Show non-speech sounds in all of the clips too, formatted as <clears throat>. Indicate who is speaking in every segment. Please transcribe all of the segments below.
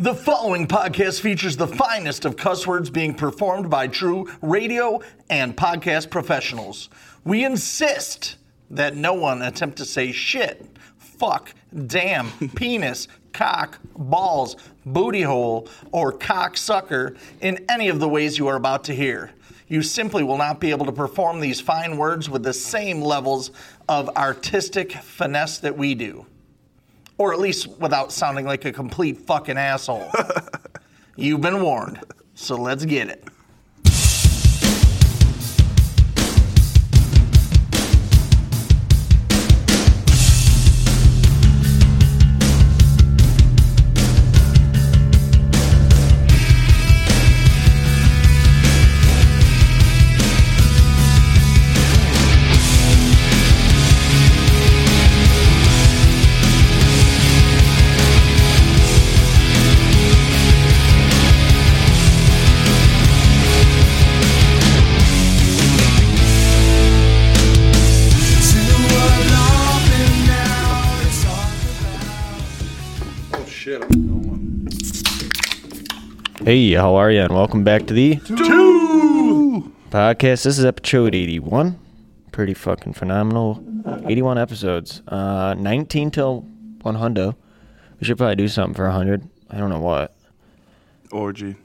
Speaker 1: The following podcast features the finest of cuss words being performed by true radio and podcast professionals. We insist that no one attempt to say shit, fuck, damn, penis, cock, balls, booty hole, or cocksucker in any of the ways you are about to hear. You simply will not be able to perform these fine words with the same levels of artistic finesse that we do or at least without sounding like a complete fucking asshole. You've been warned, so let's get it.
Speaker 2: Oh shit, I'm going.
Speaker 3: Hey, how are you? And welcome back to the Two Podcast. This is episode 81. Pretty fucking phenomenal. 81 episodes. Uh, 19 till 100. We should probably do something for 100. I don't know what.
Speaker 2: Orgy.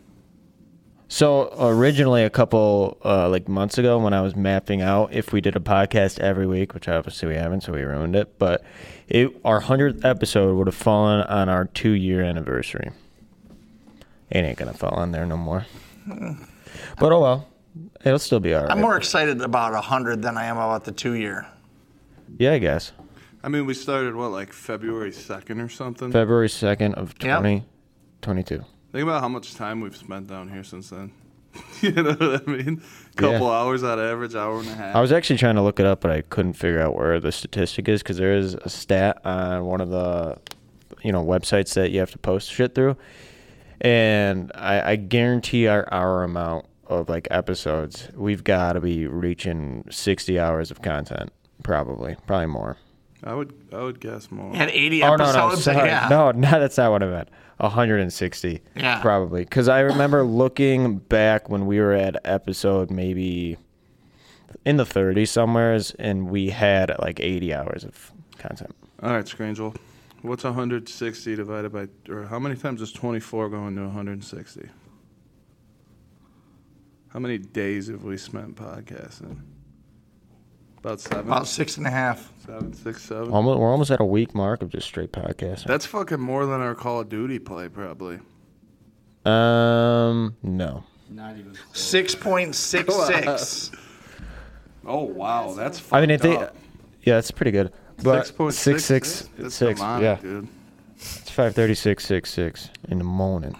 Speaker 3: So originally, a couple uh, like months ago, when I was mapping out if we did a podcast every week, which obviously we haven't, so we ruined it. But it, our hundredth episode would have fallen on our two-year anniversary. It ain't gonna fall on there no more. But oh well, it'll still be alright.
Speaker 1: I'm more excited about 100 than I am about the two year.
Speaker 3: yeah, I guess
Speaker 2: I mean, we started what, like February 2nd or something?
Speaker 3: February second of
Speaker 1: Yep.
Speaker 3: twenty twenty-two.
Speaker 2: Think about how much time we've spent down here since then. <laughs> you know what I mean? Couple hours on average, hour and a half.
Speaker 3: I was actually trying to look it up, but I couldn't figure out where the statistic is because there is a stat on one of the, you know, websites that you have to post shit through, and I, I guarantee our hour amount of like episodes, we've got to be reaching sixty hours of content, probably, probably more.
Speaker 2: I would, I would guess more.
Speaker 1: Had 80
Speaker 3: Oh no,
Speaker 1: episodes.
Speaker 3: no, sorry.
Speaker 1: yeah.
Speaker 3: no, <laughs> no, that's not what I meant. 160,
Speaker 1: Yeah.
Speaker 3: probably, because I remember looking back when we were at episode maybe in the 30s somewheres, and we had like 80 hours of content.
Speaker 2: All right, Scrangel. What's 160 divided by, or how many times is 24 going to 160? How many days have we spent podcasting? About seven,
Speaker 1: About six and a half.
Speaker 2: seven, six, seven.
Speaker 3: Almost, we're almost at a week mark of just straight podcasting.
Speaker 2: That's fucking more than our Call of Duty play, probably.
Speaker 3: Um, no,
Speaker 1: 6.66.
Speaker 2: Oh wow, that's.
Speaker 3: I mean if
Speaker 2: fucked
Speaker 3: they,
Speaker 2: up.
Speaker 3: yeah, that's pretty good. But
Speaker 2: Six point
Speaker 3: six,
Speaker 2: six
Speaker 3: six,
Speaker 2: That's
Speaker 3: six,
Speaker 2: demonic,
Speaker 3: yeah,
Speaker 2: dude.
Speaker 3: it's 536.66 in the morning.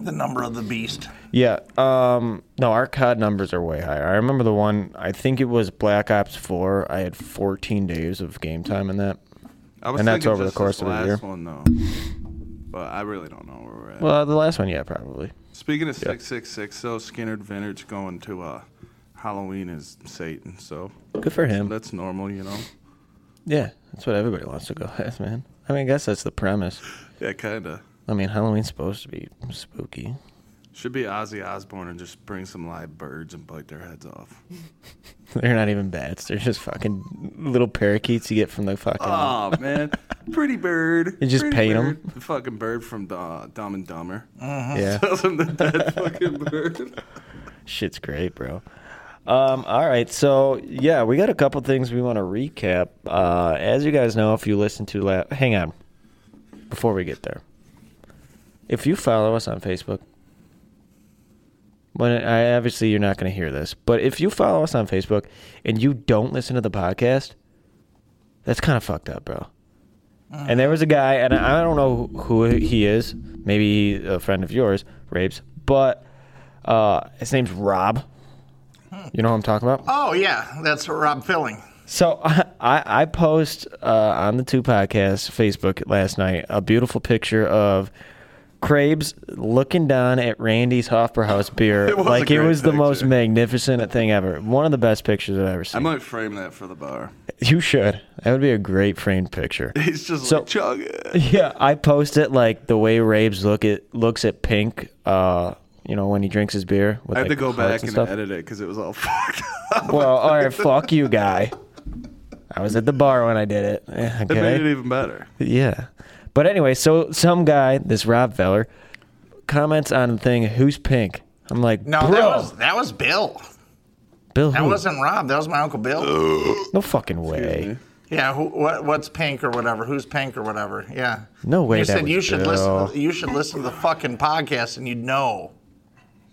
Speaker 1: the number of the beast.
Speaker 3: Yeah. Um, no, our COD numbers are way higher. I remember the one. I think it was Black Ops Four. I had 14 days of game time in that.
Speaker 2: I was
Speaker 3: And that's
Speaker 2: thinking
Speaker 3: over the
Speaker 2: just
Speaker 3: course
Speaker 2: this
Speaker 3: of the
Speaker 2: last
Speaker 3: year.
Speaker 2: One though, but I really don't know where we're at.
Speaker 3: Well, the last one, yeah, probably.
Speaker 2: Speaking of six six six, though, Skinner Vintage going to uh, Halloween is Satan, so
Speaker 3: Good for him.
Speaker 2: that's normal, you know.
Speaker 3: Yeah, that's what everybody wants to go <laughs> as, man. I mean, I guess that's the premise.
Speaker 2: Yeah, kinda.
Speaker 3: I mean, Halloween's supposed to be spooky. <laughs>
Speaker 2: Should be Ozzy Osbourne and just bring some live birds and bite their heads off.
Speaker 3: They're not even bats. They're just fucking little parakeets you get from the fucking.
Speaker 2: Oh man, pretty bird.
Speaker 3: You just
Speaker 2: pretty
Speaker 3: paint 'em?
Speaker 2: bird. The fucking bird from uh, Dumb and Dumber. <laughs>
Speaker 3: yeah,
Speaker 2: Tells him the dead fucking
Speaker 3: <laughs>
Speaker 2: bird.
Speaker 3: shit's great, bro. Um, all right, so yeah, we got a couple things we want to recap. Uh, as you guys know, if you listen to la- hang on, before we get there, if you follow us on Facebook, when I obviously you're not going to hear this, but if you follow us on Facebook and you don't listen to the podcast, that's kind of fucked up, bro. And there was a guy, and I I don't know who he is. Maybe a friend of yours, Rapes, but uh, his name's Rob. You know who I'm talking about?
Speaker 1: Oh, yeah. That's Rob Filling.
Speaker 3: So <laughs> I, I post uh, on the two podcasts Facebook last night a beautiful picture of Krabs looking down at Randy's Hofbrauhaus beer
Speaker 2: <laughs> It was a
Speaker 3: like it
Speaker 2: great
Speaker 3: was the most
Speaker 2: picture.
Speaker 3: magnificent thing ever. One of the best pictures I've ever
Speaker 2: I
Speaker 3: seen.
Speaker 2: might frame that for the bar.
Speaker 3: you should. That would be a great framed picture.
Speaker 2: It's just
Speaker 3: So-
Speaker 2: like chug it.
Speaker 3: yeah, I post it like the way Rabes look at looks at Pink. Uh, you know when he drinks his beer. With,
Speaker 2: I had to
Speaker 3: like,
Speaker 2: go
Speaker 3: hearts
Speaker 2: back
Speaker 3: and
Speaker 2: and,
Speaker 3: stuff.
Speaker 2: edit it because it was all <laughs> fucked up.
Speaker 3: Well, all
Speaker 2: <laughs>
Speaker 3: right, fuck you, guy. I was at the bar when I did it. Yeah,
Speaker 2: It made it
Speaker 3: Okay.
Speaker 2: even better.
Speaker 3: Yeah. But anyway, so some guy, this Rob Feller, comments on the thing, "Who's Pink?" I'm like,
Speaker 1: No,
Speaker 3: bro,
Speaker 1: that was that was Bill.
Speaker 3: Bill,
Speaker 1: That
Speaker 3: who?
Speaker 1: wasn't Rob. That was my uncle Bill.
Speaker 3: no fucking way.
Speaker 1: Yeah. Who, what, what's pink or whatever? Who's pink or whatever? Yeah.
Speaker 3: No way
Speaker 1: You
Speaker 3: that
Speaker 1: said
Speaker 3: was
Speaker 1: you should
Speaker 3: Bill.
Speaker 1: listen. You should listen to the fucking podcast and you'd know.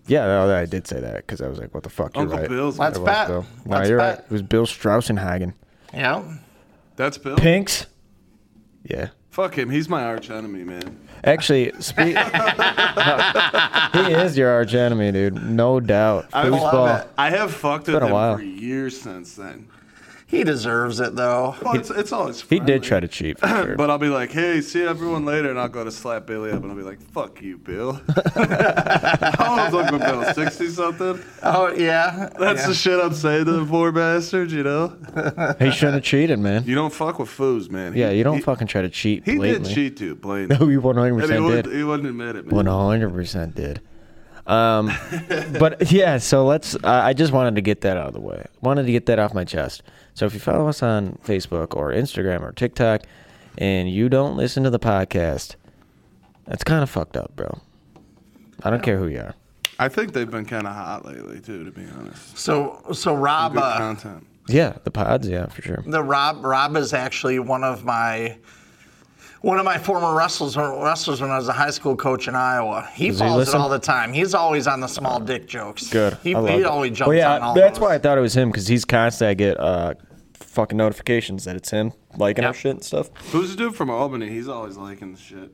Speaker 3: Yeah, no, I did say that because I was like, "What the fuck?"
Speaker 2: Uncle
Speaker 3: you're right.
Speaker 2: Bill's.
Speaker 1: Let's
Speaker 3: It was
Speaker 1: bet.
Speaker 3: Bill. No,
Speaker 1: Let's
Speaker 3: you're
Speaker 1: bet.
Speaker 3: right. It was Bill Strausenhagen.
Speaker 1: Yeah.
Speaker 2: That's Bill.
Speaker 3: Pinks. Yeah.
Speaker 2: Fuck him. He's my arch enemy, man.
Speaker 3: Actually,
Speaker 2: <laughs>
Speaker 3: spe- he is your arch enemy, dude. No doubt.
Speaker 2: I love
Speaker 3: Foosball.
Speaker 2: it. I have fucked
Speaker 3: been
Speaker 2: with
Speaker 3: a
Speaker 2: him
Speaker 3: while.
Speaker 2: for years since then.
Speaker 1: He deserves it though.
Speaker 2: Well, it's, it's all his
Speaker 3: He did
Speaker 2: friendly.
Speaker 3: try to cheat. For sure.
Speaker 2: But I'll be like, hey, see everyone later, and I'll go to slap Billy up, and I'll be like, fuck you, Bill. <laughs> I was looking Bill, 60 something.
Speaker 1: Oh yeah.
Speaker 2: That's
Speaker 1: yeah.
Speaker 2: the shit I'm saying to the poor bastards, you know?
Speaker 3: he shouldn't have cheated, man.
Speaker 2: You don't fuck with foos, man. He-
Speaker 3: Yeah, you don't
Speaker 2: he,
Speaker 3: fucking try to cheat.
Speaker 2: He
Speaker 3: blatantly.
Speaker 2: did cheat too, Blaine.
Speaker 3: <laughs> No, he one hundred
Speaker 2: and he,
Speaker 3: percent
Speaker 2: wouldn't,
Speaker 3: did.
Speaker 2: he wouldn't admit it, man.
Speaker 3: One hundred percent did. Um, but yeah, so let's. I I just wanted to get that out of the way. Wanted to get that off my chest. So if you follow us on Facebook or Instagram or TikTok, and you don't listen to the podcast, that's kind of fucked up, bro. I don't care who you are.
Speaker 2: I think they've been kind of hot lately, too, to be honest.
Speaker 1: So so Rob.
Speaker 2: Good
Speaker 1: Uh,
Speaker 2: content.
Speaker 3: Yeah, the pods. Yeah, for sure.
Speaker 1: the Rob Rob is actually one of my one of my former wrestlers wrestlers when I was a high school coach in Iowa. He
Speaker 3: he
Speaker 1: follows it
Speaker 3: listen?
Speaker 1: all the time. He's always on the small dick jokes.
Speaker 3: Good.
Speaker 1: He,
Speaker 3: I love
Speaker 1: he
Speaker 3: it.
Speaker 1: always jumps
Speaker 3: Well, yeah,
Speaker 1: on all
Speaker 3: that's
Speaker 1: those.
Speaker 3: why I thought it was him because he's constant. I get uh, fucking notifications that it's him liking our
Speaker 1: Yep.
Speaker 3: shit and stuff.
Speaker 2: Who's the dude from Albany? He's always liking the shit.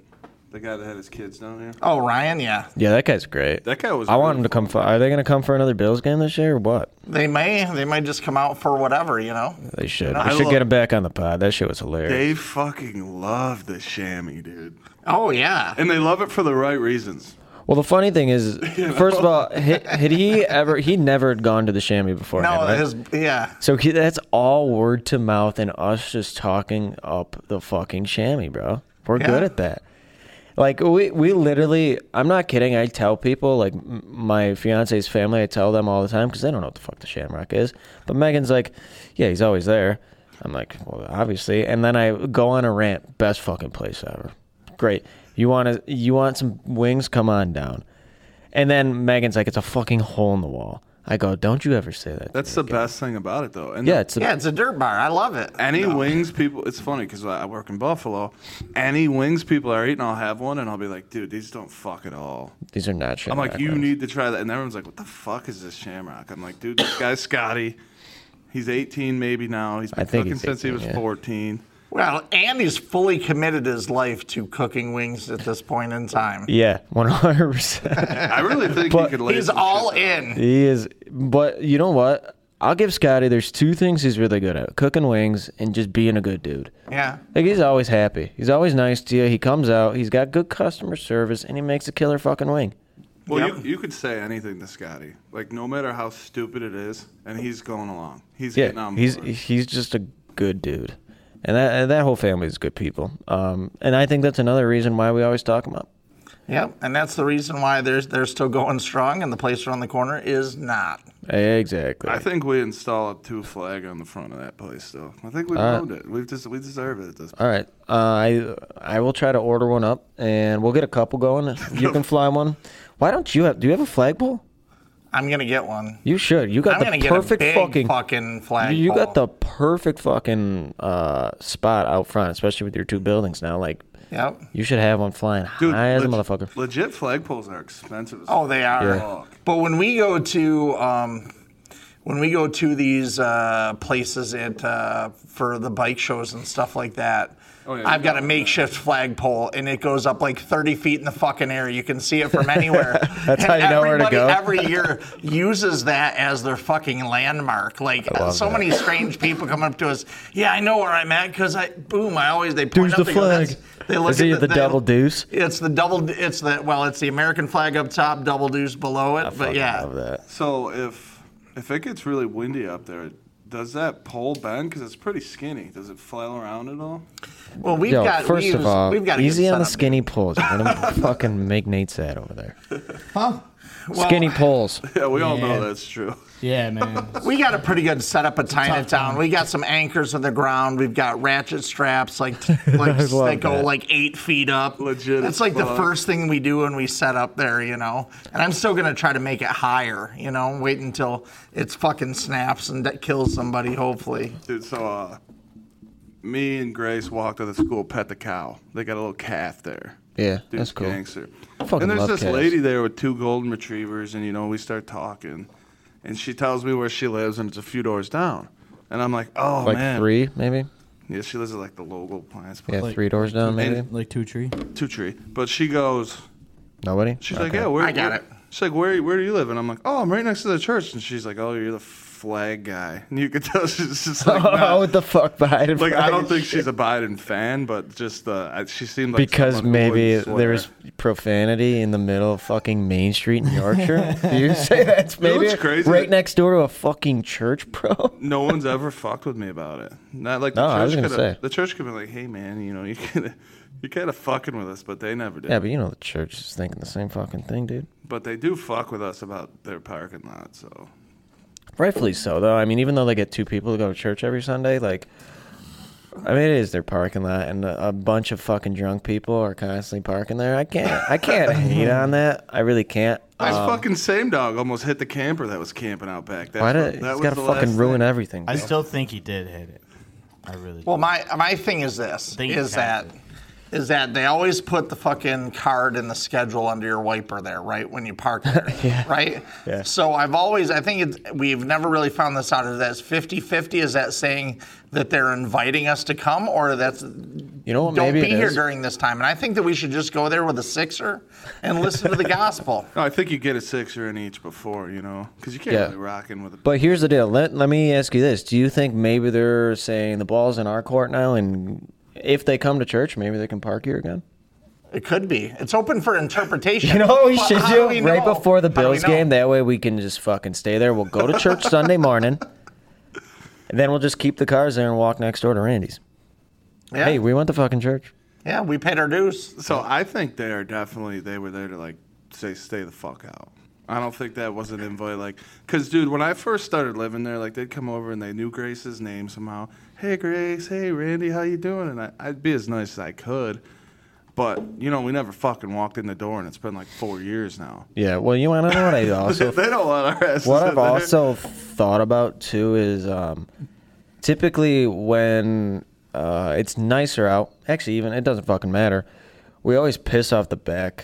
Speaker 2: The guy that had his kids down here.
Speaker 1: Oh Ryan, yeah.
Speaker 3: Yeah, that guy's great.
Speaker 2: That guy was.
Speaker 3: I want him to come. For, are they going to come for another Bills game this year or what?
Speaker 1: They may they may just come out for whatever, you know.
Speaker 3: They should.
Speaker 2: I
Speaker 3: I should
Speaker 2: love-
Speaker 3: get him back on the pod. That shit was hilarious.
Speaker 2: They fucking love the chamois, dude.
Speaker 1: Oh yeah.
Speaker 2: And they love it for the right reasons.
Speaker 3: Well, the funny
Speaker 1: <laughs>
Speaker 3: thing is, first of all, had, had he ever? He never had gone to the chamois before.
Speaker 1: No,
Speaker 3: right?
Speaker 1: his yeah.
Speaker 3: so he, that's all word to mouth and us just talking up the fucking chamois, bro. We're
Speaker 1: Yeah.
Speaker 3: good at that. Like we we literally, I'm not kidding. I tell people like m- my fiance's family, I tell them all the time because they don't know what the fuck the Shamrock is. But Megan's like, yeah, he's always there. I'm like, well, obviously. And then I go on a rant. Best fucking place ever. Great. You want to you want some wings? Come on down. And then Megan's like, it's a fucking hole in the wall. I go, don't you ever say that. to
Speaker 2: That's
Speaker 3: me
Speaker 2: the best thing about it, though. And
Speaker 3: again." Yeah, it's the
Speaker 1: Yeah, it's a dirt bar. I love it.
Speaker 2: any wings people, it's funny because I I work in Buffalo. Any wings people are eating, I'll have one and I'll be like, dude, these don't fuck at all.
Speaker 3: These are not shit.
Speaker 2: I'm like, you need to try that. And everyone's like, what the fuck is this shamrock? I'm like, dude, this guy's Scotty. He's 18 maybe now. He's been
Speaker 3: I think
Speaker 2: cooking
Speaker 3: he's
Speaker 2: since he
Speaker 3: 18,
Speaker 2: was
Speaker 1: <laughs>
Speaker 3: yeah.
Speaker 2: 14.
Speaker 1: Well, Andy's fully committed his life to cooking wings at this point in time.
Speaker 3: Yeah, one hundred percent.
Speaker 2: I really think he
Speaker 3: But
Speaker 2: could lay
Speaker 1: He's
Speaker 2: some
Speaker 1: all
Speaker 2: shit down.
Speaker 1: in.
Speaker 3: He is, but you know what? I'll give Scotty. There's two things he's really good at: cooking wings and just being a good dude.
Speaker 1: Yeah.
Speaker 3: Like he's always happy. He's always nice to you. He comes out. He's got good customer service, and he makes a killer fucking wing.
Speaker 2: Well,
Speaker 1: Yep.
Speaker 2: you, you could say anything to Scotty, like no matter how stupid it is, and he's going along. He's getting
Speaker 3: Yeah,
Speaker 2: on
Speaker 3: he's
Speaker 2: board.
Speaker 3: he's just a good dude, and that and that whole family is good people. Um, and I think that's another reason why we always talk him up.
Speaker 1: Yep, and that's the reason why they're, they're still going strong, and the place around the corner is not.
Speaker 3: Exactly.
Speaker 2: I think we install a two flag on the front of that place, though. I think we've
Speaker 3: Uh,
Speaker 2: owned it. We've just we deserve it at this point.
Speaker 3: All right. Uh, I I will try to order one up, and we'll get a couple going. You
Speaker 1: <laughs>
Speaker 3: can fly one. Why don't you have? Do you have a flagpole?
Speaker 1: I'm gonna get one.
Speaker 3: You should. You got
Speaker 1: I'm gonna
Speaker 3: the
Speaker 1: get a
Speaker 3: perfect
Speaker 1: big
Speaker 3: fucking.
Speaker 1: fucking, flag.
Speaker 3: you got the perfect fucking uh, spot out front, especially with your two buildings now. Like,
Speaker 1: Yep.
Speaker 3: you should have one flying high as a
Speaker 2: leg-
Speaker 3: motherfucker.
Speaker 2: Legit flagpoles are expensive. As
Speaker 1: Oh, they are.
Speaker 2: fuck.
Speaker 1: But when we go to um, when we go to these uh, places at uh, for the bike shows and stuff like that.
Speaker 2: Oh, yeah, you
Speaker 1: I've got
Speaker 2: got
Speaker 1: a
Speaker 2: one.
Speaker 1: makeshift flagpole and it goes up like 30 feet in the fucking air. You can see it from anywhere.
Speaker 3: <laughs>
Speaker 1: And
Speaker 3: That's how you know where to
Speaker 1: everybody
Speaker 3: go.
Speaker 1: Every year uses that as their fucking landmark. Like so
Speaker 3: that.
Speaker 1: many strange people come up to us. Yeah, I know where I'm at because I boom. I always they point
Speaker 3: There's
Speaker 1: up.
Speaker 3: the
Speaker 1: they go,
Speaker 3: flag.
Speaker 1: "That's- They look
Speaker 3: Is it the
Speaker 1: they-
Speaker 3: double deuce?
Speaker 1: It's the double. It's the well. It's the American flag up top, double deuce below it. but
Speaker 3: Fucking
Speaker 1: yeah,
Speaker 3: love that.
Speaker 2: So if if it gets really windy up there, does that pole bend? Because it's pretty skinny. Does it flail around at all?
Speaker 1: well, we've
Speaker 3: Yo,
Speaker 1: got
Speaker 3: first
Speaker 1: we
Speaker 3: of all,
Speaker 1: we've got a good
Speaker 3: easy on the
Speaker 1: setup.
Speaker 3: skinny poles.
Speaker 1: <laughs>
Speaker 3: I'm gonna fucking make Nate sad over there.
Speaker 1: Well, <laughs>
Speaker 3: skinny poles.
Speaker 2: <laughs> Yeah, we all
Speaker 4: Yeah.
Speaker 2: know that's true.
Speaker 4: Yeah, man.
Speaker 1: We got a pretty good setup at Chinatown.
Speaker 4: one.
Speaker 1: We got some anchors in the ground. We've got ratchet straps like
Speaker 3: <laughs>
Speaker 1: like
Speaker 3: love
Speaker 1: that go
Speaker 3: that.
Speaker 1: like eight feet up.
Speaker 2: Legit
Speaker 1: That's
Speaker 2: as
Speaker 1: like the
Speaker 2: fuck.
Speaker 1: first thing we do when we set up there, you know. And I'm still gonna try to make it higher, you know. Wait until it's fucking snaps and that kills somebody. Hopefully,
Speaker 2: Dude, so uh, me and Grace walked to the school, pet the cow. They got a little calf there.
Speaker 3: Yeah,
Speaker 2: Dude's
Speaker 3: that's cool.
Speaker 2: Gangster.
Speaker 3: fucking
Speaker 2: and there's
Speaker 3: love
Speaker 2: this
Speaker 3: calves.
Speaker 2: lady there with two golden retrievers, and you know we start talking, and she tells me where she lives, and it's a few doors down, and I'm like, oh
Speaker 3: Like
Speaker 2: man,
Speaker 3: three, maybe.
Speaker 2: Yeah, she lives at like the local plants,
Speaker 3: Yeah,
Speaker 2: place,
Speaker 3: three doors down, maybe.
Speaker 4: Like two tree.
Speaker 2: two tree. But she goes,
Speaker 3: Nobody.
Speaker 2: she's like,
Speaker 3: <laughs>
Speaker 2: yeah, where
Speaker 1: I got
Speaker 2: where-
Speaker 1: it.
Speaker 2: She's like, where where do you live? And I'm like, oh, I'm right next to the church. And she's like, oh, you're the flag guy, and you could tell <laughs> she's just like,
Speaker 3: Oh,
Speaker 2: not-
Speaker 3: what the fuck, Biden?
Speaker 2: Like I don't think she's a Biden fan, but just uh, I- she seemed like
Speaker 3: because
Speaker 2: someone who
Speaker 3: maybe
Speaker 2: wouldn't swear.
Speaker 3: there was profanity in the middle of fucking Main Street
Speaker 2: <laughs>
Speaker 3: in Yorkshire. Do you say that's maybe
Speaker 2: what's crazy?
Speaker 3: right next door to a fucking church, bro? <laughs>
Speaker 2: no one's ever fucked with me about it. Not like
Speaker 3: No,
Speaker 2: the church
Speaker 3: I was gonna
Speaker 2: coulda-
Speaker 3: say.
Speaker 2: the church could be like, hey man, you know you kinda, you kind of fucking with us, but they never did.
Speaker 3: Yeah, but you know the church is thinking the same fucking thing, dude.
Speaker 2: But they do fuck with us about their parking lot. So
Speaker 3: Rightfully so, though. I mean, even though they get two people to go to church every Sunday, like, I mean, it is their parking lot, and a, a bunch of fucking drunk people are constantly parking there. I can't,
Speaker 2: <laughs>
Speaker 3: I can't hate on that. I really can't.
Speaker 2: I fucking same dog almost hit the camper that was camping out back. That's
Speaker 3: Why
Speaker 2: what-
Speaker 3: did
Speaker 2: that
Speaker 3: he's
Speaker 2: was
Speaker 3: got to
Speaker 2: the last
Speaker 3: fucking ruin
Speaker 2: thing.
Speaker 3: everything?
Speaker 4: I
Speaker 3: bro.
Speaker 4: still think he did hit it. I really.
Speaker 1: Well, my my thing is this:
Speaker 4: They
Speaker 1: is that
Speaker 4: have
Speaker 1: is that they always put the fucking card in the schedule under your wiper there, right when you park there, right?
Speaker 3: <laughs> Yeah.
Speaker 1: So I've always I think it's, we've never really found this out. Is that 50-50? Is that saying that they're inviting us to come, or that's
Speaker 3: you know what?
Speaker 1: don't
Speaker 3: Maybe
Speaker 1: be
Speaker 3: it
Speaker 1: here
Speaker 3: is.
Speaker 1: during this time? And I think that we should just go there with a sixer and listen to
Speaker 3: <laughs>
Speaker 1: the gospel.
Speaker 2: No, I think you get a sixer in each before, you know, because you can't
Speaker 3: Yeah.
Speaker 2: really rockin' with a.
Speaker 3: But here's the deal. Let let me ask you this: Do you think maybe they're saying the ball's in our court now, and if they come to church, maybe they can park here again?
Speaker 1: It could be. It's open for interpretation.
Speaker 3: <laughs> You know what we
Speaker 1: But
Speaker 3: should
Speaker 1: how
Speaker 3: do
Speaker 1: we
Speaker 3: right
Speaker 1: know?
Speaker 3: before the
Speaker 1: How do we
Speaker 3: Bills game?
Speaker 1: know?
Speaker 3: That way we can just fucking stay there. We'll go
Speaker 1: <laughs>
Speaker 3: to church Sunday morning, and then we'll just keep the cars there and walk next door to Randy's.
Speaker 1: yeah.
Speaker 3: Hey, we went to fucking church.
Speaker 1: yeah, we paid our dues.
Speaker 2: So I think they are definitely they were there to like say stay the fuck out. I don't think that was an invite, like, cause dude, when I first started living there, like they'd come over and they knew Grace's name somehow. Hey Grace, hey Randy, how you doing? And I, I'd be as nice as I could, but you know we never fucking walked in the door, and it's been like four years now.
Speaker 3: Yeah. Well, you want to know what I <laughs> also
Speaker 2: they don't let our asses.
Speaker 3: what
Speaker 2: in
Speaker 3: I've
Speaker 2: there.
Speaker 3: also thought about too is um, typically when uh, it's nicer out. Actually, even it doesn't fucking matter. We always piss off
Speaker 2: <laughs>
Speaker 3: the back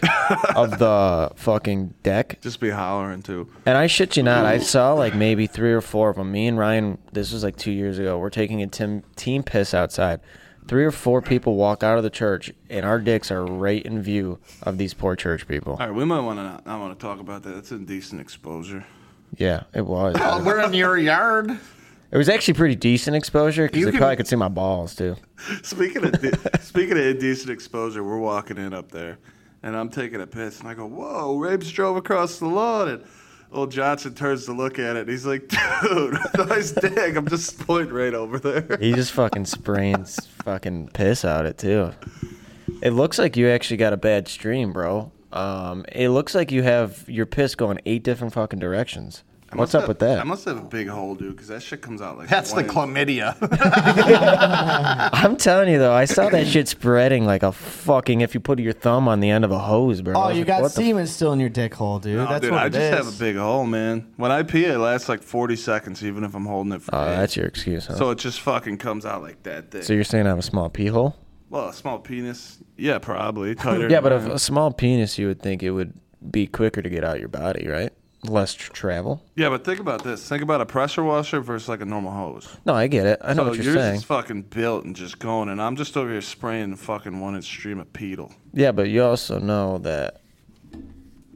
Speaker 3: of the fucking deck
Speaker 2: just be hollering too.
Speaker 3: And I shit you not, I saw like maybe three or four of them. Me and Ryan, this was like two years ago. We're taking a tim- team piss outside. Three or four people walk out of the church, and our dicks are right in view of these poor church people.
Speaker 2: All right, we might want to not, not want to talk about that. That's indecent exposure.
Speaker 3: Yeah, it was.
Speaker 1: Oh, We're in your yard.
Speaker 3: It was actually pretty decent exposure because
Speaker 2: You
Speaker 3: they
Speaker 2: can-
Speaker 3: probably could see my balls too.
Speaker 2: Speaking of de- speaking of indecent exposure, we're walking in up there, and I'm taking a piss, and I go, "Whoa!" Rapes drove across the lawn, and old Johnson turns to look at it, and he's like, "Dude, <laughs> nice dick." I'm just pointing right over there.
Speaker 3: He just fucking sprains fucking piss out it too. It looks like you actually got a bad stream, bro. Um, it looks like you have your piss going eight different fucking directions. What's up with that?
Speaker 2: I must have a big hole, dude, because that shit comes out like
Speaker 1: That's the
Speaker 2: flames.
Speaker 1: <laughs> chlamydia.
Speaker 3: I'm telling you though, I saw that shit spreading like a fucking if you put your thumb on the end of a hose, bro.
Speaker 4: Oh,
Speaker 3: I was
Speaker 4: you
Speaker 3: like,
Speaker 4: got
Speaker 3: what the
Speaker 4: semen still in your dick hole, dude.
Speaker 2: No,
Speaker 4: Oh, That's
Speaker 2: dude,
Speaker 4: what
Speaker 2: I
Speaker 4: it
Speaker 2: just
Speaker 4: is.
Speaker 2: have a big hole, man. When I pee, it lasts like 40 seconds, even if I'm holding it. For
Speaker 3: Oh,
Speaker 2: days.
Speaker 3: that's your excuse, huh? So,
Speaker 2: So it just fucking comes out like that thick.
Speaker 3: you're saying I have a small pee hole?
Speaker 2: well, a small penis. Yeah, probably tighter.
Speaker 3: <laughs> Yeah, but
Speaker 2: than
Speaker 3: a, a small penis, you would think it would be quicker to get out your body, right? Less tr- travel.
Speaker 2: Yeah, but think about this. Think about a pressure washer versus like a normal hose.
Speaker 3: No, I get it. I know
Speaker 2: So
Speaker 3: what you're
Speaker 2: Oh, yours
Speaker 3: saying.
Speaker 2: is fucking built and just going, and I'm just over here spraying fucking one inch stream of pedal.
Speaker 3: yeah, but you also know that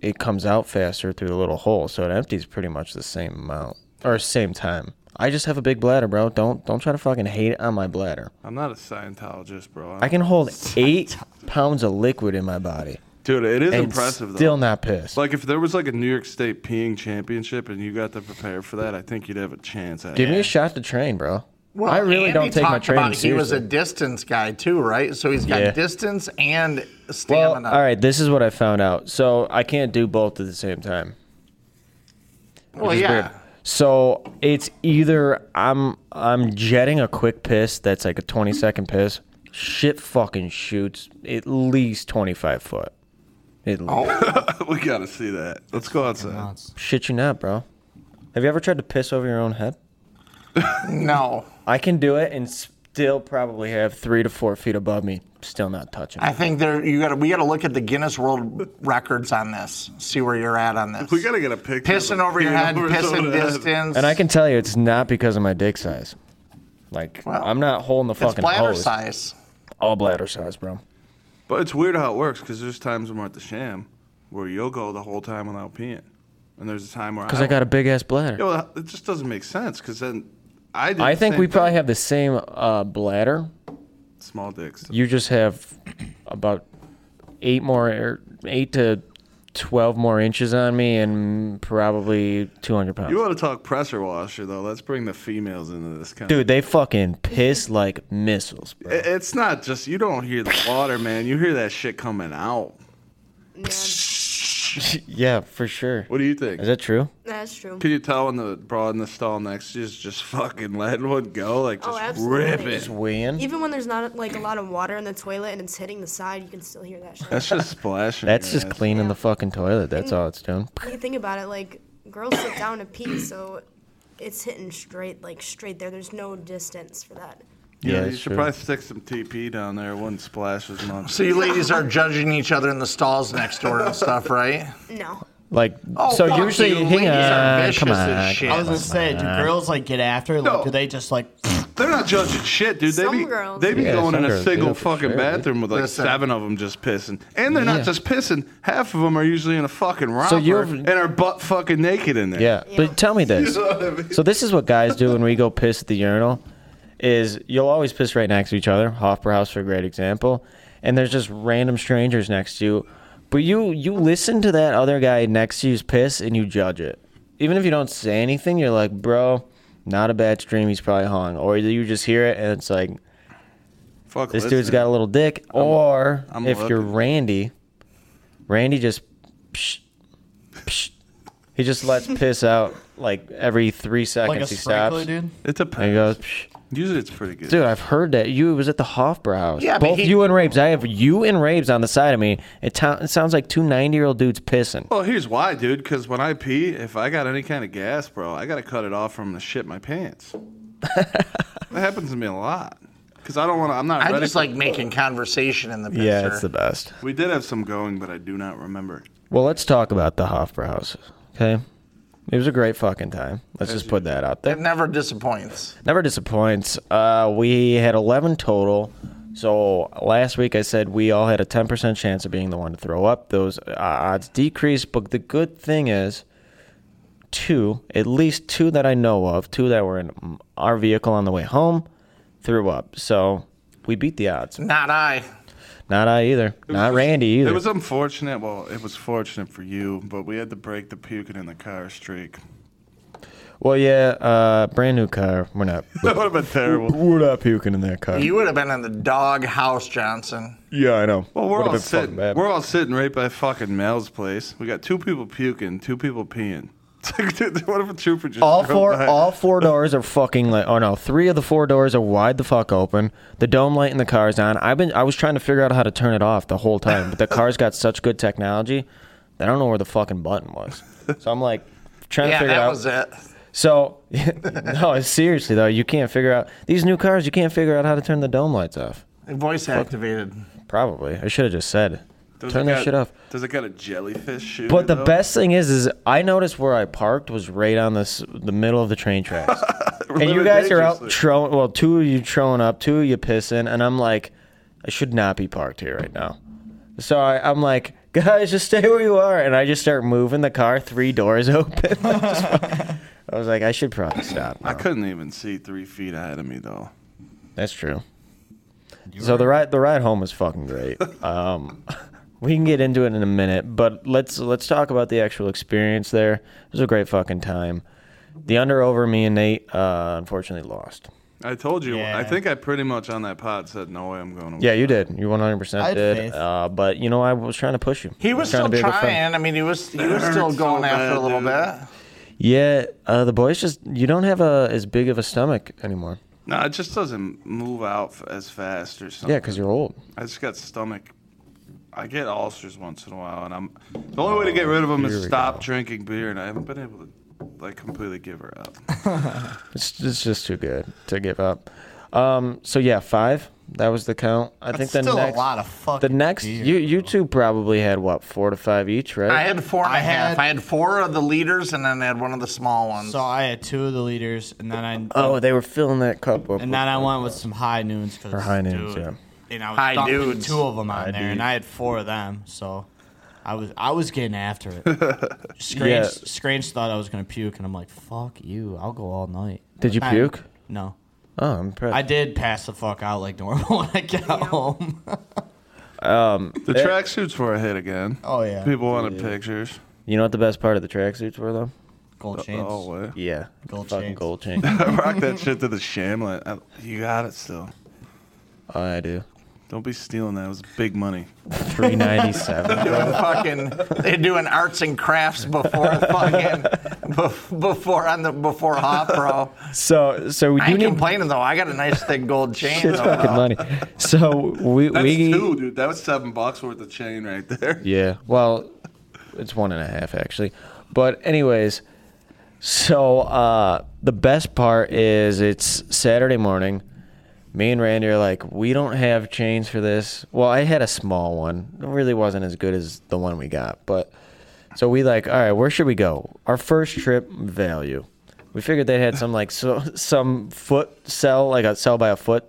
Speaker 3: it comes out faster through the little hole, so it empties pretty much the same amount or same time. I just have a big bladder, bro. Don't don't try to fucking hate on my bladder.
Speaker 2: I'm not a Scientologist, bro.
Speaker 3: I can hold eight pounds of liquid in my body.
Speaker 2: Dude, it is
Speaker 3: and
Speaker 2: impressive
Speaker 3: Still
Speaker 2: though.
Speaker 3: not pissed.
Speaker 2: Like if there was like a New York State peeing championship and you got to prepare for that, I think you'd have a chance at
Speaker 3: Give
Speaker 2: it.
Speaker 3: me a shot to train, bro. I really
Speaker 1: Andy
Speaker 3: don't take my
Speaker 1: talked
Speaker 3: training
Speaker 1: about He
Speaker 3: seriously.
Speaker 1: was a distance guy too, right? So he's got
Speaker 3: Yeah.
Speaker 1: distance and
Speaker 3: well,
Speaker 1: stamina.
Speaker 3: all right. This is what I found out. So I can't do both at the same time.
Speaker 1: Well,
Speaker 3: is
Speaker 1: yeah.
Speaker 3: weird. So it's either I'm I'm jetting a quick piss that's like a 20 second piss. Shit fucking shoots at least 25 foot. At least.
Speaker 1: Oh.
Speaker 2: <laughs> we gotta see that. Let's go outside.
Speaker 4: Nuts.
Speaker 3: Shit you not, bro. Have you ever tried to piss over your own head?
Speaker 1: No,
Speaker 3: I can do it and still probably have three to four feet above me, still not touching.
Speaker 1: I think there you got to we got to look at the Guinness World Records on this. See where you're at on this.
Speaker 2: We gotta get a picture. of
Speaker 1: pissing
Speaker 2: a
Speaker 1: over your
Speaker 2: peeing
Speaker 1: head,
Speaker 2: over his
Speaker 1: pissing
Speaker 2: own head.
Speaker 1: distance,
Speaker 3: and I can tell you, it's not because of my dick size. Like
Speaker 1: Well,
Speaker 3: I'm not holding the
Speaker 1: it's
Speaker 3: fucking
Speaker 1: bladder
Speaker 3: hose.
Speaker 1: size.
Speaker 3: All bladder size, bro.
Speaker 2: But it's weird how it works because there's times when we're at the sham where you'll go the whole time without peeing, and there's a time where
Speaker 3: Because I got a big ass bladder.
Speaker 2: Yeah, well, it just doesn't make sense because then I. Did
Speaker 3: I
Speaker 2: the
Speaker 3: think
Speaker 2: same
Speaker 3: we
Speaker 2: thing.
Speaker 3: probably have the same uh, bladder.
Speaker 2: small dicks.
Speaker 3: You just have about eight more, or eight to twelve more inches on me, and probably two hundred pounds.
Speaker 2: You want to talk pressure washer though? Let's bring the females into this. Kind
Speaker 3: Dude, they fucking piss like missiles, bro.
Speaker 2: It- It's not just you don't hear the water, man. You hear that shit coming out.
Speaker 1: Eh.
Speaker 3: yeah, for sure.
Speaker 2: What do you think?
Speaker 3: Is that true?
Speaker 5: That's true.
Speaker 2: Can you tell when the bra in the stall next to you is just fucking letting one go, like
Speaker 5: Oh,
Speaker 2: just
Speaker 5: absolutely.
Speaker 2: rip it?
Speaker 3: Weeing.
Speaker 5: Even when there's not like a lot of water in the toilet and it's hitting the side, you can still hear that shit.
Speaker 2: That's just splashing.
Speaker 3: That's
Speaker 2: your
Speaker 3: just
Speaker 2: ass.
Speaker 3: cleaning the fucking toilet. That's all it's doing.
Speaker 5: When you think about it, like girls sit down to pee, so it's hitting straight, like straight there. There's no distance for that.
Speaker 2: Yeah, you
Speaker 3: it's
Speaker 2: should
Speaker 3: true.
Speaker 2: probably stick some TP down there. It wouldn't splash as much.
Speaker 1: So you ladies are judging each other in the stalls next door and stuff, right?
Speaker 5: No.
Speaker 3: Like,
Speaker 1: Oh,
Speaker 3: so
Speaker 1: fuck
Speaker 3: usually,
Speaker 1: you.
Speaker 3: hang
Speaker 1: Ladies are
Speaker 3: on,
Speaker 1: vicious
Speaker 3: come
Speaker 1: as
Speaker 3: on.
Speaker 1: shit.
Speaker 4: I was gonna say, do girls like get after? it? Like,
Speaker 2: No.
Speaker 4: do they just like?
Speaker 2: They're not judging shit, dude. They
Speaker 5: Some
Speaker 2: be
Speaker 5: girls
Speaker 2: they be
Speaker 3: Yeah,
Speaker 2: going in
Speaker 3: some
Speaker 2: a
Speaker 3: girls do,
Speaker 2: single
Speaker 3: for
Speaker 2: fucking
Speaker 3: sure, dude.
Speaker 2: bathroom with like
Speaker 1: Listen.
Speaker 2: seven of them just pissing, and they're
Speaker 3: Yeah.
Speaker 2: not just pissing. Half of them are usually in a fucking romper
Speaker 3: you're-
Speaker 2: and are butt fucking naked in there.
Speaker 3: Yeah,
Speaker 5: Yeah.
Speaker 3: but tell me this. So this is what guys do when we go piss at the urinal. Is you'll always piss right next to each other. Hofbrau's for a great example. And there's just random strangers next to you, but you you listen to that other guy next to you's piss and you judge it. Even if you don't say anything, you're like, bro, not a bad stream. He's probably hung, or you just hear it and it's like,
Speaker 2: Fuck
Speaker 3: this
Speaker 2: listen.
Speaker 3: dude's got a little dick. Or
Speaker 2: I'm
Speaker 3: if you're
Speaker 2: looking.
Speaker 3: Randy, Randy just psh, psh, he just lets piss out like every three seconds.
Speaker 4: Like a
Speaker 3: he
Speaker 4: sprinkler,
Speaker 3: stops.
Speaker 4: dude.
Speaker 2: It's a
Speaker 3: And he
Speaker 2: pain.
Speaker 3: goys, psh.
Speaker 2: Usually it's pretty good.
Speaker 3: dude, I've heard that you it was at the Hofbrauhaus.
Speaker 1: Yeah, but
Speaker 3: both
Speaker 1: he-
Speaker 3: you and Rabes. I have you and Rabes on the side of me. It, to- it sounds like two 90 year old dudes pissing.
Speaker 2: Well, here's why, dude. Because when I pee, if I got any kind of gas, bro, I gotta cut it off from the shit my
Speaker 3: <laughs>
Speaker 2: pants. that happens to me a lot. Because I don't want to. I'm not
Speaker 1: I
Speaker 2: ready.
Speaker 1: just
Speaker 2: for-
Speaker 1: like making conversation in the picture.
Speaker 3: best.
Speaker 2: we did have some going, but I do not remember.
Speaker 3: Well, let's talk about the Hofbrauhaus. Okay, it was a great fucking time. Let's just put that out there.
Speaker 1: It never disappoints.
Speaker 3: Never disappoints. Uh, we had 11 total. So last week I said we all had a 10% chance of being the one to throw up. Those uh, odds decreased, but the good thing is two, at least two that I know of, two that were in our vehicle on the way home, threw up. So we beat the odds.
Speaker 1: Not I.
Speaker 3: Not I either. Not Randy either.
Speaker 2: It was unfortunate. Well, it was fortunate for you, but we had to break the puking in the car streak. <laughs>
Speaker 3: well, yeah, uh, brand new car.
Speaker 2: <laughs>
Speaker 3: We're not.
Speaker 2: That would have been terrible.
Speaker 3: We're not puking in that car.
Speaker 1: You would have been in the dog house, Johnson.
Speaker 3: yeah, I know.
Speaker 2: Well, we're
Speaker 3: Would've
Speaker 2: all
Speaker 3: been fucking
Speaker 2: sitting.
Speaker 3: bad.
Speaker 2: We're all sitting right by fucking Mel's place. We got two people puking, two people peeing. <laughs> It's like, dude, what if a trooper just
Speaker 3: all
Speaker 2: drove
Speaker 3: four
Speaker 2: by?
Speaker 3: all four doors are fucking like oh no three of the four doors are wide the fuck open the dome light in the car's on i've been i was trying to figure out how to turn it off the whole time but the car's got such good technology that i don't know where the fucking button was so i'm like trying to
Speaker 1: Yeah,
Speaker 3: figure
Speaker 1: that
Speaker 3: out
Speaker 1: was it.
Speaker 3: so <laughs> no seriously though you can't figure out these new cars you can't figure out how to turn the dome lights off
Speaker 1: Voice activated.
Speaker 3: probably i should have just said
Speaker 2: Does
Speaker 3: turn
Speaker 2: it
Speaker 3: that
Speaker 2: got-
Speaker 3: shit off
Speaker 2: Does it got a jellyfish shooter?
Speaker 3: but the
Speaker 2: though? <laughs>
Speaker 3: best thing is, is I noticed where I parked was right on this the middle of the train tracks, and you
Speaker 2: Living
Speaker 3: guys are out
Speaker 2: dangerously.
Speaker 3: throwing. Well, two of you throwing up, two of you pissing, and I'm like, I should not be parked here right now. So I, I'm like, <laughs> <laughs> guys, just stay where you are, and I just start moving the car three doors open. Just fucking- I was like, I should probably stop.
Speaker 2: I
Speaker 3: now.
Speaker 2: couldn't even see three feet ahead of me though.
Speaker 3: That's true. So the ride the ride home was fucking great. Um, <laughs> we can get into it in a minute, but let's let's talk about the actual experience there. It was a great fucking time. The under over me and Nate uh, unfortunately lost.
Speaker 2: I told you. I
Speaker 4: Yeah.
Speaker 2: think I pretty much on that pod said no way I'm going. To
Speaker 3: Yeah, you did. You 100%
Speaker 4: I had
Speaker 3: did.
Speaker 4: faith.
Speaker 3: Uh, but you know, I was trying to push you.
Speaker 1: He
Speaker 3: I
Speaker 1: was still
Speaker 3: to be a good friend.
Speaker 1: trying. I mean, he was he was still
Speaker 2: hurt so
Speaker 1: going after
Speaker 2: bad,
Speaker 1: a little
Speaker 2: dude.
Speaker 1: bit.
Speaker 3: Yeah, uh, the boys just you don't have a as big of a stomach anymore.
Speaker 2: No, it just doesn't move out f- as fast or something.
Speaker 3: Yeah, because you're old.
Speaker 2: I just got stomach. I get ulcers once in a while, and I'm the only way to get rid of them
Speaker 3: here
Speaker 2: is
Speaker 3: we
Speaker 2: stop
Speaker 3: go.
Speaker 2: drinking beer, and I haven't been able to like completely give her
Speaker 3: <laughs>
Speaker 2: up.
Speaker 3: It's, it's just too good to give up. Um, so yeah, five. That was the count. I think
Speaker 4: That's
Speaker 3: the
Speaker 4: still
Speaker 3: next
Speaker 4: a lot of fucking.
Speaker 3: the next
Speaker 4: beer.
Speaker 3: you you two probably had what four to five each, right?
Speaker 1: I had four and a
Speaker 4: I
Speaker 1: half.
Speaker 4: had-
Speaker 1: I had four of the leaders, and then I had one of the small ones.
Speaker 4: So I had two of the leaders, and then I
Speaker 3: oh, they were filling that cup up.
Speaker 4: and then I went with some high noons because
Speaker 3: high noons, yeah.
Speaker 4: And I was
Speaker 1: High
Speaker 4: dumping
Speaker 1: dudes.
Speaker 4: two of them on there,
Speaker 3: dudes.
Speaker 4: and I had four of them, so I was I was getting after it. <laughs> Scrange,
Speaker 3: Yeah.
Speaker 4: Scrange thought I was gonna puke, and I'm like, "Fuck you! I'll go all night."
Speaker 3: Did you
Speaker 4: Nah,
Speaker 3: puke?
Speaker 4: No,
Speaker 3: Oh, I'm impressed.
Speaker 4: I did pass the fuck out like normal <laughs> when I got home.
Speaker 2: The tracksuits were a hit again.
Speaker 4: Oh yeah,
Speaker 2: People wanted pictures.
Speaker 3: you know what the best part of the tracksuits were though?
Speaker 4: gold chains.
Speaker 2: Oh,
Speaker 4: <laughs>
Speaker 2: way.
Speaker 3: Yeah,
Speaker 4: Gold
Speaker 3: fucking
Speaker 4: chains.
Speaker 3: gold
Speaker 4: <laughs>
Speaker 3: chain.
Speaker 2: I rocked that shit to the shamlet. I, you got it still.
Speaker 3: Oh, I do.
Speaker 2: Don't be stealing that. It was big money.
Speaker 3: Three ninety seven.
Speaker 1: doing fucking they're doing arts and crafts before fucking <laughs> bef- before on the before hot bro.
Speaker 3: So so we
Speaker 1: I
Speaker 3: do
Speaker 1: ain't
Speaker 3: need
Speaker 1: complaining though. I got a nice thick gold chain.
Speaker 3: shit's
Speaker 1: though,
Speaker 3: fucking
Speaker 1: bro.
Speaker 3: money. So we
Speaker 2: That's
Speaker 3: we
Speaker 2: two, dude. That was seven bucks worth of chain right there.
Speaker 3: Yeah. Well, it's one and a half actually. But anyways, so uh, the best part is it's Saturday morning. Me and Randy are like, we don't have chains for this. Well, I had a small one. It really wasn't as good as the one we got, but so we like, all right, where should we go? Our first trip value. We figured they had some like so some foot sell like a sell by a foot.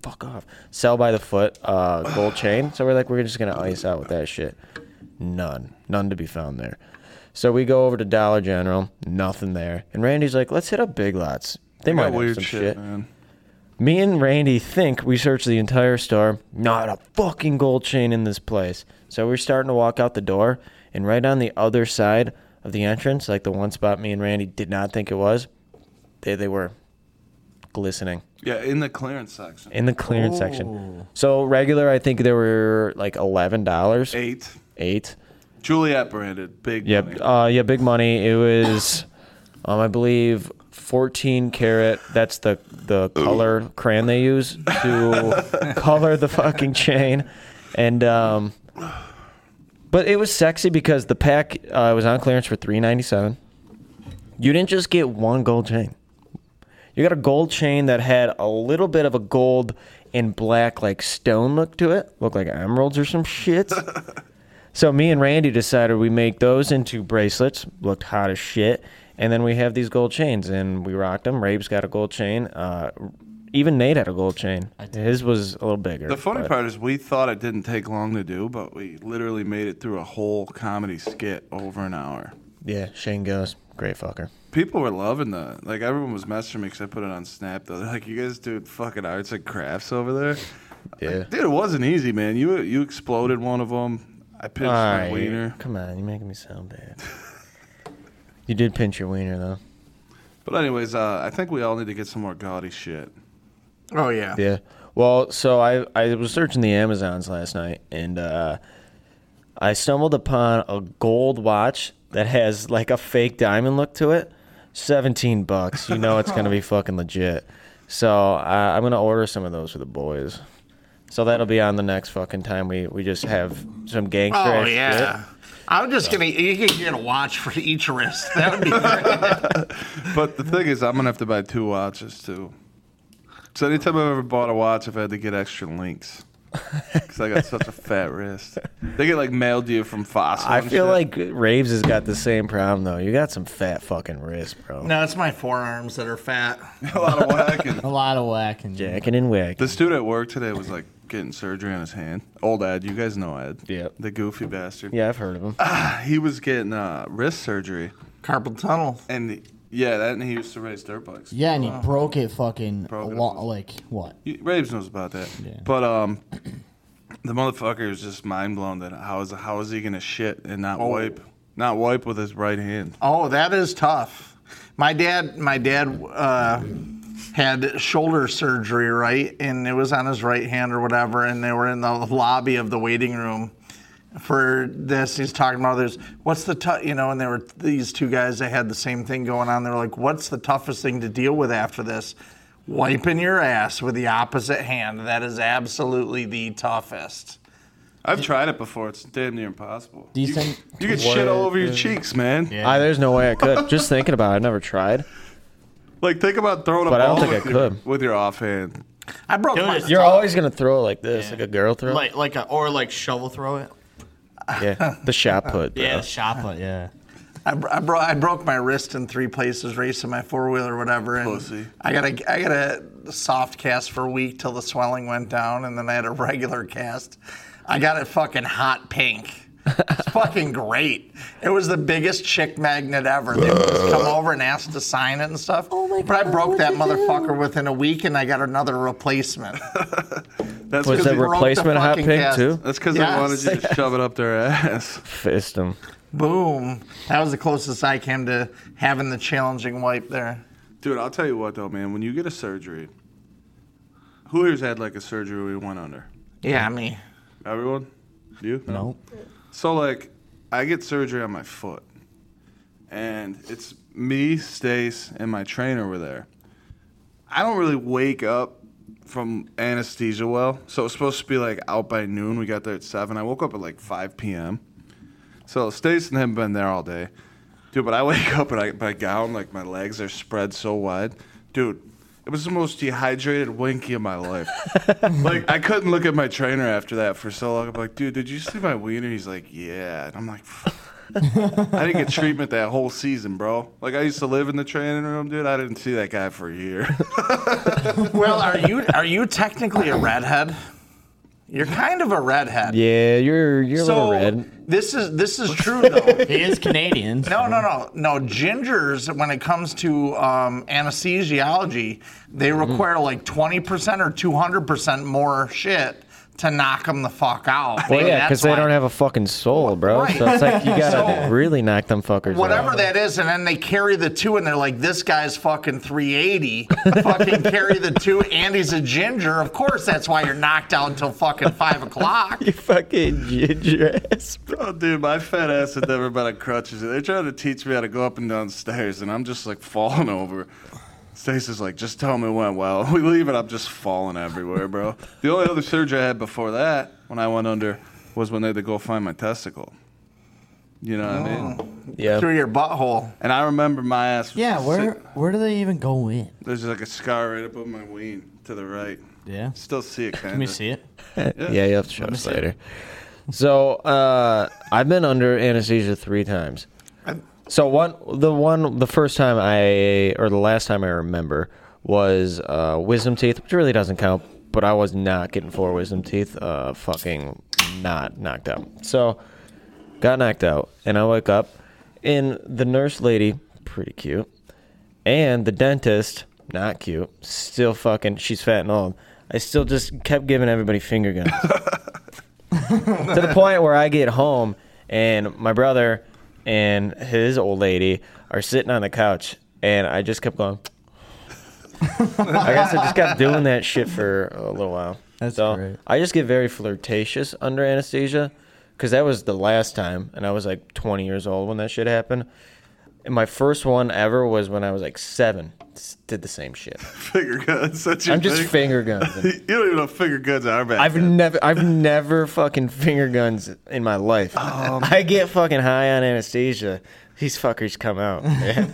Speaker 3: Fuck off. Sell by the foot uh, gold chain. So we're like, we're just gonna ice out with that shit. None, none to be found there. So we go over to Dollar General. Nothing there. And Randy's like, let's hit up Big Lots. They
Speaker 2: <laughs>
Speaker 3: might
Speaker 2: Got
Speaker 3: have
Speaker 2: weird
Speaker 3: some
Speaker 2: shit,
Speaker 3: shit.
Speaker 2: man.
Speaker 3: Me and Randy think we searched the entire store. Not a fucking gold chain in this place. So we're starting to walk out the door, and right on the other side of the entrance, like the one spot me and Randy did not think it was, there they were, glistening
Speaker 2: Yeah, in the clearance section.
Speaker 3: in the clearance section. So regular, I think there were like eleven dollars,
Speaker 2: Eight.
Speaker 3: eight.
Speaker 2: Juliet branded. Big money.
Speaker 3: Yep. Uh, yeah, big money. It was, um, I believe, 14 karat. That's the the color crayon they use
Speaker 2: <laughs>
Speaker 3: to color the fucking chain, and um, but it was sexy because the pack uh, was on clearance for 3.97. You didn't just get one gold chain. You got a gold chain that had a little bit of a gold and black like stone look to it, looked like emeralds or
Speaker 2: <laughs>
Speaker 3: some shit. So me and Randy decided we make those into bracelets. Looked hot as shit. And then we have these gold chains, and we rocked them. Rabe's got a gold chain. Uh, even Nate had a gold chain. His was a little bigger.
Speaker 2: The funny
Speaker 3: but-
Speaker 2: part is we thought it didn't take long to do, but we literally made it through a whole comedy skit over an hour.
Speaker 3: yeah, Shane goes, great fucker.
Speaker 2: People were loving that. Like everyone was messaging me because I put it on Snap. Though they're like, "You guys doing fucking arts and crafts over there?"
Speaker 3: Yeah.
Speaker 2: Dude, it wasn't easy, man. You you exploded one of them. I pinched
Speaker 3: All
Speaker 2: my
Speaker 3: right,
Speaker 2: wiener,
Speaker 3: come on, you're making me sound bad. <laughs> you did pinch your wiener though.
Speaker 2: but anyways, uh, I think we all need to get some more gaudy shit.
Speaker 1: Oh yeah.
Speaker 3: Yeah. Well, so I I was searching the Amazons last night and uh, I stumbled upon a gold watch that has like a fake diamond look to it. Seventeen bucks. You know it's
Speaker 1: <laughs>
Speaker 3: gonna be fucking legit. So I I'm gonna order some of those for the boys. So that'll be on the next fucking time we, we just have some gangster.
Speaker 1: Oh
Speaker 3: ass shit.
Speaker 1: yeah. I'm just gonna you could get a watch for each wrist. That would be <laughs> great.
Speaker 2: But the thing is, I'm gonna have to buy two watches too. So anytime I've ever bought a watch, I've had to get extra
Speaker 3: <laughs>
Speaker 2: links because I got such a fat wrist. They get like mailed to you from Fossil.
Speaker 3: I
Speaker 2: and
Speaker 3: feel
Speaker 2: shit.
Speaker 3: like Raves has got the same problem though. You got some fat fucking wrists, bro.
Speaker 1: no, it's my forearms that are fat.
Speaker 2: <laughs> a lot of whack. And
Speaker 4: A lot of whack and
Speaker 3: Jacking and whack.
Speaker 2: this dude at work today was like getting surgery on his hand. Old Ed, you guys know Ed.
Speaker 3: Yep.
Speaker 2: The goofy bastard.
Speaker 3: Yeah, I've heard of him.
Speaker 2: He was getting uh, wrist surgery,
Speaker 1: Carpal tunnel.
Speaker 2: and Yeah, that and he used to race dirt bikes.
Speaker 4: Yeah, and he Uh, broke it fucking
Speaker 2: Broke
Speaker 4: a
Speaker 2: it
Speaker 4: lot.
Speaker 2: up.
Speaker 4: Like what?
Speaker 2: You- Raves knows about that.
Speaker 4: Yeah.
Speaker 2: But um, the motherfucker was just mind blown that how is how is he gonna shit and not wipe, not wipe with his right hand.
Speaker 1: Oh, that is tough. My dad, my dad uh, had shoulder surgery, right, and it was on his right hand or whatever. And they were in the lobby of the waiting room for this. He's talking about this. What's the tough, you know? And there were these two guys that had the same thing going on. They were like, "What's the toughest thing to deal with after this?" Wiping your ass with the opposite hand. That is absolutely the toughest.
Speaker 2: I've tried it before. It's damn near impossible.
Speaker 4: Do you
Speaker 2: you,
Speaker 4: think-
Speaker 2: you get shit all over your cheeks, man?
Speaker 4: Yeah.
Speaker 3: I, there's no way I could. Just thinking about it, I've never tried.
Speaker 2: Like think about throwing
Speaker 3: But
Speaker 2: a
Speaker 3: I don't
Speaker 2: ball
Speaker 3: think I
Speaker 2: with, your,
Speaker 3: could.
Speaker 2: with your offhand.
Speaker 1: I broke
Speaker 4: Dude,
Speaker 1: my.
Speaker 4: it's-
Speaker 3: You're always gonna throw it like this, like a girl throw.
Speaker 4: Like like a or like shovel throw it.
Speaker 3: yeah,
Speaker 1: <laughs>
Speaker 3: the shot put. Bro.
Speaker 4: Yeah, the shot put. Yeah.
Speaker 1: I, bro- I, bro- I broke my wrist in three places racing my four wheeler or whatever. And
Speaker 2: Pussy.
Speaker 1: I got a I got a soft cast for a week till the swelling went down, and then I had a regular cast. I got it fucking hot pink. It's fucking great. It was the biggest chick magnet ever. They would just come over and ask to sign it and stuff. Oh my but I broke that motherfucker within a week, and I got another replacement.
Speaker 2: That's
Speaker 3: Was
Speaker 2: because
Speaker 3: that
Speaker 2: they,
Speaker 1: broke the
Speaker 3: replacement hot
Speaker 1: fucking
Speaker 3: pink
Speaker 1: cast.
Speaker 3: too?
Speaker 2: that's 'cause
Speaker 1: Yes.
Speaker 2: they wanted you to shove it up their <laughs> ass.
Speaker 3: Fist him.
Speaker 1: Boom. That was the closest I came to having the challenging wipe there.
Speaker 2: Dude, I'll tell you what though, man. When you get a surgery, who here's had like a surgery we went under?
Speaker 1: Yeah, me.
Speaker 2: Everyone? You?
Speaker 4: Nope.
Speaker 2: So like, I get surgery on my foot, and it's me, Stace, and my trainer were there. I don't really wake up from anesthesia well, so it's supposed to be like out by noon. We got there at seven. I woke up at like five p.m. So Stace and him been there all day, dude. But I <laughs> wake up and I my gown like my legs are spread so wide, dude. It was the most dehydrated winky of my life. like I couldn't look at my trainer after that for so long. I'm like, dude, did you see my wiener? He's like, yeah. And I'm like, "Fuck." I didn't get treatment that whole season, bro. Like I used to live in the training room, dude. I didn't see that guy for a year. <laughs>
Speaker 1: Well, are you are you technically a redhead? You're kind of a redhead.
Speaker 3: Yeah, you're you're a
Speaker 1: So
Speaker 3: little red.
Speaker 1: this is this is true
Speaker 3: <laughs>
Speaker 1: though.
Speaker 4: He is Canadian.
Speaker 1: No, no, no, no. Gingers, when it comes to um, anesthesiology, they
Speaker 3: Mm-hmm.
Speaker 1: require like twenty percent or two hundred percent more shit to knock them the fuck out.
Speaker 3: Well, yeah,
Speaker 1: That's
Speaker 3: because they
Speaker 1: why-
Speaker 3: don't have a fucking soul, bro.
Speaker 1: Right.
Speaker 3: So it's
Speaker 1: <laughs>
Speaker 3: like you gotta
Speaker 1: So-
Speaker 3: really knock them fuckers.
Speaker 1: Whatever
Speaker 3: out.
Speaker 1: that is, and then they carry the two, and they're like, "This guy's fucking 380." fucking carry the two, and he's a ginger. Of course, that's why you're knocked out until fucking five
Speaker 3: <laughs>
Speaker 1: o'clock.
Speaker 3: You <laughs> fucking ginger ass.
Speaker 2: Oh, dude, my fat ass had never been on crutches. They're trying to teach me how to go up and down stairs, and I'm just like falling over. Stacy's like, just tell me it went well. <laughs> We leave, and I'm just falling everywhere, bro. the only other surgery I had before that, when I went under, was when they had to go find my testicle. You know what I mean?
Speaker 3: Yeah.
Speaker 1: Through your butthole.
Speaker 2: And I remember my ass. was
Speaker 4: Yeah,
Speaker 2: sick.
Speaker 4: where where do they even go in?
Speaker 2: There's like a scar right above my ween to the right.
Speaker 4: Yeah.
Speaker 2: Still see it, kind of.
Speaker 4: Let me see it.
Speaker 3: Yeah, you have to show us later. So uh, I've been under anesthesia three times. So one, the one, the first time I, or the last time I remember was uh, wisdom teeth, which really doesn't count. But I was not getting four wisdom teeth. Uh, fucking not knocked out. So got knocked out, and I wake up, and the nurse lady, pretty cute, and the dentist, not cute, still fucking, she's fat and old. I still just kept giving everybody finger guns. to the point where I get home and my brother and his old lady are sitting on the couch and I just kept going. I guess I just kept doing that shit for a little while.
Speaker 4: That's
Speaker 3: so
Speaker 4: great.
Speaker 3: I just get very flirtatious under anesthesia because that was the last time and I was like 20 years old when that shit happened. And my first one ever was when I was like seven. S- Did the same shit.
Speaker 2: <laughs> Finger guns. That's your
Speaker 3: I'm just
Speaker 2: thing?
Speaker 3: finger
Speaker 2: <laughs>
Speaker 3: guns.
Speaker 2: you don't even know finger guns are back.
Speaker 3: I've
Speaker 2: then.
Speaker 3: never, I've never fucking finger guns in my life.
Speaker 2: Um,
Speaker 3: I get fucking high on anesthesia. These fuckers come
Speaker 2: <laughs>
Speaker 3: out. man.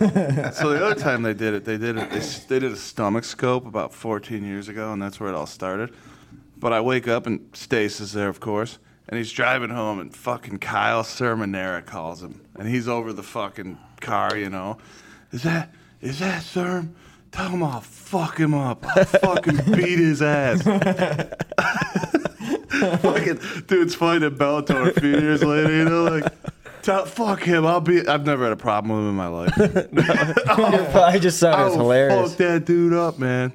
Speaker 2: So the other time they did it, they did it. They, s- they did a stomach scope about 14 years ago, and that's where it all started. But I wake up and Stace is there, of course, and he's driving home, and fucking Kyle Sermonera calls him, and he's over the fucking car, you know. Is that is that Serm? Tell him I'll fuck him up. I'll fucking beat his ass. <laughs> fucking dude's fighting Bellator a few years later, you know, like. Tell- fuck him. I'll be. I've never had a problem with him in my life.
Speaker 3: I just thought it was
Speaker 2: I'll
Speaker 3: hilarious.
Speaker 2: Oh, Fuck that dude up, man.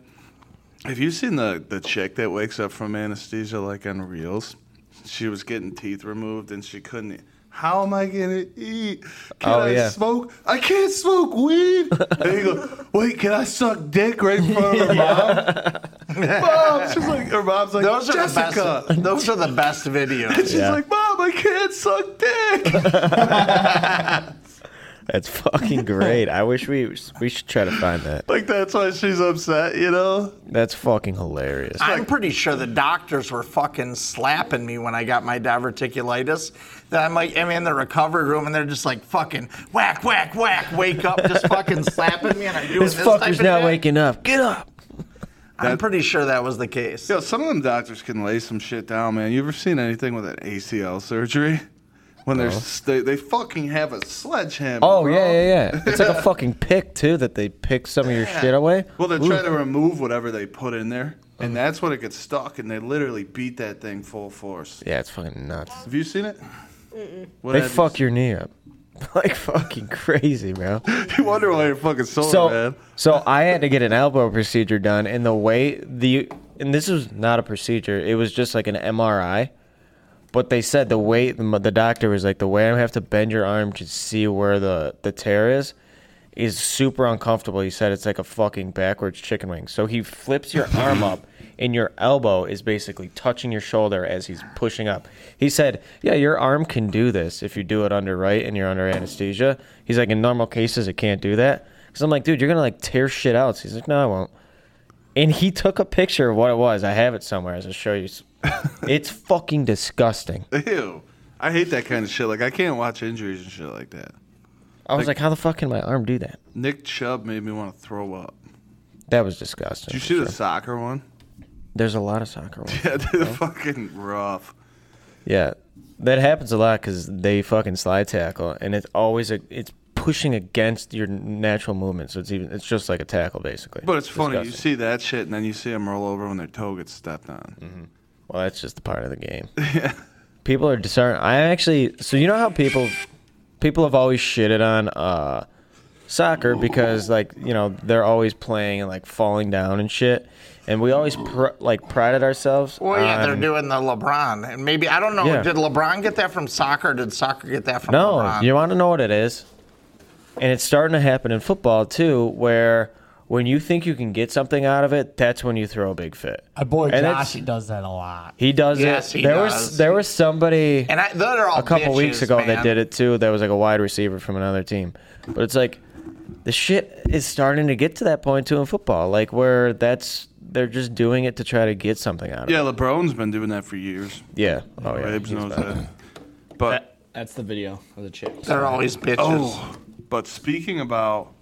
Speaker 2: Have you seen the the chick that wakes up from anesthesia like on reels? She was getting teeth removed and she couldn't. eat. How am I gonna eat? Can
Speaker 3: Oh,
Speaker 2: I
Speaker 3: yeah.
Speaker 2: smoke? I can't smoke weed. and you go, wait, can I suck dick right in front of her
Speaker 3: <laughs>
Speaker 2: mom? mom, she's like, her mom's like,
Speaker 1: Those are
Speaker 2: Jessica.
Speaker 1: the best. Those are the best
Speaker 3: <laughs>
Speaker 1: videos.
Speaker 2: She's like, mom, I can't suck dick.
Speaker 3: That's fucking great. I wish we we should try to find that.
Speaker 2: Like that's why she's upset, you know?
Speaker 3: That's fucking hilarious.
Speaker 1: I'm pretty sure the doctors were fucking slapping me when I got my diverticulitis. That I'm like, I'm in the recovery room and they're just like fucking whack, whack, whack, wake up, just
Speaker 3: <laughs>
Speaker 1: fucking slapping me, and I'm doing
Speaker 3: This
Speaker 1: this, type of
Speaker 3: fucker's not
Speaker 1: shit.
Speaker 3: waking up. Get up.
Speaker 1: I'm pretty sure that was the case.
Speaker 2: Yo, some of them doctors can lay some shit down, man. You ever seen anything with an ACL surgery? When they're s- they, they fucking have a sledgehammer.
Speaker 3: Oh
Speaker 2: bro.
Speaker 3: yeah, yeah, yeah. It's like
Speaker 2: <laughs>
Speaker 3: a fucking pick too that they pick some of your shit away.
Speaker 2: Well, they're trying to remove whatever they put in there, and
Speaker 3: Uh-huh.
Speaker 2: that's when it gets stuck, and they literally beat that thing full force.
Speaker 3: Yeah, it's fucking nuts.
Speaker 2: Have you seen it? <laughs> What
Speaker 3: They
Speaker 2: happens-
Speaker 3: fuck your knee up. <laughs> Like fucking crazy, bro.
Speaker 2: You wonder why you're fucking sore,
Speaker 3: So,
Speaker 2: man.
Speaker 3: so I had to get an elbow procedure done, and the way the and this was not a procedure; it was just like an MRI. But they said the way the doctor was like, the way I have to bend your arm to see where the the tear is, is super uncomfortable. He said it's like a fucking backwards chicken wing. So he flips your arm up, and your elbow is basically touching your shoulder as he's pushing up. He said, "Yeah, your arm can do this if you do it under right and you're under anesthesia." He's like, "In normal cases, it can't do that." Because I'm like, "Dude, you're gonna like tear shit out." So he's like, "No, I won't." And he took a picture of what it was. I have it somewhere. I'll show you. It's fucking disgusting.
Speaker 2: <laughs> Ew. I hate that kind of shit. Like, I can't watch injuries and shit like that.
Speaker 3: I was like, "How the fuck can my arm do that?"
Speaker 2: Nick Chubb made me want to throw up.
Speaker 3: That was
Speaker 2: Did
Speaker 3: disgusting.
Speaker 2: you see the soccer one? <laughs>
Speaker 3: There's a lot of soccer ones.
Speaker 2: Yeah, dude, fucking rough.
Speaker 3: Yeah, that happens a lot because they fucking slide tackle, and it's always a it's pushing against your natural movement. So it's even it's just like a tackle basically.
Speaker 2: But it's funny. You
Speaker 3: Disgusting.
Speaker 2: see that shit, and then you see them roll over when their toe gets stepped on.
Speaker 3: Well, that's just the part of the
Speaker 2: <laughs>
Speaker 3: game. People are discern. I actually. So you know how people people have always shitted on uh, soccer because like you know they're always playing and like falling down and shit, and we always pr- like prided ourselves.
Speaker 1: Well, yeah,
Speaker 3: on-
Speaker 1: they're doing the LeBron, and maybe I don't know.
Speaker 3: um, Yeah.
Speaker 1: Did LeBron get that from soccer? Or did soccer get that from
Speaker 3: No,
Speaker 1: LeBron?
Speaker 3: you want to know what it is? And it's starting to happen in football too, where when you think you can get something out of it, that's when you throw a big fit.
Speaker 4: My boy
Speaker 3: And
Speaker 4: Josh
Speaker 3: it's-
Speaker 4: does that a lot.
Speaker 3: He does
Speaker 1: Yes,
Speaker 3: it.
Speaker 1: he
Speaker 3: there
Speaker 1: does.
Speaker 3: was there was somebody
Speaker 1: and I, they're all
Speaker 3: a couple
Speaker 1: bitches,
Speaker 3: weeks ago
Speaker 1: man.
Speaker 3: that did it too. That was like a wide receiver from another team. But it's like the shit is starting to get to that point too in football, like where that's they're just doing it to try to get something out of
Speaker 2: Yeah, LeBron's been doing that for years.
Speaker 3: it. Yeah. Oh yeah.
Speaker 2: Babes
Speaker 3: he's
Speaker 2: knows
Speaker 3: bad.
Speaker 2: that. But
Speaker 6: That's the video of the chick.
Speaker 1: They're always bitches. <laughs>
Speaker 2: oh, but speaking about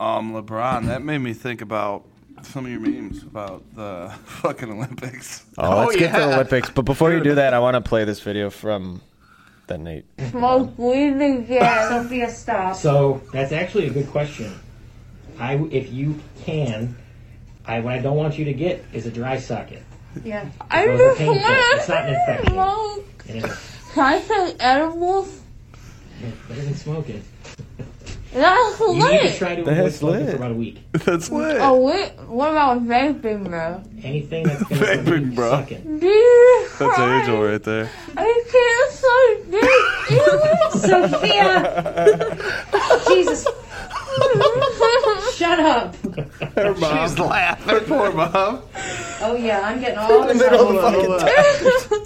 Speaker 2: um LeBron, that made me think about some of your memes about the <laughs> fucking Olympics.
Speaker 3: Oh, let's
Speaker 1: Oh,
Speaker 3: get to the
Speaker 1: yeah.
Speaker 3: Olympics. But
Speaker 1: <laughs>
Speaker 3: before you do that, I want to play this video from the Nate.
Speaker 7: smoke weed
Speaker 8: <laughs>
Speaker 7: again. Sophia, stop.
Speaker 9: So that's actually a good question. I, if you can, I what I don't want you to get is a dry socket.
Speaker 7: yeah. I
Speaker 9: Those are
Speaker 7: just
Speaker 9: painful.
Speaker 7: want
Speaker 9: It's not an
Speaker 7: to
Speaker 9: infection.
Speaker 7: smoke.
Speaker 9: And it,
Speaker 7: Try some edibles.
Speaker 9: that isn't smoking.
Speaker 7: That's
Speaker 9: You need to
Speaker 7: lit.
Speaker 9: try to avoid
Speaker 3: That's
Speaker 9: smoking
Speaker 3: lit.
Speaker 9: for about a week.
Speaker 2: That's lit.
Speaker 7: Oh, wait. What about vaping, bro?
Speaker 9: Anything that's gonna
Speaker 2: Vaping,
Speaker 9: make you
Speaker 2: bro.
Speaker 9: suck it.
Speaker 7: Jesus
Speaker 2: That's
Speaker 7: Christ.
Speaker 2: Angel right there.
Speaker 7: I
Speaker 8: <laughs>
Speaker 7: can't suck dick. <laughs>
Speaker 8: Sophia! Jesus, shut up.
Speaker 2: Her mom.
Speaker 1: she's laughing.
Speaker 2: her poor mom.
Speaker 8: Oh, yeah, I'm getting all this.
Speaker 2: Hold on, hold on.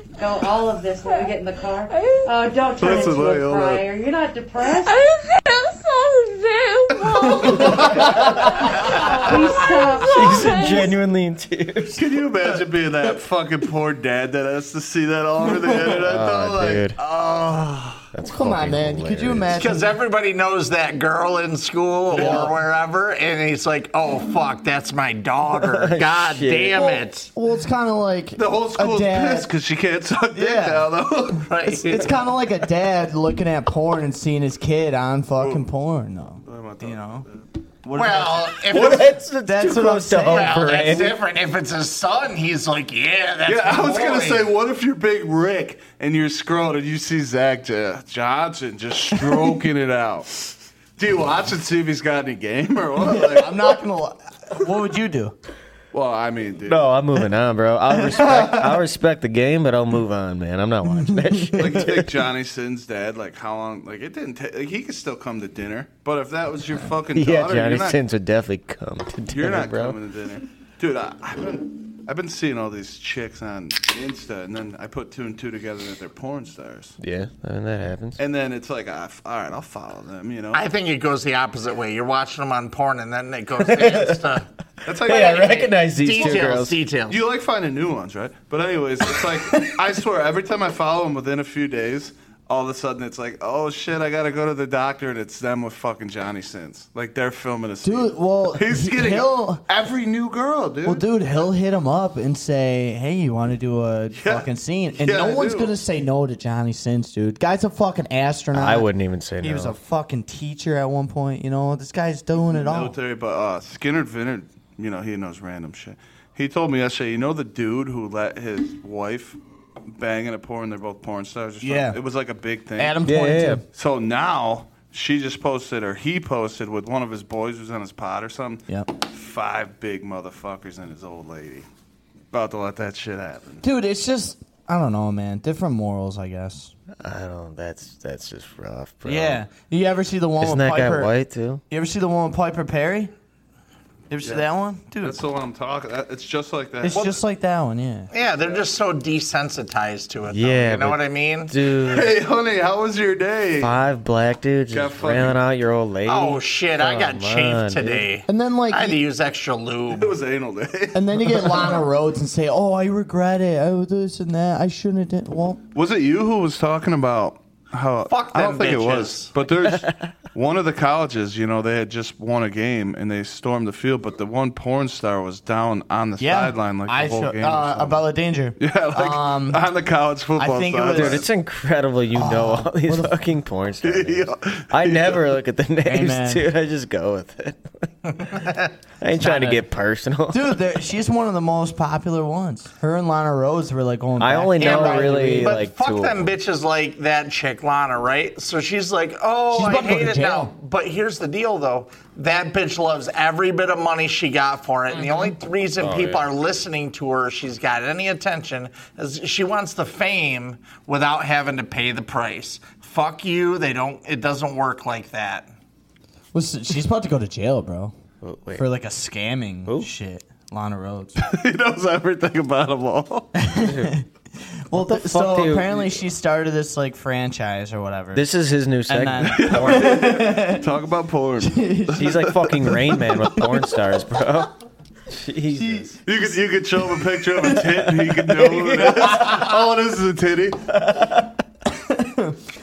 Speaker 8: <laughs> No, all of this when we get in the car. Oh, don't turn
Speaker 2: Listen,
Speaker 8: into
Speaker 2: wait,
Speaker 8: a
Speaker 2: hold on.
Speaker 8: crier. You're not depressed.
Speaker 7: I can't
Speaker 8: <laughs>
Speaker 7: suck dick, bro.
Speaker 8: Please stop.
Speaker 3: He's genuinely in tears.
Speaker 2: Can you imagine being that fucking poor dad that has to see that all over the internet?
Speaker 3: Oh,
Speaker 2: though? Like,
Speaker 3: dude.
Speaker 2: oh.
Speaker 3: That's
Speaker 4: Come on,
Speaker 3: fucking
Speaker 4: man. Could you
Speaker 3: hilarious.
Speaker 4: imagine?
Speaker 1: Because everybody knows that girl in school or wherever, and he's like, "Oh fuck, that's my <laughs> daughter! God
Speaker 3: Shit.
Speaker 1: damn
Speaker 4: Well,
Speaker 1: it!"
Speaker 4: Well, it's kind of like
Speaker 2: The whole school's
Speaker 4: dad-
Speaker 2: pissed because she can't suck dick
Speaker 4: Yeah.
Speaker 2: now, though. <laughs>
Speaker 1: Right?
Speaker 4: <laughs> it's kind of like a dad looking at porn and seeing his kid on fucking porn, though.
Speaker 2: <laughs> am I talking
Speaker 4: You know, What
Speaker 1: Well, if
Speaker 3: Well,
Speaker 1: it's,
Speaker 3: that's that's
Speaker 4: That's
Speaker 3: too
Speaker 4: what I'm
Speaker 3: close to
Speaker 4: saying.
Speaker 3: home
Speaker 4: Well,
Speaker 3: for
Speaker 1: well, that's
Speaker 3: Andy.
Speaker 1: different. If it's his son, he's like, yeah, that's.
Speaker 2: Yeah, I was
Speaker 1: my
Speaker 2: gonna
Speaker 1: boy.
Speaker 2: say, what if you're Big Rick and you're scrolling and you see Zach J- Johnson just stroking it out? Do you watch and see if he's got any game or what? Like,
Speaker 4: I'm not gonna. Lie. What would you do?
Speaker 2: well, I mean, dude,
Speaker 3: No, I'm moving on, bro. I respect I respect the game, but I'll move on, man. I'm not
Speaker 2: <laughs>
Speaker 3: watching that shit.
Speaker 2: like take Johnny Sin's dad. Like how long? Like it didn't. take like, he could still come to dinner, but if that was your fucking daughter,
Speaker 3: Yeah, Johnny
Speaker 2: you're not,
Speaker 3: Sins would definitely come to dinner,
Speaker 2: you're not
Speaker 3: bro.
Speaker 2: coming to dinner, dude. I, I've been I've been seeing all these chicks on Insta, and then I put two and two together that they're porn stars,
Speaker 3: Yeah, I mean that happens.
Speaker 2: and then it's like, ah, f- all right, I'll follow them. You know,
Speaker 1: I think it goes the opposite way. You're watching them on porn, and then it <laughs> goes to Insta.
Speaker 2: that's
Speaker 3: <laughs>
Speaker 2: how
Speaker 3: Hey, I
Speaker 2: you-
Speaker 3: recognize these two
Speaker 1: details,
Speaker 3: girls.
Speaker 1: details.
Speaker 2: You like finding new ones, right? But anyways, it's like I swear every time I follow them within a few days, all of a sudden it's like, oh shit, I gotta go to the doctor, and it's them with fucking Johnny Sins. Like they're filming a scene.
Speaker 4: Dude, well,
Speaker 2: he's getting
Speaker 4: he'll-
Speaker 2: every new girl, dude.
Speaker 4: Well, dude, he'll hit him up and say, "Hey, you want to do a
Speaker 2: Yeah.
Speaker 4: fucking scene?" And
Speaker 2: Yeah,
Speaker 4: no
Speaker 2: I
Speaker 4: one's
Speaker 2: do.
Speaker 4: gonna say no to Johnny Sins, dude. Guy's a fucking astronaut.
Speaker 3: I wouldn't even say
Speaker 4: He
Speaker 3: no.
Speaker 4: was a fucking teacher at one point. You know, this guy's doing it all.
Speaker 2: military, but uh, Skinner Vinner, you know, he knows random shit. He told me yesterday, you know, the dude who let his wife bang in a porn, they're both porn stars. Or something?
Speaker 4: Yeah.
Speaker 2: it was like a big thing.
Speaker 4: Adam
Speaker 3: Yeah,
Speaker 4: pointed.
Speaker 3: yeah,
Speaker 2: So now she just posted, or he posted with one of his boys who's on his pod or something.
Speaker 4: Yep.
Speaker 2: Five big motherfuckers and his old lady. About to let that shit happen.
Speaker 4: Dude, it's just I don't know, man. Different morals, I guess.
Speaker 3: I don't. That's that's just rough, bro.
Speaker 4: You ever see the one
Speaker 3: Isn't
Speaker 2: Oh,
Speaker 4: with
Speaker 3: that
Speaker 4: Piper?
Speaker 3: guy white too?
Speaker 4: You ever see the one with Piper Perry? You ever see that one, dude?
Speaker 2: That's the one I'm talking. that- It's just like that.
Speaker 4: it's just like that one, yeah.
Speaker 1: Yeah, they're just so desensitized to it. though.
Speaker 3: Yeah,
Speaker 1: you know
Speaker 3: but-
Speaker 1: what I mean.
Speaker 2: <laughs>
Speaker 3: Dude,
Speaker 2: hey, honey, how was your day?
Speaker 3: five black dudes
Speaker 2: Got
Speaker 3: just
Speaker 2: fucking-
Speaker 3: railing out your old lady.
Speaker 1: Oh shit! I got
Speaker 3: Come on,
Speaker 1: chafed
Speaker 3: dude.
Speaker 1: today.
Speaker 4: And then like
Speaker 1: I had to
Speaker 4: you-
Speaker 1: use extra lube.
Speaker 2: It was anal day.
Speaker 4: and then you <laughs> get Lana Rhodes and say, "Oh, I regret it. I was this and that. I shouldn't have did." Well,
Speaker 2: Was it you who was talking about how?
Speaker 1: Fuck
Speaker 2: I don't
Speaker 1: them
Speaker 2: think it
Speaker 1: bitches.
Speaker 2: was. But <laughs> there's one of the colleges, you know, they had just won a game and they stormed the field, but the one porn star was down on the
Speaker 4: yeah.
Speaker 2: sideline <laughs> like the
Speaker 4: I
Speaker 2: whole
Speaker 4: show-
Speaker 2: game. or
Speaker 4: uh,
Speaker 2: something.
Speaker 4: Abella <laughs> Danger.
Speaker 2: Yeah, like
Speaker 4: Um,
Speaker 2: on the college football
Speaker 4: think it
Speaker 2: side.
Speaker 4: was-
Speaker 3: Dude,
Speaker 2: <laughs>
Speaker 3: it's incredible you know all these fucking porn stars.
Speaker 2: Oh. Yeah. <laughs>
Speaker 3: I never look at the names,
Speaker 4: man.
Speaker 3: dude. I just go with it. I ain't trying to
Speaker 4: not a-
Speaker 3: get personal.
Speaker 4: Dude, there- she's one of the most popular ones. Her and Lana Rhodes were like going.
Speaker 3: I
Speaker 4: back.
Speaker 3: only know
Speaker 1: but-
Speaker 3: really
Speaker 1: but
Speaker 3: like
Speaker 1: fuck
Speaker 3: two. of
Speaker 1: them
Speaker 3: them.
Speaker 1: bitches like that chick Lana, right? So she's like, oh,
Speaker 4: She's
Speaker 1: I
Speaker 4: about to go
Speaker 1: hate
Speaker 4: to
Speaker 1: it
Speaker 4: jail.
Speaker 1: now. But here's the deal, though. That bitch loves every bit of money she got for it, and the only
Speaker 4: Mm-hmm.
Speaker 1: reason people are listening to her, she's got any attention, is she wants the fame without having to pay the price. Fuck you. They don't. It doesn't work like that.
Speaker 4: Listen, she's about to go to jail, bro,
Speaker 3: Oh, wait.
Speaker 4: for like a scamming shit. Lana Rhodes.
Speaker 2: he knows everything about them all.
Speaker 4: well, th- so
Speaker 3: fuck do you-
Speaker 4: apparently she started this like franchise or whatever.
Speaker 3: This is his new
Speaker 4: and
Speaker 3: segment. <laughs>
Speaker 4: then
Speaker 2: Talk about porn. <laughs> you
Speaker 3: He's like fucking Rain Man with porn stars, bro. Jesus.
Speaker 2: could you could show him a picture of a tit and he could know who it is. Oh, this is a titty.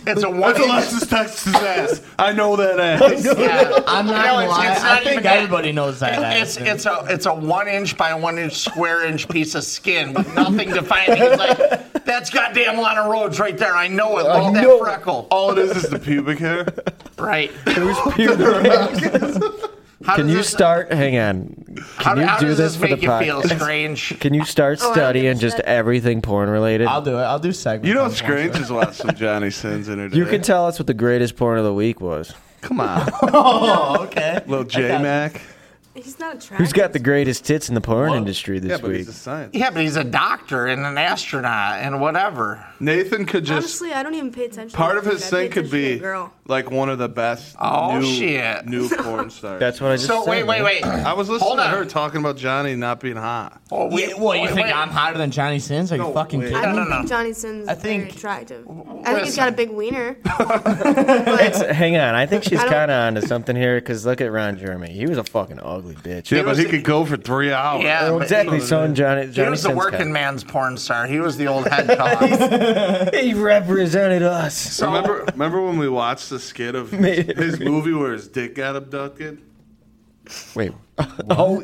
Speaker 1: It's a one.
Speaker 2: That's Alexis Texas' ass. I know
Speaker 1: <laughs>
Speaker 2: that ass.
Speaker 1: Yeah.
Speaker 4: <laughs> I'm not
Speaker 1: No,
Speaker 4: gonna
Speaker 1: Oh, it's-
Speaker 4: lie.
Speaker 1: it's
Speaker 4: I
Speaker 1: not
Speaker 4: think
Speaker 1: even that.
Speaker 4: everybody knows that.
Speaker 1: It's
Speaker 4: ass, dude.
Speaker 1: it's a it's a one inch by one inch square inch piece of skin with nothing defining. He's like, that's goddamn Lana Rhodes right there. I know it. Look at that freckle.
Speaker 2: All it is is the pubic hair.
Speaker 1: Right. <laughs> How
Speaker 3: Can
Speaker 1: does
Speaker 3: you
Speaker 1: this-
Speaker 3: start? Hang on.
Speaker 1: How,
Speaker 3: Can you
Speaker 1: how
Speaker 3: do
Speaker 1: does
Speaker 3: this
Speaker 1: this,
Speaker 3: for the
Speaker 1: make you feel
Speaker 3: podcast?
Speaker 1: strange?
Speaker 3: Can you start
Speaker 5: Oh, I don't
Speaker 3: studying
Speaker 5: give a
Speaker 3: just
Speaker 5: shit.
Speaker 3: everything porn related?
Speaker 4: I'll do it. I'll do segments.
Speaker 2: You know
Speaker 4: on
Speaker 2: it's
Speaker 4: porn.
Speaker 2: Grange has watched some Johnny Sins in her
Speaker 3: You
Speaker 2: today.
Speaker 3: can tell us what the greatest porn of the week was.
Speaker 2: Come on,
Speaker 4: Oh, okay.
Speaker 2: little J Mac.
Speaker 5: He's not attractive.
Speaker 3: Who's got the greatest tits in the porn
Speaker 2: Well,
Speaker 3: industry
Speaker 2: yeah,
Speaker 3: this
Speaker 2: but
Speaker 3: week?
Speaker 2: he's a science.
Speaker 1: Yeah, but he's a doctor and an astronaut and whatever.
Speaker 2: Nathan could just
Speaker 5: Honestly, I don't even pay attention. to
Speaker 2: part of
Speaker 5: dude.
Speaker 2: his
Speaker 5: I pay
Speaker 2: thing could
Speaker 5: attention to
Speaker 2: be
Speaker 5: a girl.
Speaker 2: like one of the best
Speaker 1: Oh,
Speaker 2: new,
Speaker 1: shit.
Speaker 2: new porn stars.
Speaker 3: That's what I just
Speaker 1: So
Speaker 3: said.
Speaker 1: wait, wait,
Speaker 3: man.
Speaker 1: wait.
Speaker 2: I was listening
Speaker 1: Hold
Speaker 2: to
Speaker 1: on.
Speaker 2: her talking about Johnny not being hot.
Speaker 1: Oh, wait,
Speaker 4: Yeah, well, you
Speaker 1: wait,
Speaker 4: think
Speaker 1: wait.
Speaker 4: I'm hotter than Johnny Sins? Are you
Speaker 2: No
Speaker 4: fucking
Speaker 2: way.
Speaker 4: kidding
Speaker 5: I
Speaker 4: me?
Speaker 1: no,
Speaker 5: don't
Speaker 1: no.
Speaker 5: think Johnny Sins
Speaker 4: I
Speaker 5: I
Speaker 4: think-
Speaker 5: think, very attractive. I think he's got a
Speaker 1: <laughs>
Speaker 5: big wiener.
Speaker 3: Hang on, I think she's
Speaker 5: I don't-
Speaker 3: kind of onto something here because look at Ron Jeremy. He was a fucking ugly bitch.
Speaker 2: Yeah, but
Speaker 1: was
Speaker 2: he
Speaker 1: the-
Speaker 2: could go for three hours.
Speaker 1: Yeah, but
Speaker 3: exactly.
Speaker 1: He,
Speaker 3: So in Johnny,
Speaker 1: he
Speaker 3: Johnny
Speaker 1: was the
Speaker 3: Sins
Speaker 1: working
Speaker 3: kind.
Speaker 1: man's porn star. He was the old
Speaker 3: <laughs>
Speaker 1: hedgehog.
Speaker 3: He represented us. <laughs>
Speaker 2: Remember, remember when we watched the skit of his,
Speaker 3: Made-
Speaker 2: his movie where his dick got abducted?
Speaker 1: <laughs>
Speaker 3: Wait. Oh,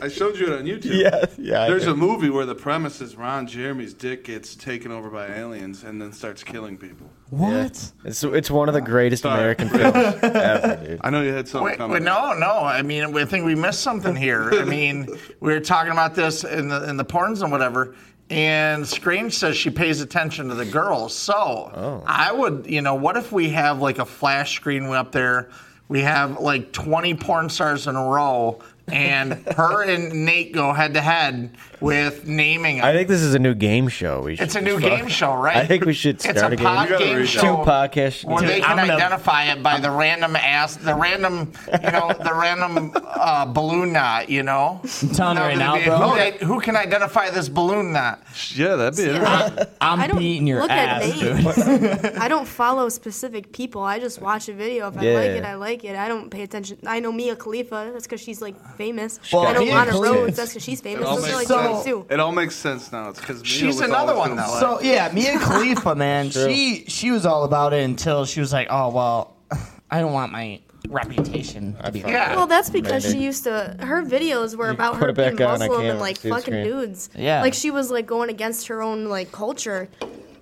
Speaker 2: I showed you it on YouTube.
Speaker 3: Yeah, yeah. I
Speaker 2: There's
Speaker 3: did.
Speaker 2: a movie where the premise is Ron Jeremy's dick gets taken over by aliens and then starts killing people.
Speaker 6: What?
Speaker 3: It's it's one of the greatest
Speaker 1: <laughs>
Speaker 2: Sorry.
Speaker 3: American films ever, dude.
Speaker 2: I know you had something
Speaker 1: Wait,
Speaker 2: coming.
Speaker 1: wait, no, no. I mean, I think we missed something here.
Speaker 3: <laughs>
Speaker 1: I mean, we were talking about this in the in the porns and whatever. And Scream says she pays attention to the girls. So
Speaker 3: Oh.
Speaker 1: I would, you know, what if we have like a flash screen up there? We have like 20 porn stars in a row,
Speaker 3: <laughs>
Speaker 1: and her and Nate go head to head with naming.
Speaker 3: I think this is a new game show. We should
Speaker 1: it's a new
Speaker 3: just
Speaker 1: game
Speaker 3: fuck-
Speaker 1: show, right?
Speaker 3: I think we should start
Speaker 1: it's a,
Speaker 3: a, game.
Speaker 1: pod
Speaker 2: You gotta
Speaker 1: game
Speaker 2: reach
Speaker 1: show.
Speaker 2: out.
Speaker 3: Two podcasts.
Speaker 1: Well, they can
Speaker 4: I'm gonna-
Speaker 1: identify it by the random ass, the random, you know, the random uh, balloon knot. You know,
Speaker 4: I'm telling you right now, bro.
Speaker 1: Who, who can identify this balloon knot?
Speaker 2: Yeah, that'd be interesting.
Speaker 5: I
Speaker 4: I'm
Speaker 5: don't
Speaker 4: beating your
Speaker 5: look
Speaker 4: ass,
Speaker 5: at <laughs>
Speaker 4: dude.
Speaker 5: names. I don't follow specific people. I just watch a video. If I like
Speaker 3: Yeah.
Speaker 5: it, I like it. I don't pay attention. I know Mia Khalifa. That's because she's like famous.
Speaker 4: Well,
Speaker 5: I know
Speaker 4: Mia
Speaker 5: Lana
Speaker 4: Khalifa-
Speaker 5: Rhodes. That's because she's famous.
Speaker 2: It all
Speaker 5: Those are like
Speaker 2: makes
Speaker 5: the
Speaker 2: sense.
Speaker 5: only two.
Speaker 2: It all makes sense now. It's because
Speaker 1: She's another one, though.
Speaker 6: So yeah, Mia Khalifa, man, she she was all about it until she was like, oh
Speaker 4: <sighs>
Speaker 6: well, I don't want my reputation to be like.
Speaker 1: Yeah.
Speaker 5: Well, that's because she used to. Her videos were about
Speaker 3: put
Speaker 5: her
Speaker 3: it back
Speaker 5: being
Speaker 3: on, I
Speaker 5: Muslim
Speaker 3: can't
Speaker 5: and like
Speaker 3: see the
Speaker 5: fucking
Speaker 3: screen.
Speaker 5: dudes.
Speaker 6: Yeah.
Speaker 5: Like she was like going against her own like culture.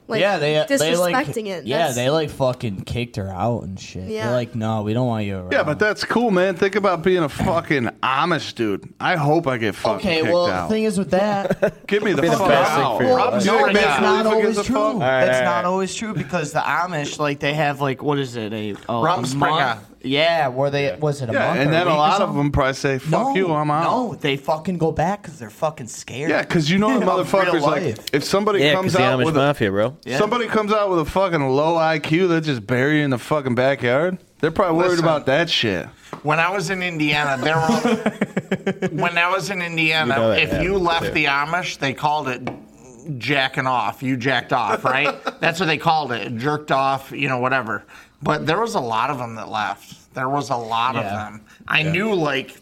Speaker 5: Like
Speaker 6: yeah,
Speaker 4: uh,
Speaker 6: they uh, they like
Speaker 5: disrespecting it.
Speaker 6: Yeah,
Speaker 5: That's-
Speaker 6: they like fucking kicked her out and shit.
Speaker 5: Yeah.
Speaker 6: They're like, no, we don't want you around.
Speaker 2: Yeah, but that's cool, man. Think about being a fucking Amish dude. I hope I get fucking
Speaker 6: okay.
Speaker 2: kicked
Speaker 6: Well,
Speaker 2: out.
Speaker 6: the thing is with <laughs> that,
Speaker 2: Give me the
Speaker 3: the
Speaker 2: fuck
Speaker 3: best thing
Speaker 2: out.
Speaker 3: for your Well, life.
Speaker 2: You
Speaker 6: no,
Speaker 2: think Mia
Speaker 6: that's not
Speaker 2: Khalifa gives
Speaker 6: always
Speaker 2: a
Speaker 6: true.
Speaker 2: fuck?
Speaker 3: right,
Speaker 6: that's
Speaker 3: all right.
Speaker 6: not always true because the Amish, like, they have like what is it a, a, a
Speaker 1: Rumspringa.
Speaker 6: month? Yeah, where they was it a
Speaker 2: Yeah,
Speaker 6: month?
Speaker 2: and
Speaker 6: or
Speaker 2: then a
Speaker 6: week or
Speaker 2: lot of
Speaker 6: something?
Speaker 2: them probably say, "Fuck
Speaker 6: no,
Speaker 2: you, I'm out."
Speaker 6: No, they fucking go back because they're fucking scared.
Speaker 2: Yeah, because you know the
Speaker 6: Of
Speaker 2: motherfuckers
Speaker 6: real
Speaker 2: like
Speaker 6: life.
Speaker 2: if somebody
Speaker 3: Yeah,
Speaker 2: comes
Speaker 3: because the
Speaker 2: out
Speaker 3: Amish
Speaker 2: with a,
Speaker 3: Mafia, bro.
Speaker 2: somebody comes out with a fucking low IQ, they just bury you in the fucking backyard. They're probably worried
Speaker 1: Listen.
Speaker 2: about that shit.
Speaker 1: When I was in Indiana, there were.
Speaker 6: <laughs>
Speaker 1: when I was in Indiana,
Speaker 3: You know that
Speaker 1: if you
Speaker 3: happens,
Speaker 1: left
Speaker 3: too.
Speaker 1: the Amish, they called it jacking off. You jacked off, right?
Speaker 6: <laughs>
Speaker 1: That's what they called it. Jerked off, you know, whatever. But there was a lot of them that left. There was a lot of
Speaker 6: Yeah.
Speaker 1: them. I knew like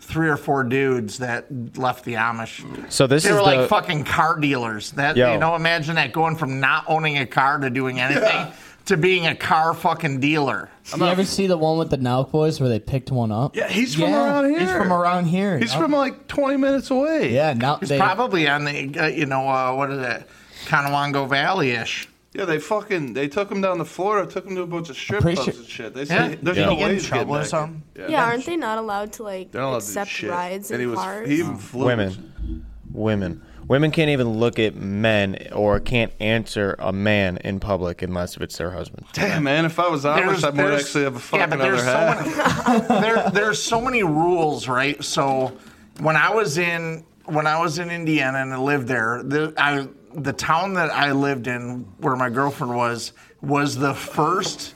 Speaker 1: three or four dudes that left the Amish.
Speaker 3: So this
Speaker 1: They
Speaker 3: is
Speaker 1: were like
Speaker 3: the-
Speaker 1: fucking car dealers. That
Speaker 3: Yo.
Speaker 1: you know, imagine that going from not owning a car to
Speaker 6: <laughs>
Speaker 1: doing anything to being a car fucking dealer.
Speaker 4: You ever see the one with the Nauk boys where they picked one up?
Speaker 2: Yeah, he's
Speaker 6: Yeah,
Speaker 2: from around here.
Speaker 6: He's from around here.
Speaker 2: He's
Speaker 6: Now-
Speaker 2: from like 20 minutes away.
Speaker 6: Yeah, now they.
Speaker 1: probably on the uh, you know uh, what is it, Conowongo Valley ish.
Speaker 2: Yeah, they fucking they took him down to Florida, took him to a bunch of strip
Speaker 6: Pretty
Speaker 2: clubs
Speaker 6: sure-
Speaker 2: and shit. They
Speaker 1: Yeah.
Speaker 2: said there's
Speaker 3: Did
Speaker 2: no
Speaker 3: he
Speaker 6: get in
Speaker 2: way he's getting
Speaker 6: trouble or
Speaker 2: back in.
Speaker 6: something?
Speaker 5: Yeah, aren't they not allowed to like
Speaker 2: They're not allowed to do
Speaker 5: accept
Speaker 2: shit.
Speaker 5: rides
Speaker 2: and
Speaker 5: in
Speaker 2: he was,
Speaker 5: cars?
Speaker 2: He even flew
Speaker 3: Women, women, women can't even look at men or can't answer a man in public unless if it's their husband.
Speaker 2: Damn man, if I was Amish, I might actually have a
Speaker 1: yeah,
Speaker 2: fucking
Speaker 1: but
Speaker 2: other
Speaker 1: there's
Speaker 2: half.
Speaker 1: so many, there, there's so many rules, right? So when I was in when I was in Indiana and I lived there, the I, the town that I lived in, where my girlfriend was, was the first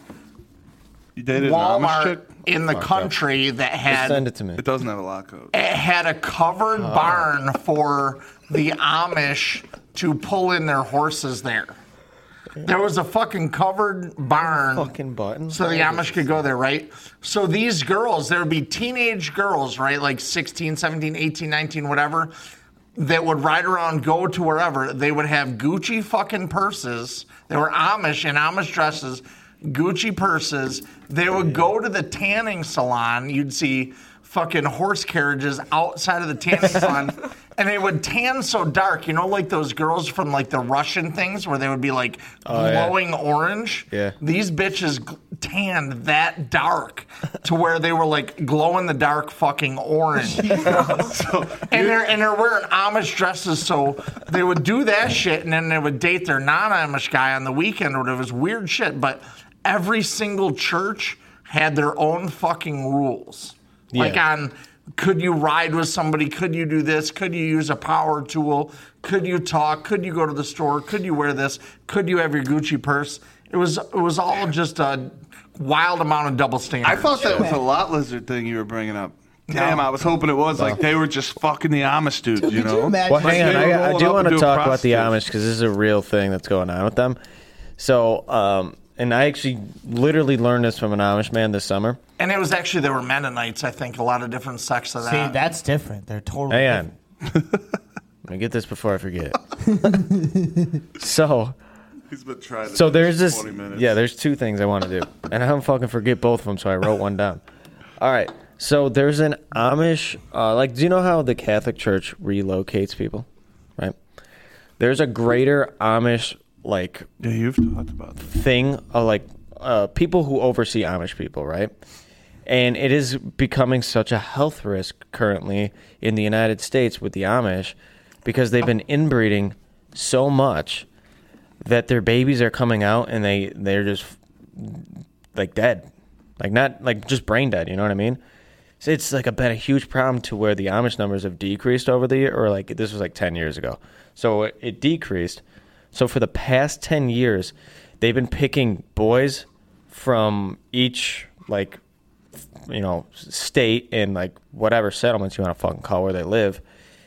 Speaker 2: you dated an Amish chick?
Speaker 1: Walmart in the country that had
Speaker 3: Send it to me.
Speaker 2: It doesn't have a lock code.
Speaker 1: it had a covered
Speaker 3: Oh.
Speaker 1: barn for the Amish to pull in their horses there. There was a fucking covered barn.
Speaker 3: Fucking button.
Speaker 1: So the Amish could go there, right? So these girls, there would be teenage girls, right? Like 16, 17, 18, 19, whatever, that would ride around, go to wherever. They would have Gucci fucking purses. They were Amish in Amish dresses, Gucci purses. They would go to the tanning salon. You'd see fucking horse carriages outside of the tanning salon. And they would tan so dark, you know, like those girls from like the Russian things where they would be like
Speaker 3: yeah.
Speaker 1: glowing orange.
Speaker 3: Yeah.
Speaker 1: These bitches gl- tanned that dark to where they were like glow in the dark fucking
Speaker 3: <laughs>
Speaker 1: orange. and they're and they're wearing Amish dresses, so they would do that shit and then they would date their non-Amish guy on the weekend or whatever. It was weird shit, but every single church had their own fucking rules. Like
Speaker 3: Yeah.
Speaker 1: on could you ride with somebody? Could you do this? Could you use a power tool? Could you talk? Could you go to the store? Could you wear this? Could you have your Gucci purse? It was it was all just a wild amount of double standards.
Speaker 2: I thought that was a lot lizard thing you were bringing up. Damn, I was hoping it was like they were just fucking the Amish dudes, you
Speaker 6: could
Speaker 2: know?
Speaker 6: you imagine-
Speaker 3: Well,
Speaker 6: Like,
Speaker 3: hang on.
Speaker 2: they were
Speaker 3: I, I
Speaker 2: rolling
Speaker 3: do
Speaker 2: up
Speaker 3: want to
Speaker 2: and doing
Speaker 3: talk about the Amish
Speaker 2: prostitutes.
Speaker 3: because this is a real thing that's going on with them. So, um, and I actually literally learned this from an Amish man this summer.
Speaker 1: and it was actually there were Mennonites. I think a lot of different sects of that.
Speaker 4: See, that's different. They're totally.
Speaker 3: Hang
Speaker 2: <laughs>
Speaker 4: different.
Speaker 3: on. Let me get this before I forget it. <laughs> so,
Speaker 2: He's been trying to
Speaker 3: so
Speaker 2: do
Speaker 3: there's
Speaker 2: this
Speaker 3: this.
Speaker 2: 20 minutes.
Speaker 3: Yeah, there's two things I want to do, and I don't fucking forget both of them, so I wrote one down. All right. So there's an Amish, uh, like, do you know how the Catholic Church relocates people, right? There's a greater Amish like
Speaker 2: Yeah, you've talked about that.
Speaker 3: thing, uh, like uh, people who oversee Amish people, right? And it is becoming such a health risk currently in the United States with the Amish because they've been inbreeding so much that their babies are coming out and they they're just like dead, like not like just brain dead. You know what I mean? So it's like a, been a huge problem to where the Amish numbers have decreased over the year, or like this was like ten years ago. So it, it decreased. So for the past ten years, they've been picking boys from each like you know state and like whatever settlements you want to fucking call where they live,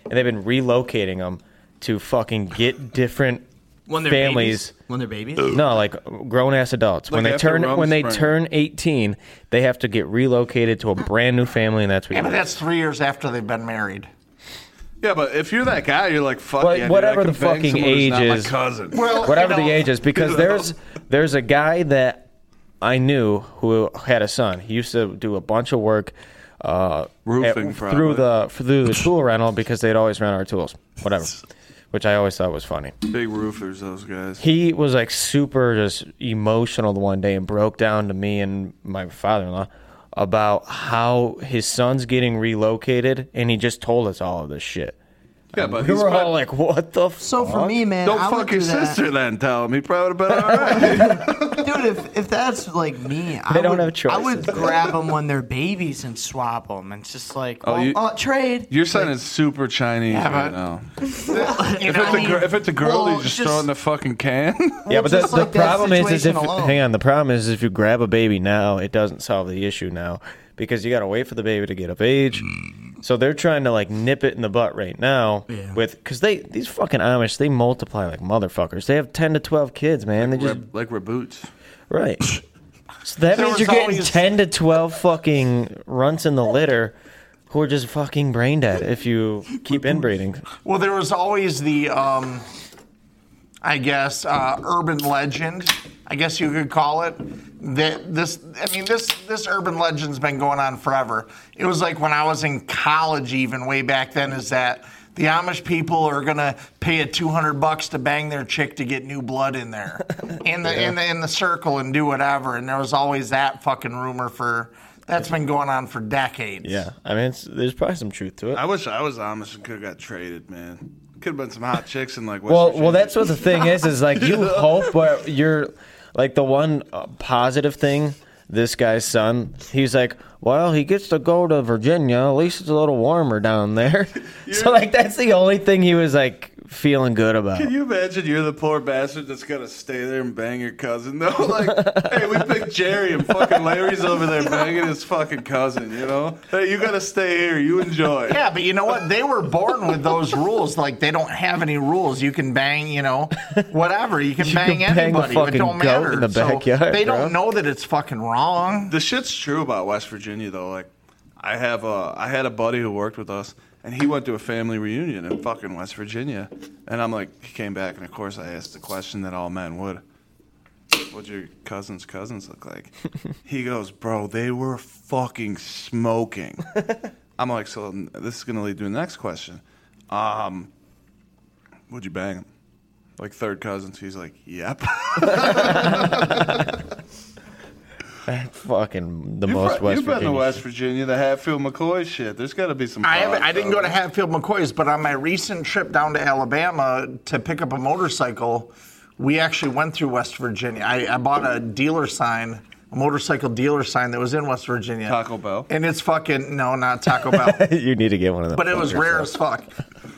Speaker 3: and they've been relocating them to fucking get different
Speaker 4: When they're
Speaker 3: families.
Speaker 4: babies. When they're babies.
Speaker 3: No, like grown ass adults. when
Speaker 2: Like
Speaker 3: they
Speaker 2: after
Speaker 3: turn when they
Speaker 2: Rumspringa.
Speaker 3: turn eighteen, they have to get relocated to a brand new family, and that's what.
Speaker 1: Yeah,
Speaker 3: you
Speaker 1: but
Speaker 3: do.
Speaker 1: that's three years after they've been married.
Speaker 2: Yeah, but if you're that guy, you're like fuck.
Speaker 3: But
Speaker 2: yeah, dude, I
Speaker 3: whatever
Speaker 2: can
Speaker 3: the
Speaker 2: bang
Speaker 3: fucking
Speaker 2: someone who's not
Speaker 3: age
Speaker 2: my
Speaker 3: is-
Speaker 2: cousin.
Speaker 3: whatever
Speaker 1: you know-
Speaker 3: the age is because there's there's a guy that I knew who had a son. He used to do a bunch of work uh,
Speaker 2: Roofing,
Speaker 3: through the through the tool rental because they'd always rent our tools,
Speaker 2: <laughs>
Speaker 3: whatever. Which I always thought was funny.
Speaker 2: big roofers, those guys.
Speaker 3: he was like super just emotional the one day and broke down to me and my father-in-law about how his son's getting relocated and he just told us all of this shit.
Speaker 2: yeah, but
Speaker 3: We
Speaker 2: he's
Speaker 3: were all
Speaker 2: probably,
Speaker 3: like, "What the?" F-?
Speaker 6: So for me, man,
Speaker 2: don't
Speaker 6: I would
Speaker 2: fuck your
Speaker 6: do that.
Speaker 2: sister then. Tell him he probably would have been all
Speaker 6: <laughs>
Speaker 2: right.
Speaker 6: dude. If, if that's like
Speaker 3: <laughs>
Speaker 6: me, I
Speaker 3: They don't
Speaker 6: would,
Speaker 3: have choices.
Speaker 6: I would
Speaker 3: <laughs>
Speaker 6: grab them when they're babies and swap them. It's just like, well, oh,
Speaker 2: you-
Speaker 6: trade.
Speaker 2: Your son is super Chinese right now.
Speaker 6: <laughs> You
Speaker 2: If it's, a gr- if it's a girl,
Speaker 6: Well,
Speaker 2: you just,
Speaker 6: just-
Speaker 2: throw it in the fucking can.
Speaker 3: yeah, but the,
Speaker 6: just
Speaker 3: the
Speaker 6: like that
Speaker 3: problem is, is if
Speaker 6: situation alone.
Speaker 3: hang on, the problem is if you grab a baby now, it doesn't solve the issue now because you got to wait for the baby to get of age. So they're trying to like nip it in the butt right now
Speaker 4: Yeah.
Speaker 3: with because they these fucking Amish they multiply like motherfuckers. They have ten to twelve kids, man. They just
Speaker 2: Rib- like we're boots.
Speaker 3: Right. <laughs> So that
Speaker 1: There
Speaker 3: means you're
Speaker 1: was
Speaker 3: getting
Speaker 1: always-
Speaker 3: 10 to 12 fucking runts in the litter who are just fucking brain dead if you keep inbreeding.
Speaker 1: Well, there was always the, um, I guess, uh, urban legend. I guess you could call it that. This, I mean, this this urban legend's been going on forever. It was like when I was in college, even way back then, is that the Amish people are gonna pay a two hundred bucks to bang their chick to get new blood in there, in the in the in the circle and do whatever. And there was always that fucking rumor for. That's been going on for decades.
Speaker 3: Yeah. I mean, it's, there's probably some truth to it.
Speaker 2: I wish I was Amish and could have got traded, man. Could have been some hot chicks and like. West
Speaker 3: Well,
Speaker 2: Virginia.
Speaker 3: well, that's what the thing is, is
Speaker 1: <laughs>
Speaker 3: like you hope, but you're like the one uh, positive thing. This guy's son, he's like, well, he gets to go to Virginia. At least it's a little warmer down there. <laughs> so, like, that's the only thing he was like feeling good
Speaker 1: <laughs>
Speaker 3: about.
Speaker 2: Can you imagine you're the poor bastard that's gonna stay there and bang your cousin though? <laughs> Like, hey, we picked Jerry and fucking Larry's over there banging his fucking cousin, you know? Hey, you gotta stay here, you enjoy.
Speaker 1: Yeah, but you know what? They were born with those rules. Like they don't have any rules. You can bang, you know, whatever. You can bang
Speaker 3: can bang the
Speaker 1: anybody. it
Speaker 3: fucking
Speaker 1: don't
Speaker 3: goat
Speaker 1: matter.
Speaker 3: in the
Speaker 1: So
Speaker 3: backyard,
Speaker 1: they
Speaker 3: bro.
Speaker 1: don't know that it's fucking wrong.
Speaker 2: The shit's true about West Virginia though. Like I have a I had a buddy who worked with us and he went to a family reunion in fucking West Virginia. And I'm like he came back and of course I asked the question that all men would. What'd your cousin's cousins look like? he goes, Bro, they were fucking smoking. <laughs> I'm like, so this is gonna lead to the next question. Um, would you bang him? Like third cousins? He's like, yep. <laughs>
Speaker 3: Fucking the
Speaker 2: You've,
Speaker 3: most
Speaker 2: been-
Speaker 3: West
Speaker 2: you've been to
Speaker 3: Virginia
Speaker 2: West Virginia, the Hatfield McCoy shit. There's got to be some.
Speaker 1: I haven't,
Speaker 2: cons
Speaker 1: I didn't go
Speaker 2: out
Speaker 1: to
Speaker 2: there.
Speaker 1: Hatfield McCoy's, but on my recent trip down to Alabama to pick up a motorcycle, we actually went through West Virginia. I, I bought a dealer sign, a motorcycle dealer sign that was in West Virginia.
Speaker 2: Taco Bell.
Speaker 1: And it's fucking no, not Taco
Speaker 2: <laughs>
Speaker 1: Bell. <laughs>
Speaker 3: <laughs> you need to get one of them.
Speaker 1: but it was
Speaker 3: fuckers.
Speaker 1: rare as fuck.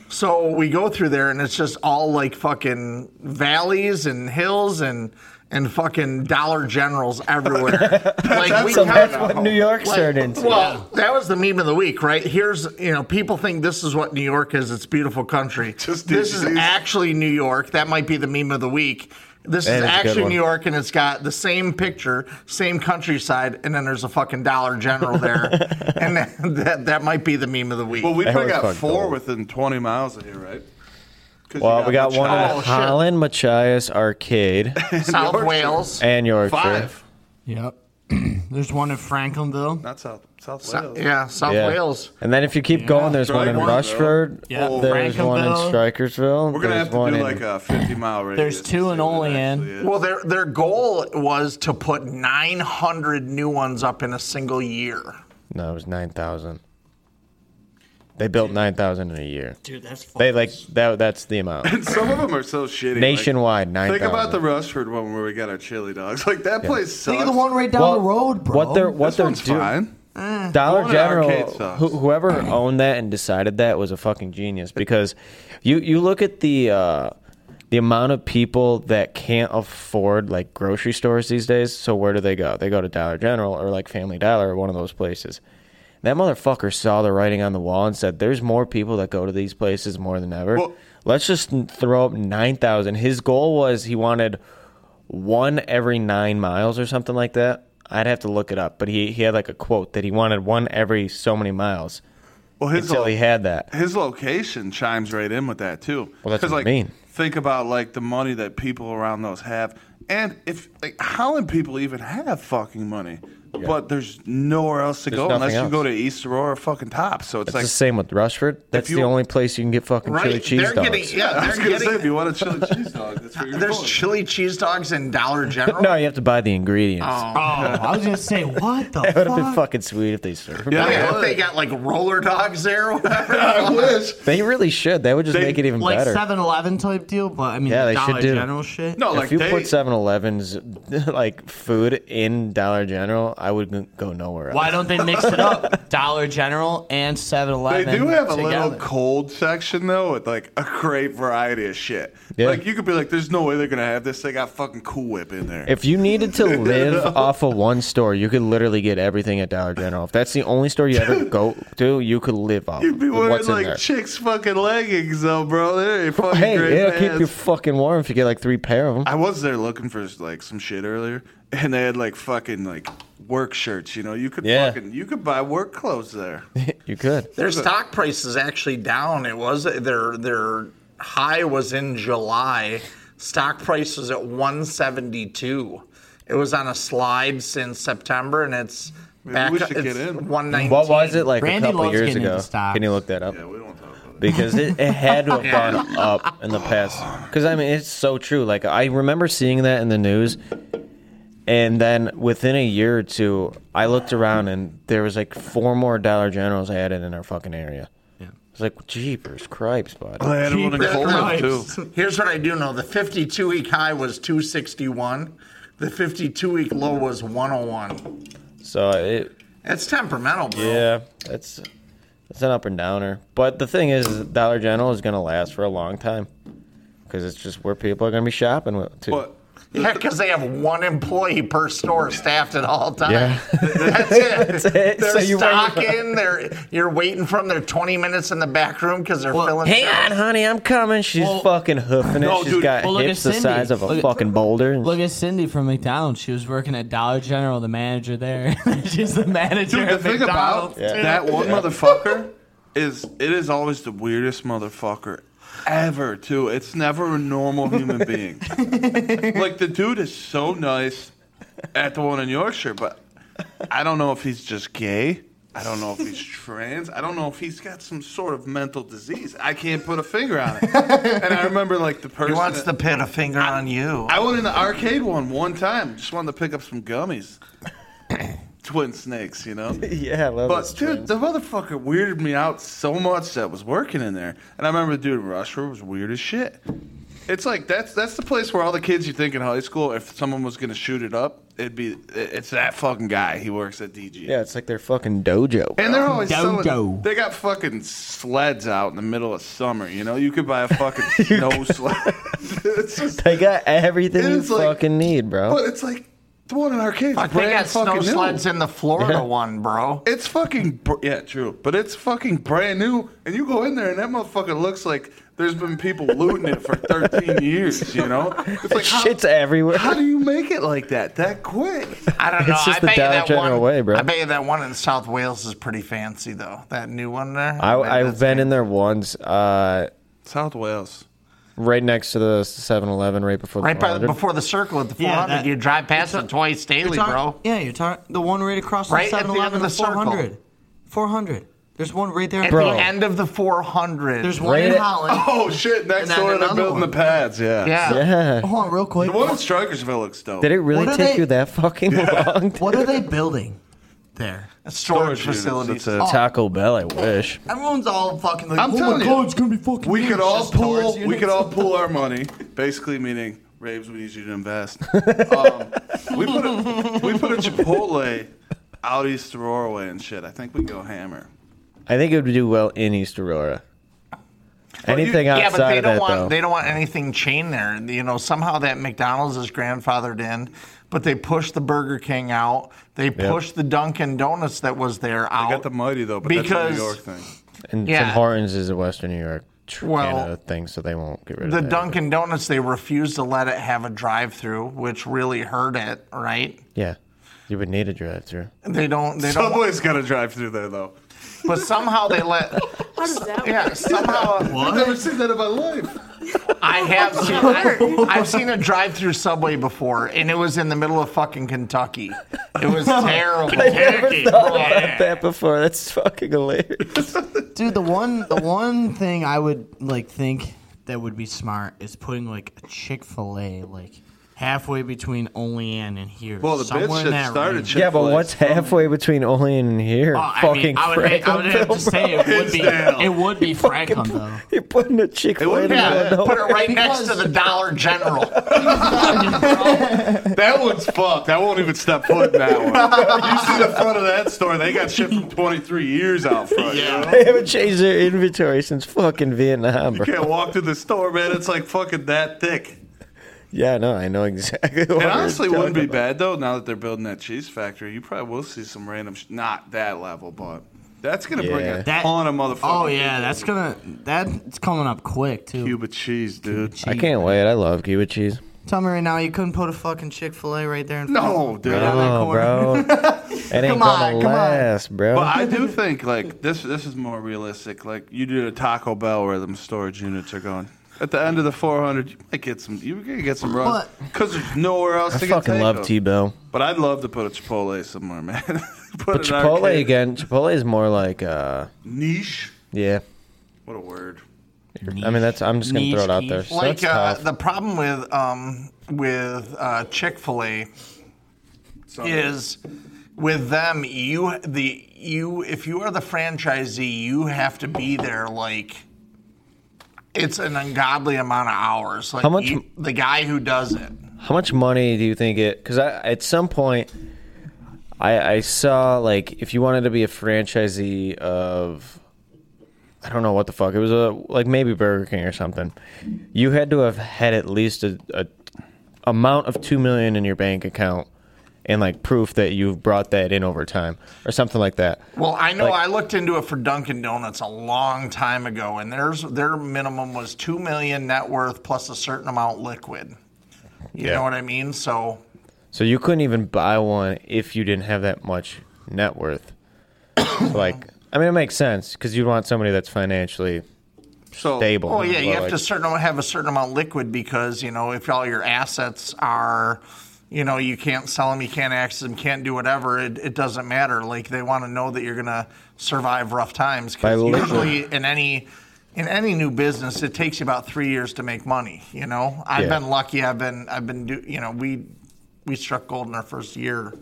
Speaker 1: So we go through there, and it's just all like fucking valleys and hills and and fucking Dollar Generals
Speaker 2: <laughs>
Speaker 1: everywhere. like we
Speaker 3: So <laughs> that's
Speaker 1: kinda-
Speaker 3: what New York's
Speaker 1: like,
Speaker 3: turned into.
Speaker 1: Well, that was the meme of the week, right? Here's you know people think this is what New York is. It's beautiful country.
Speaker 2: <laughs> Just
Speaker 1: this is
Speaker 2: disease.
Speaker 1: actually New York. That might be the meme of the week. This is
Speaker 3: That is a good
Speaker 1: actually
Speaker 3: one.
Speaker 1: New York, and it's got the same picture, same countryside, and then there's a fucking Dollar General
Speaker 3: <laughs>
Speaker 1: there, and that, that that might be the meme of the week.
Speaker 2: Well, we
Speaker 3: That
Speaker 2: probably
Speaker 3: was
Speaker 2: got
Speaker 3: fucking
Speaker 2: four
Speaker 3: gold.
Speaker 2: within 20 miles of here, right? 'Cause
Speaker 3: Well, we got one
Speaker 2: Machias.
Speaker 3: at Holland Machias Arcade
Speaker 2: <laughs>
Speaker 1: South Wales.
Speaker 3: and Yorkshire.
Speaker 2: Five.
Speaker 4: Yep.
Speaker 6: <clears throat> There's one in Franklinville.
Speaker 2: Not South South
Speaker 1: So-
Speaker 2: Wales.
Speaker 1: yeah, South
Speaker 3: Yeah.
Speaker 1: Wales.
Speaker 3: And then if you keep going, there's one in
Speaker 2: Strikersville.
Speaker 3: Rushford.
Speaker 6: Yeah,
Speaker 3: there's one in
Speaker 6: Frankenville.
Speaker 3: Strikersville.
Speaker 2: Oh. We're gonna
Speaker 3: there's
Speaker 2: have to
Speaker 3: one
Speaker 2: do
Speaker 3: in-
Speaker 2: like a 50 mile radius.
Speaker 6: There's
Speaker 2: to
Speaker 6: two
Speaker 2: see
Speaker 6: in
Speaker 2: what it
Speaker 6: Olean.
Speaker 2: actually is.
Speaker 1: Well, their their goal was to put 900 new ones up in a single year.
Speaker 3: No, it was nine thousand. They built nine thousand in a year.
Speaker 6: Dude, that's fucking
Speaker 3: They like that. That's
Speaker 2: <laughs>
Speaker 3: the
Speaker 2: <laughs>
Speaker 3: amount.
Speaker 2: Some of them are so shitty. like,
Speaker 3: Nationwide, nine.
Speaker 2: think about the Rushford one where we got our chili dogs. <laughs> Like that place sucks.
Speaker 6: Think of the one right down the road, bro.
Speaker 3: What they're what
Speaker 2: This
Speaker 3: they're
Speaker 2: one's
Speaker 3: doing.
Speaker 2: fine.
Speaker 3: Dollar
Speaker 2: Going to
Speaker 3: General,
Speaker 2: arcade sucks.
Speaker 3: who, whoever owned that and decided that was a fucking genius because you you look at the uh, the amount of people that can't afford like grocery stores these days. So where do they go? They go to Dollar General or like Family Dollar or one of those places. That motherfucker saw the writing on the wall and said, "There's more people that go to these places more than ever.
Speaker 2: Well-
Speaker 3: Let's just throw up nine thousand. His goal was he wanted one every nine miles or something like that. I'd have to look it up, but he, he had like a quote that he wanted one every so many miles
Speaker 2: Well, his
Speaker 3: until
Speaker 2: lo-
Speaker 3: he had that.
Speaker 2: his location chimes right in with that too.
Speaker 3: Well, that's
Speaker 2: 'Cause,
Speaker 3: what I
Speaker 2: like,
Speaker 3: mean.
Speaker 2: Think about like the money that people around those have, and if like Holland people even have fucking money, but there's nowhere else to
Speaker 3: There's
Speaker 2: go unless
Speaker 3: nothing
Speaker 2: you go
Speaker 3: else.
Speaker 2: to East Aurora or fucking Top. So it's
Speaker 3: It's
Speaker 2: like
Speaker 3: the same with Rushford. That's the
Speaker 2: you-
Speaker 3: only place you can get fucking chili
Speaker 1: Right?
Speaker 3: cheese
Speaker 1: they're
Speaker 3: dogs.
Speaker 1: getting yeah,
Speaker 2: <laughs> I was
Speaker 1: they're
Speaker 2: gonna say
Speaker 1: getting
Speaker 2: if you want a chili
Speaker 3: <laughs>
Speaker 2: cheese dog, that's where you're
Speaker 1: there's
Speaker 2: going.
Speaker 1: chili cheese dogs in
Speaker 2: <laughs>
Speaker 1: Dollar General.
Speaker 3: no, you have to buy the ingredients.
Speaker 6: oh, I was gonna say, what
Speaker 3: <laughs>
Speaker 6: the
Speaker 3: It would have been
Speaker 6: fuck?
Speaker 3: fucking sweet if they served. it.
Speaker 2: yeah,
Speaker 1: I
Speaker 2: I
Speaker 1: hope
Speaker 2: would.
Speaker 1: they got like roller dogs there or whatever.
Speaker 2: <laughs> I wish.
Speaker 3: They really should. That would just
Speaker 2: They-
Speaker 3: make it even
Speaker 6: like
Speaker 3: better.
Speaker 6: 7-Eleven type deal, but I mean,
Speaker 3: Yeah, they
Speaker 6: Dollar
Speaker 3: should do.
Speaker 6: General shit.
Speaker 2: No,
Speaker 3: if
Speaker 2: Oh, like
Speaker 3: you
Speaker 2: they,
Speaker 3: put 7-Eleven's <laughs> like food in Dollar General, I wouldn't go nowhere.
Speaker 6: Why don't
Speaker 3: else.
Speaker 6: they mix it up? <laughs> Dollar General and 7-Eleven.
Speaker 2: They do have a
Speaker 6: together.
Speaker 2: little cold section though, with like a great variety of shit.
Speaker 3: Yeah.
Speaker 2: Like you could be like, "There's no way they're gonna have this. They got fucking Cool Whip in there."
Speaker 3: If you needed
Speaker 2: <laughs>
Speaker 3: to live off of one store, you could literally get everything at Dollar General. If that's the only store you
Speaker 2: <laughs>
Speaker 3: ever go to, you could live off.
Speaker 2: You'd be
Speaker 3: of
Speaker 2: wearing
Speaker 3: what's in
Speaker 2: like
Speaker 3: there.
Speaker 2: chicks fucking leggings though, bro. They're a fucking
Speaker 3: Hey,
Speaker 2: great
Speaker 3: it'll keep
Speaker 2: pants.
Speaker 3: you fucking warm if you get like three pair of them.
Speaker 2: I was there looking for like some shit earlier, and they had like fucking like work shirts. You know, you could
Speaker 3: Yeah.
Speaker 2: fucking you could buy work clothes there.
Speaker 3: you could.
Speaker 1: Their stock price is actually down. It was their their high was in July. Stock price was at 172. It was on a slide since September, and it's
Speaker 2: Maybe
Speaker 1: back.
Speaker 2: we should
Speaker 1: it's
Speaker 2: get in.
Speaker 1: 119.
Speaker 3: What was it like
Speaker 6: Randy
Speaker 3: a couple
Speaker 6: loves
Speaker 3: years
Speaker 6: getting into
Speaker 3: ago?
Speaker 6: stocks.
Speaker 3: Can you look that up?
Speaker 2: yeah, we don't talk about it.
Speaker 3: Because it, it had to have gone up in the past. Because I mean, it's so true. Like I remember seeing that in the news, and then within a year or two, I looked around and there was like four more Dollar Generals added in our fucking area. Yeah, it's like jeepers, cripes, bud.
Speaker 2: They had one in
Speaker 1: Jesus
Speaker 2: Cleveland, too.
Speaker 6: Christ.
Speaker 1: <laughs> Here's what I do know: the 52 week high was 261. The 52 week low was 101.
Speaker 3: So it,
Speaker 1: It's temperamental, bro.
Speaker 3: yeah, that's that's an up and downer. But the thing is, is Dollar General is gonna last for a long time because it's just where people are gonna be shopping with. Too.
Speaker 2: But
Speaker 1: <laughs> Yeah, because they have one employee per store staffed at all times.
Speaker 3: <laughs> Yeah.
Speaker 1: That's it.
Speaker 3: it.
Speaker 1: They're
Speaker 3: So you're waiting for-
Speaker 1: stocking. They're you're waiting for them. They're 20 minutes in the back room because they're filling.
Speaker 3: Hang on,
Speaker 1: shelves.
Speaker 3: honey, I'm coming. She's
Speaker 6: Well-
Speaker 3: fucking hoofing it.
Speaker 2: No,
Speaker 3: She's
Speaker 2: dude.
Speaker 3: got
Speaker 6: Well, look
Speaker 3: hips
Speaker 6: at
Speaker 3: the size
Speaker 6: Cindy.
Speaker 3: of a
Speaker 6: Look at-
Speaker 3: fucking boulder. and-
Speaker 6: Look at Cindy from McDonald's. She was working at Dollar General, the manager
Speaker 4: <laughs>
Speaker 6: there. She's the manager
Speaker 2: Dude, the
Speaker 6: at
Speaker 2: thing about
Speaker 6: McDonald's.
Speaker 2: that one motherfucker is it is always the weirdest motherfucker ever too. It's never a normal
Speaker 1: <laughs>
Speaker 2: human being. like the dude is so nice at the one in Yorkshire, but I don't know if he's just gay. I don't know
Speaker 1: <laughs>
Speaker 2: if he's trans. I don't know if he's got some sort of mental disease. I can't put a finger on it. And I remember like the person
Speaker 1: He wants
Speaker 2: that-
Speaker 1: to pin a finger on you.
Speaker 2: I went in the arcade one one time. Just wanted to pick up some gummies.
Speaker 1: <coughs>
Speaker 2: Twin snakes, you know.
Speaker 3: yeah, I love
Speaker 2: But dude, the motherfucker weirded me out so much that was working in there. And I remember the dude in Rushford was weird as shit. It's like that's that's the place where all the kids you think in high school, if someone was gonna shoot it up, it'd be it- it's that fucking guy. He works at DG.
Speaker 3: yeah, it's like their fucking dojo.
Speaker 2: And they're always
Speaker 6: Dodo.
Speaker 2: selling. They got fucking sleds out in the middle of summer. You know, you could buy a fucking snow sled. <laughs> it's just,
Speaker 3: They got everything you
Speaker 2: It's like-
Speaker 3: fucking need, bro.
Speaker 2: but it's like the one in arcades.
Speaker 1: Fuck, they
Speaker 2: brand
Speaker 1: got snow
Speaker 2: fucking new.
Speaker 1: sleds in the Florida one, bro.
Speaker 2: It's fucking br- yeah, true, but it's fucking brand new, and you go in there and that motherfucker looks like there's been people looting it for 13 years. You know, it's like how,
Speaker 3: Shit's everywhere.
Speaker 2: how do you make it like that that quick?
Speaker 1: I don't know.
Speaker 3: just
Speaker 1: I
Speaker 3: the
Speaker 1: bet you
Speaker 3: Dollar
Speaker 1: that one,
Speaker 3: General way, bro.
Speaker 1: I bet you that one in South Wales is pretty fancy though. That new one there.
Speaker 3: I,
Speaker 1: bet
Speaker 3: I've
Speaker 1: that's
Speaker 3: been
Speaker 1: fancy.
Speaker 3: in there once. Uh,
Speaker 2: South Wales.
Speaker 3: right next to the 7-Eleven, right before the
Speaker 1: Right by,
Speaker 3: 400.
Speaker 1: before the circle at the 400,
Speaker 4: Yeah, that-
Speaker 1: you drive past the Toy Staley,
Speaker 4: Talk-
Speaker 1: bro.
Speaker 4: Yeah, you're talking the one right across
Speaker 1: Right at the end
Speaker 4: from 7 Eleven
Speaker 1: of the
Speaker 4: and
Speaker 1: circle.
Speaker 4: 400. 400. There's one right there.
Speaker 1: At
Speaker 3: Bro.
Speaker 1: the end of the 400.
Speaker 4: There's one
Speaker 3: Right
Speaker 4: in
Speaker 3: at-
Speaker 4: Holland.
Speaker 2: Oh shit! Next
Speaker 4: And then
Speaker 2: door, they're
Speaker 4: another
Speaker 2: building
Speaker 4: one.
Speaker 2: the pads. Yeah.
Speaker 1: yeah.
Speaker 3: Yeah.
Speaker 4: <laughs> Hold on, real quick.
Speaker 2: The one in Strikersville looks dope.
Speaker 3: Did it really
Speaker 4: Oh, What are
Speaker 3: take
Speaker 4: they-
Speaker 3: you that fucking long?
Speaker 4: What are they building there?
Speaker 1: storage,
Speaker 2: units,
Speaker 1: facilities.
Speaker 4: Oh,
Speaker 2: that's it.
Speaker 3: Taco Bell, I wish.
Speaker 4: Everyone's all fucking like,
Speaker 2: I'm
Speaker 4: oh
Speaker 2: telling
Speaker 4: my
Speaker 2: you,
Speaker 4: god, it's gonna be fucking.
Speaker 2: We
Speaker 4: huge.
Speaker 2: could all
Speaker 4: Just storage
Speaker 2: pool. We
Speaker 4: units.
Speaker 2: could all pool our money. Basically, meaning Raves, we need you to <laughs> invest. um, we put a, we put a Chipotle out east Roraway and shit. I think we go hammer.
Speaker 3: I think it would do well in East Aurora. Anything
Speaker 1: Oh, yeah, but
Speaker 3: outside
Speaker 1: they
Speaker 3: of
Speaker 1: don't
Speaker 3: that,
Speaker 1: want
Speaker 3: though.
Speaker 1: they don't want anything chain there. And, You know, somehow that McDonald's is grandfathered in, but they pushed the Burger King out. They pushed the Dunkin' Donuts that was there out.
Speaker 2: I got the mighty though, but that's a
Speaker 1: Because-
Speaker 2: New York thing.
Speaker 3: and
Speaker 1: yeah.
Speaker 3: Tim Hortons is a Western New York tr-
Speaker 1: Well,
Speaker 3: Canada thing, so they won't get rid
Speaker 1: the
Speaker 3: of that.
Speaker 1: Dunkin' Donuts. They refused to let it have a drive-through, which really hurt it. Right?
Speaker 3: Yeah. You would need a drive through.
Speaker 1: They don't. They don't.
Speaker 2: Subway's got to drive through there though.
Speaker 1: But somehow they let.
Speaker 5: How does that work?
Speaker 1: Yeah, somehow
Speaker 2: Uh, I've never seen that in my life.
Speaker 1: I have seen. I, I've seen a drive-through Subway before, and it was in the middle of fucking Kentucky. It was terrible. Kentucky. Yeah.
Speaker 3: That before. That's fucking hilarious.
Speaker 4: Dude, the one, the one thing I would like think that would be smart is putting like a Chick Fil A like halfway between Olean and here.
Speaker 2: Well, the
Speaker 4: somewhere
Speaker 2: bitch that
Speaker 4: in that
Speaker 2: started.
Speaker 4: range.
Speaker 2: Chick-fil-A.
Speaker 3: Yeah, but what's halfway between Olean and here?
Speaker 4: Oh, I
Speaker 3: fucking
Speaker 4: mean, I would, I would have to say it would be,
Speaker 2: Hinsdale.
Speaker 4: it would be Franklin though.
Speaker 3: <laughs> You're putting a chick fil
Speaker 2: would
Speaker 3: A
Speaker 2: be
Speaker 1: Yeah, put it
Speaker 3: <laughs>
Speaker 1: right next to
Speaker 4: Because-
Speaker 1: the Dollar General.
Speaker 2: That one's fucked. I won't even step foot in that one. You see the front of that store? They got shit from 23 years out front. Yeah.
Speaker 3: They haven't changed their inventory since fucking Vietnam, bro.
Speaker 2: Can't walk through the store, man. It's like fucking that thick.
Speaker 3: Yeah, no, I know exactly. What
Speaker 2: It
Speaker 3: you're
Speaker 2: honestly wouldn't be
Speaker 3: talking about.
Speaker 2: bad though. Now that they're building that cheese factory, you probably will see some random, sh- not that level, but that's gonna bring
Speaker 3: Yeah.
Speaker 2: a
Speaker 4: That-
Speaker 2: ton of motherfuckers.
Speaker 4: Oh yeah, that's gonna that's coming up quick too.
Speaker 2: Cuba cheese, dude.
Speaker 3: I can't wait. I love Cuba cheese.
Speaker 4: Tell me right now, you couldn't put a fucking Chick Fil A right there in front.
Speaker 2: No, dude.
Speaker 4: Right on that
Speaker 3: Oh,
Speaker 4: corner.
Speaker 3: bro. <laughs> It ain't
Speaker 4: Come on,
Speaker 3: gonna
Speaker 4: come on.
Speaker 3: last, bro.
Speaker 2: But I do think like this. This is more realistic. Like you do a Taco Bell where them storage units are going. At the end of the 400, you might get some. You're gonna get some runs because there's nowhere else
Speaker 3: I
Speaker 2: to get
Speaker 3: fucking love
Speaker 2: tacos.
Speaker 3: T-Bell.
Speaker 2: But I'd love to put a Chipotle somewhere, man. <laughs> put
Speaker 3: But
Speaker 2: an
Speaker 3: Chipotle
Speaker 2: arcade-
Speaker 3: again. Chipotle is more like, uh,
Speaker 2: niche.
Speaker 3: yeah.
Speaker 2: What a word.
Speaker 3: I mean, that's. I'm just gonna throw it out there. So
Speaker 1: like
Speaker 3: that's
Speaker 1: uh,
Speaker 3: tough.
Speaker 1: the problem with um, with uh, Chick Fil A is with them you the you if you are the franchisee you have to be there like it's an ungodly amount of hours. Like
Speaker 3: How much-
Speaker 1: you- the guy who does it.
Speaker 3: How much money do you think it? Because I at some point, I I saw like if you wanted to be a franchisee of, I don't know what the fuck it was a like maybe Burger King or something, you had to have had at least a, a amount of two million in your bank account. And like proof that you've brought that in over time, or something like that.
Speaker 1: Well, I know I looked into it for Dunkin' Donuts a long time ago, and theirs their minimum was two million net worth plus a certain amount liquid. You
Speaker 3: Yeah.
Speaker 1: know what I mean? So
Speaker 3: So you couldn't even buy one if you didn't have that much net worth. <coughs> So, like, I mean, it makes sense because you'd want somebody that's financially
Speaker 2: So
Speaker 3: stable.
Speaker 1: Well, oh, yeah, you
Speaker 3: but,
Speaker 1: have
Speaker 3: like,
Speaker 1: to certain have a certain amount liquid because you know if all your assets are, you know, you can't sell them, you can't access them, can't do whatever. It, it doesn't matter. Like they want to know that you're gonna survive rough times
Speaker 3: By
Speaker 1: because
Speaker 3: liquid.
Speaker 1: usually in any in any new business it takes you about three years to make money. You know, I've
Speaker 3: Yeah.
Speaker 1: been lucky. I've been I've been do you know we we struck gold in our first year.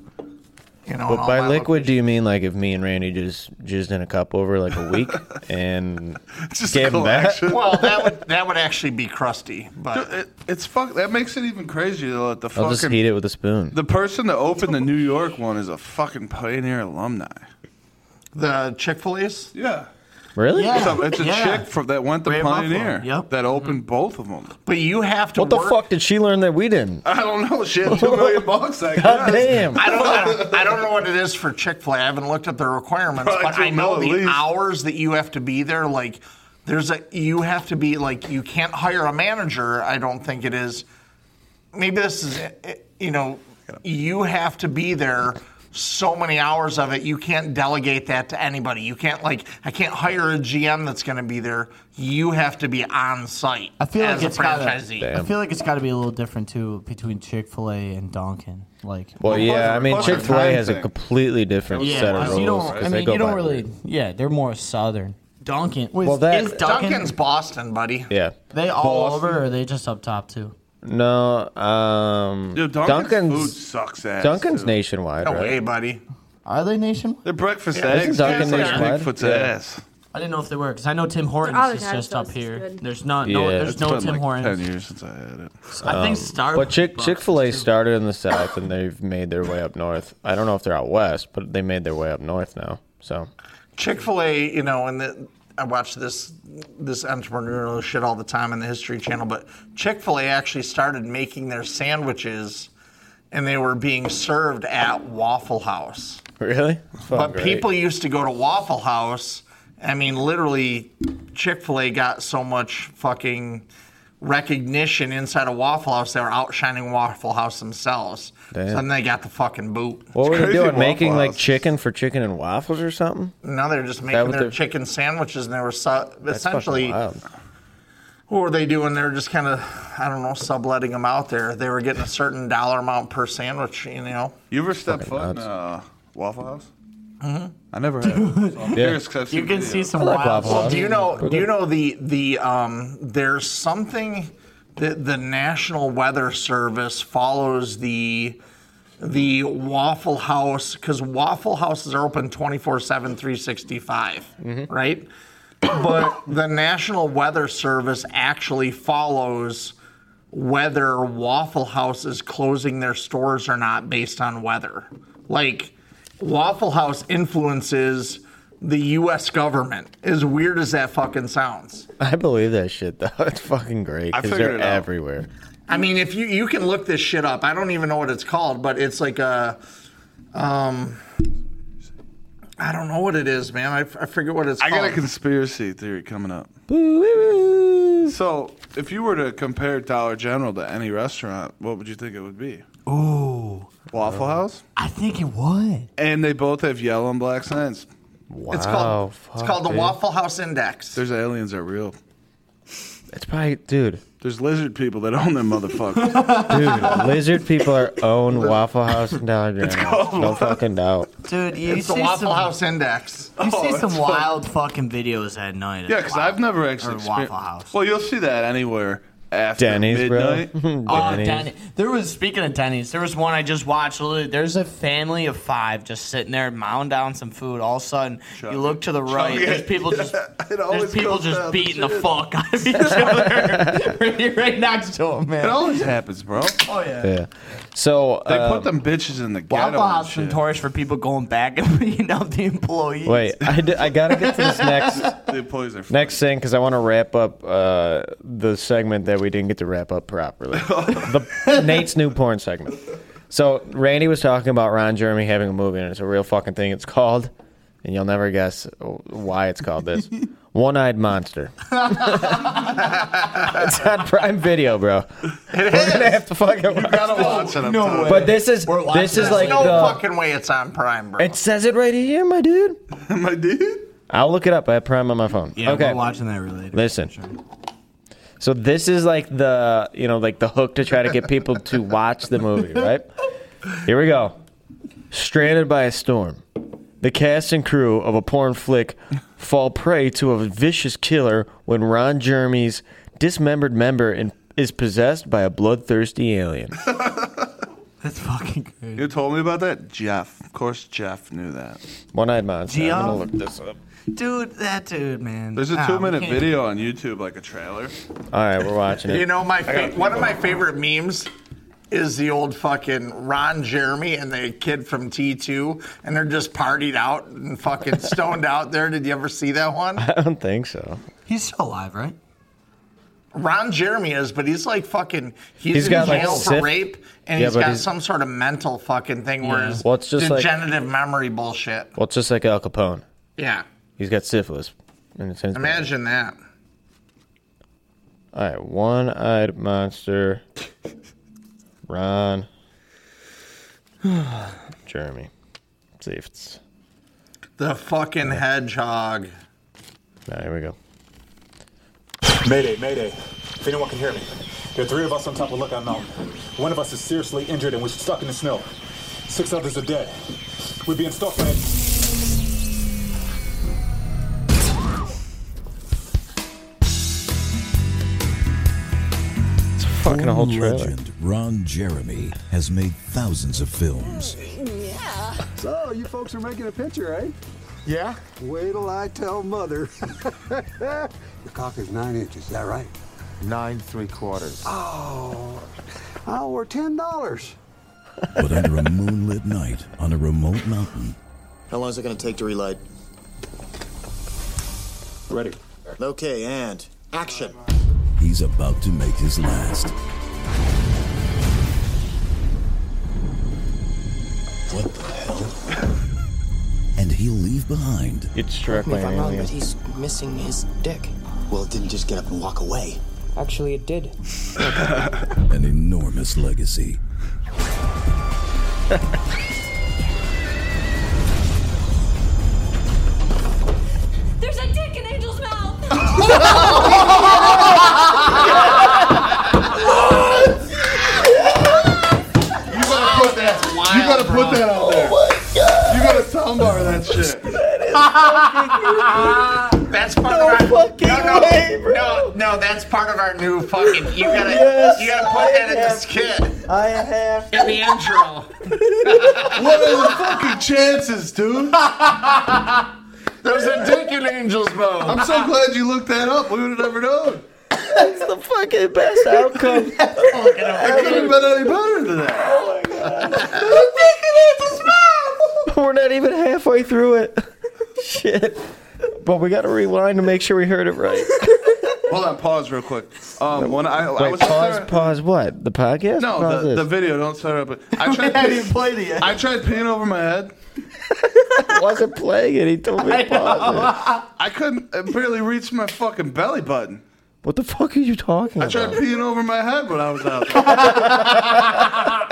Speaker 1: You know, in
Speaker 3: But
Speaker 1: all
Speaker 3: by
Speaker 1: my
Speaker 3: liquid, do you mean like if me and Randy just jizzed in a cup over like a week and
Speaker 2: <laughs> Just
Speaker 3: gave him that?
Speaker 2: collection.
Speaker 1: Well, that would that would actually be crusty, but.
Speaker 2: It, it's fuck. That makes it even crazier though. that The
Speaker 3: I'll just
Speaker 2: fucking
Speaker 3: heat it with a spoon.
Speaker 2: the person that opened the New York one is a fucking Pioneer alumni.
Speaker 1: The Chick Fil A's,
Speaker 2: Yeah.
Speaker 3: really?
Speaker 4: Yeah.
Speaker 2: So it's a
Speaker 4: Yeah.
Speaker 2: chick from that went to
Speaker 4: Ray Buffalo,
Speaker 2: Pioneer
Speaker 4: yep.
Speaker 2: that opened both of them.
Speaker 1: but you have to
Speaker 3: What the
Speaker 1: work.
Speaker 3: fuck did she learn that we didn't?
Speaker 2: <laughs> I don't know <laughs> shit. Two million bucks. I
Speaker 3: God
Speaker 2: guess.
Speaker 3: damn.
Speaker 1: I don't, I don't. I don't know what it is for Chick Fil A. I haven't looked up the requirements,
Speaker 2: Probably
Speaker 1: but
Speaker 2: two
Speaker 1: I know
Speaker 2: mil at
Speaker 1: the
Speaker 2: least.
Speaker 1: hours that you have to be there. Like, there's a you have to be like you can't hire a manager. I don't think eh, it is. Maybe this is you know you have to be there so many hours of it, you can't delegate that to anybody. You can't like I can't hire a GM that's going to be there. You have to be on site
Speaker 4: I feel
Speaker 1: as
Speaker 4: like it's
Speaker 1: a
Speaker 4: gotta-
Speaker 1: franchisee.
Speaker 4: I feel like it's got to be a little different too between Chick Fil A and Dunkin'. Like,
Speaker 3: Well, yeah, I mean,
Speaker 2: plus the
Speaker 3: Chick Fil A
Speaker 2: time
Speaker 3: has a
Speaker 2: thing.
Speaker 3: completely different set of rules.
Speaker 4: you don't.
Speaker 3: 'cause
Speaker 4: I
Speaker 3: they
Speaker 4: mean,
Speaker 3: go
Speaker 4: you don't
Speaker 3: by-
Speaker 4: really. Yeah, they're more southern. Dunkin'. Wait,
Speaker 3: Well,
Speaker 4: is-
Speaker 3: that-
Speaker 4: is Dunkin',
Speaker 1: Duncan's Boston, buddy.
Speaker 3: Yeah,
Speaker 4: they all
Speaker 2: Boston.
Speaker 4: over, or are they just up top too?
Speaker 3: no, um,
Speaker 2: Dude, Dunkin's, food
Speaker 3: Duncan's
Speaker 2: sucks ass.
Speaker 3: Duncan's
Speaker 2: dude.
Speaker 3: nationwide,
Speaker 1: No
Speaker 3: right?
Speaker 1: way, buddy.
Speaker 4: Are they nationwide?
Speaker 2: Their breakfast
Speaker 1: Yeah,
Speaker 2: eggs.
Speaker 3: isn't
Speaker 2: tastes
Speaker 3: Dunkin'
Speaker 2: like
Speaker 3: nationwide?
Speaker 2: Bigfoot's
Speaker 3: Yeah.
Speaker 2: ass.
Speaker 4: I didn't know if they were because I know Tim
Speaker 5: All
Speaker 4: Hortons
Speaker 5: the
Speaker 4: is
Speaker 5: time
Speaker 4: just
Speaker 5: sauce
Speaker 4: up
Speaker 5: is
Speaker 4: here.
Speaker 5: good.
Speaker 4: There's not. No,
Speaker 3: Yeah.
Speaker 4: there's
Speaker 2: It's
Speaker 4: no
Speaker 2: been
Speaker 4: Tim
Speaker 2: like
Speaker 4: Hortons.
Speaker 2: Ten years since I had it.
Speaker 4: I think Starbucks.
Speaker 3: Um, But Chick Chick Fil A started in the south and they've made their way up north. I don't know if they're out west, but they made their way up north now. So
Speaker 1: Chick Fil A, you know, and the, I watch this this entrepreneurial shit all the time on the History Channel. But Chick Fil A actually started making their sandwiches, and they were being served at Waffle House.
Speaker 3: really,
Speaker 1: But people used to go to Waffle House. I mean, literally, Chick Fil A got so much fucking recognition inside of Waffle House they were outshining Waffle House themselves.
Speaker 3: Damn.
Speaker 1: So then they got the fucking boot.
Speaker 3: What were they
Speaker 2: crazy
Speaker 3: doing?
Speaker 2: Waffle
Speaker 3: Making like
Speaker 2: Houses.
Speaker 3: chicken for chicken and waffles or something?
Speaker 1: Now they're just
Speaker 3: that
Speaker 1: making
Speaker 3: what
Speaker 1: their
Speaker 3: they're-
Speaker 1: chicken sandwiches, and they were su-
Speaker 3: That's fucking
Speaker 1: essentially.
Speaker 3: wild.
Speaker 1: what were they doing? They were just kind of, I don't know, subletting them out there. They were getting a certain dollar amount per sandwich, you know.
Speaker 2: You ever step foot in a Waffle House? Mm-hmm. I never have. So
Speaker 3: <laughs>
Speaker 2: I'm curious 'cause I've
Speaker 4: You
Speaker 2: seen
Speaker 4: can
Speaker 2: videos.
Speaker 4: see some
Speaker 3: I like
Speaker 4: wild.
Speaker 3: Waffle House.
Speaker 1: Do you know? Do you know the the um? There's something that the National Weather Service follows the the Waffle House because Waffle Houses are open 24 7, 365, right? But the National Weather Service actually follows whether Waffle House is closing their stores or not based on weather. Like, Waffle House influences the U.S. government, as weird as that fucking sounds.
Speaker 3: I believe that shit though. <laughs> It's fucking great
Speaker 2: I
Speaker 3: because
Speaker 2: figured
Speaker 3: they're
Speaker 2: it out.
Speaker 3: everywhere.
Speaker 1: I mean, if you you can look this shit up, I don't even know what it's called, but it's like a, um, I don't know what it is, man. I, f- I forget what it's
Speaker 2: I
Speaker 1: called.
Speaker 2: got a conspiracy theory coming up. So, if you were to compare Dollar General to any restaurant, what would you think it would be?
Speaker 4: Ooh,
Speaker 2: Waffle House?
Speaker 4: I think it would.
Speaker 2: And they both have yellow and black signs.
Speaker 3: Wow,
Speaker 1: it's called it's
Speaker 3: fuck,
Speaker 1: called the
Speaker 3: dude.
Speaker 1: Waffle House Index.
Speaker 2: There's aliens that are real.
Speaker 3: It's probably dude,
Speaker 2: There's lizard people that own them
Speaker 4: <laughs>
Speaker 2: motherfuckers.
Speaker 1: <laughs>
Speaker 3: dude. lizard people are own Waffle House and Dollar General. No
Speaker 1: <laughs>
Speaker 3: fucking doubt.
Speaker 4: Dude, you
Speaker 1: It's the
Speaker 4: see
Speaker 1: Waffle
Speaker 4: some,
Speaker 1: House Index. <laughs>
Speaker 4: you see some wild fucking videos at night.
Speaker 2: yeah, because I've never actually
Speaker 4: Or Waffle
Speaker 2: experienced-
Speaker 4: House.
Speaker 2: Well, you'll see that anywhere after
Speaker 3: Denny's, bro.
Speaker 2: midnight.
Speaker 3: <laughs>
Speaker 4: Oh,
Speaker 3: Denny's.
Speaker 4: Denny. There was speaking of Denny's. There was one I just watched. Literally, there's a family of five just sitting there, mowing down some food. All of a sudden, you look to the right.
Speaker 2: it.
Speaker 4: There's people just.
Speaker 2: <laughs> It
Speaker 4: There's
Speaker 2: always
Speaker 4: people
Speaker 2: goes down
Speaker 4: just
Speaker 2: to
Speaker 4: beating the
Speaker 2: shit.
Speaker 4: fuck out of each other <laughs> right, right next to them,
Speaker 2: It
Speaker 4: man.
Speaker 2: always happens, bro.
Speaker 4: Oh yeah.
Speaker 3: Yeah. So
Speaker 2: They
Speaker 3: um,
Speaker 2: put them bitches in the ghetto.
Speaker 4: Waffle
Speaker 2: and
Speaker 4: House
Speaker 2: shit.
Speaker 4: notorious for people going back and <laughs> beating up the employees.
Speaker 3: Wait, I, d- I gotta get to this next <laughs>
Speaker 2: The employees are
Speaker 3: next thing because I want to wrap up uh, the segment that we didn't get to wrap up
Speaker 1: <laughs>
Speaker 3: properly. the Nate's new porn segment. So Randy was talking about Ron Jeremy having a movie, and it's a real fucking thing. It's called, and you'll never guess why it's called
Speaker 1: <laughs>
Speaker 3: this. One-eyed monster. it's on Prime Video, bro. We're gonna have to fucking watch this.
Speaker 2: no <laughs>
Speaker 3: But this is this is like
Speaker 1: no
Speaker 3: the-
Speaker 1: fucking way it's on Prime, bro.
Speaker 3: it says it right here, my dude.
Speaker 2: My dude.
Speaker 3: I'll look it up. I have Prime on my phone.
Speaker 4: Yeah,
Speaker 3: okay.
Speaker 4: we're watching that related.
Speaker 3: Listen. So this is like the you know like the hook to try to get
Speaker 1: <laughs>
Speaker 3: people to watch the movie, right? Here we go. Stranded by a storm, the cast and crew of a porn flick fall prey to a vicious killer when Ron Jeremy's dismembered member in, is possessed by a bloodthirsty
Speaker 1: <laughs>
Speaker 3: alien.
Speaker 4: That's fucking good.
Speaker 2: You told me about that? Jeff. Of course, Jeff knew that.
Speaker 3: One-eyed monster. I'm gonna look this up.
Speaker 4: Dude, that dude, man.
Speaker 2: There's a
Speaker 4: Ah,
Speaker 2: two
Speaker 4: we
Speaker 2: minute
Speaker 4: can't-
Speaker 2: video on YouTube, like a trailer.
Speaker 3: All right, we're
Speaker 1: <laughs>
Speaker 3: watching
Speaker 1: You
Speaker 3: it.
Speaker 1: know, my fa- one of my favorite memes is the old fucking Ron Jeremy and the kid from T2, and they're just partied out and
Speaker 3: <laughs>
Speaker 1: fucking stoned out there. Did you ever see that one?
Speaker 3: I don't think so.
Speaker 4: He's still alive, right?
Speaker 1: Ron Jeremy is, but he's like fucking. He's,
Speaker 3: He's
Speaker 1: in
Speaker 3: got, like,
Speaker 1: jail for
Speaker 3: Sith-
Speaker 1: rape, and
Speaker 3: Yeah,
Speaker 1: he's
Speaker 3: but
Speaker 1: got
Speaker 3: he's-
Speaker 1: some sort of mental fucking thing where his
Speaker 3: Well, it's just like-
Speaker 1: degenerative memory bullshit.
Speaker 3: Well, it's just like Al Capone.
Speaker 1: Yeah,
Speaker 3: He's got syphilis. And it's All
Speaker 1: imagine that.
Speaker 3: right, one-eyed monster. Ron. <sighs> Jeremy. see if it's.
Speaker 10: The fucking hedgehog.
Speaker 3: No, here we go.
Speaker 11: Mayday, mayday. If anyone can hear me, there are three of us on top of Lookout Mountain. One of us is seriously injured and we're stuck in the snow. Six others are dead. We're being stalked by a
Speaker 3: It's fucking a whole
Speaker 9: Film
Speaker 3: trailer.
Speaker 9: Legend Ron Jeremy has made thousands of films.
Speaker 12: So, Oh, you folks are making a picture, eh?
Speaker 9: Yeah?
Speaker 12: Wait till I tell mother. the cock is nine inches, is that right?
Speaker 4: Nine three quarters.
Speaker 12: Oh, oh, we're $10.
Speaker 9: But under a moonlit night on a remote mountain,
Speaker 4: How long is it going to take to relight? Ready. Okay, and action.
Speaker 9: he's about to make his last. What the hell? And he'll leave behind.
Speaker 3: It's struck
Speaker 13: If I'm wrong, but he's missing his dick.
Speaker 4: Well, it didn't just get up and walk away.
Speaker 13: Actually, it did.
Speaker 9: an enormous legacy.
Speaker 7: There's a dick in Angel's mouth!
Speaker 2: You gotta put that. you gotta put that out there. You gotta soundbar that shit.
Speaker 14: That's part no of our fucking no, no, no, no, that's part of our new fucking. You
Speaker 3: <laughs>
Speaker 14: gotta, you gotta put that in the skit.
Speaker 2: I have.
Speaker 14: In the intro.
Speaker 2: What are the fucking chances, dude? <laughs> There's a dick in Angel's mouth. I'm so glad you looked that up. We would have never known.
Speaker 3: That's the fucking
Speaker 2: <laughs>
Speaker 3: best outcome.
Speaker 2: It couldn't have been any better than that.
Speaker 3: We're not even halfway through it. Shit. But we gotta rewind to make sure we heard it right.
Speaker 2: Hold on, pause real quick. Um, when I, I
Speaker 3: Wait,
Speaker 2: was
Speaker 3: pause, pause. What? The podcast?
Speaker 2: No,
Speaker 3: Pause
Speaker 2: the,
Speaker 3: this.
Speaker 2: the video. Don't start up. but <laughs> I tried.
Speaker 3: I didn't
Speaker 2: play the I tried peeing over my head.
Speaker 3: wasn't playing it. He told me to pause it.
Speaker 2: I couldn't I barely reach my fucking belly button.
Speaker 3: What the fuck are you talking
Speaker 2: I
Speaker 3: about? <laughs>
Speaker 2: tried peeing over my head when I was out <laughs> there. and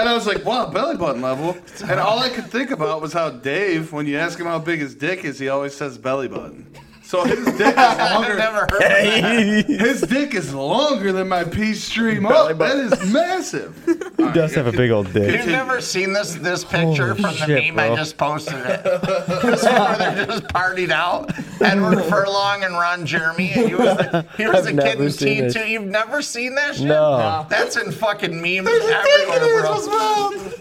Speaker 2: I was like, wow, belly button level. And all I could think about was how Dave, when you ask him how big his dick is, he always says belly button. So his dick <laughs> is longer. his dick is longer than my pee stream up. That is <laughs> massive.
Speaker 3: He does have a big old
Speaker 1: You've
Speaker 3: dick.
Speaker 1: never seen this this picture
Speaker 3: Holy
Speaker 1: from the
Speaker 3: shit,
Speaker 1: meme
Speaker 3: bro.
Speaker 1: I just posted it. this is where they're just partied out. Edward Furlong and Ron Jeremy, and he was the, he was
Speaker 3: I've
Speaker 1: the kid
Speaker 3: never
Speaker 1: in
Speaker 3: seen
Speaker 1: T
Speaker 3: this.
Speaker 1: two. You've never seen that shit?
Speaker 3: No. No.
Speaker 1: That's in fucking memes everywhere, bro.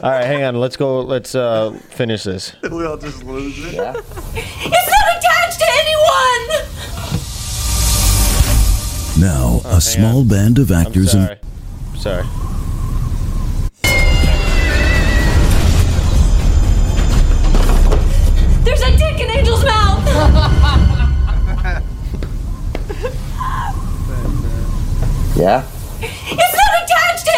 Speaker 3: All right, hang on. Let's go. Let's uh, finish this.
Speaker 2: we all just lose it.
Speaker 7: It's not attached to anyone!
Speaker 9: Now, a small band of actors and
Speaker 3: Sorry.
Speaker 7: There's a dick in Angel's mouth!
Speaker 4: Yeah?
Speaker 7: it's not attached to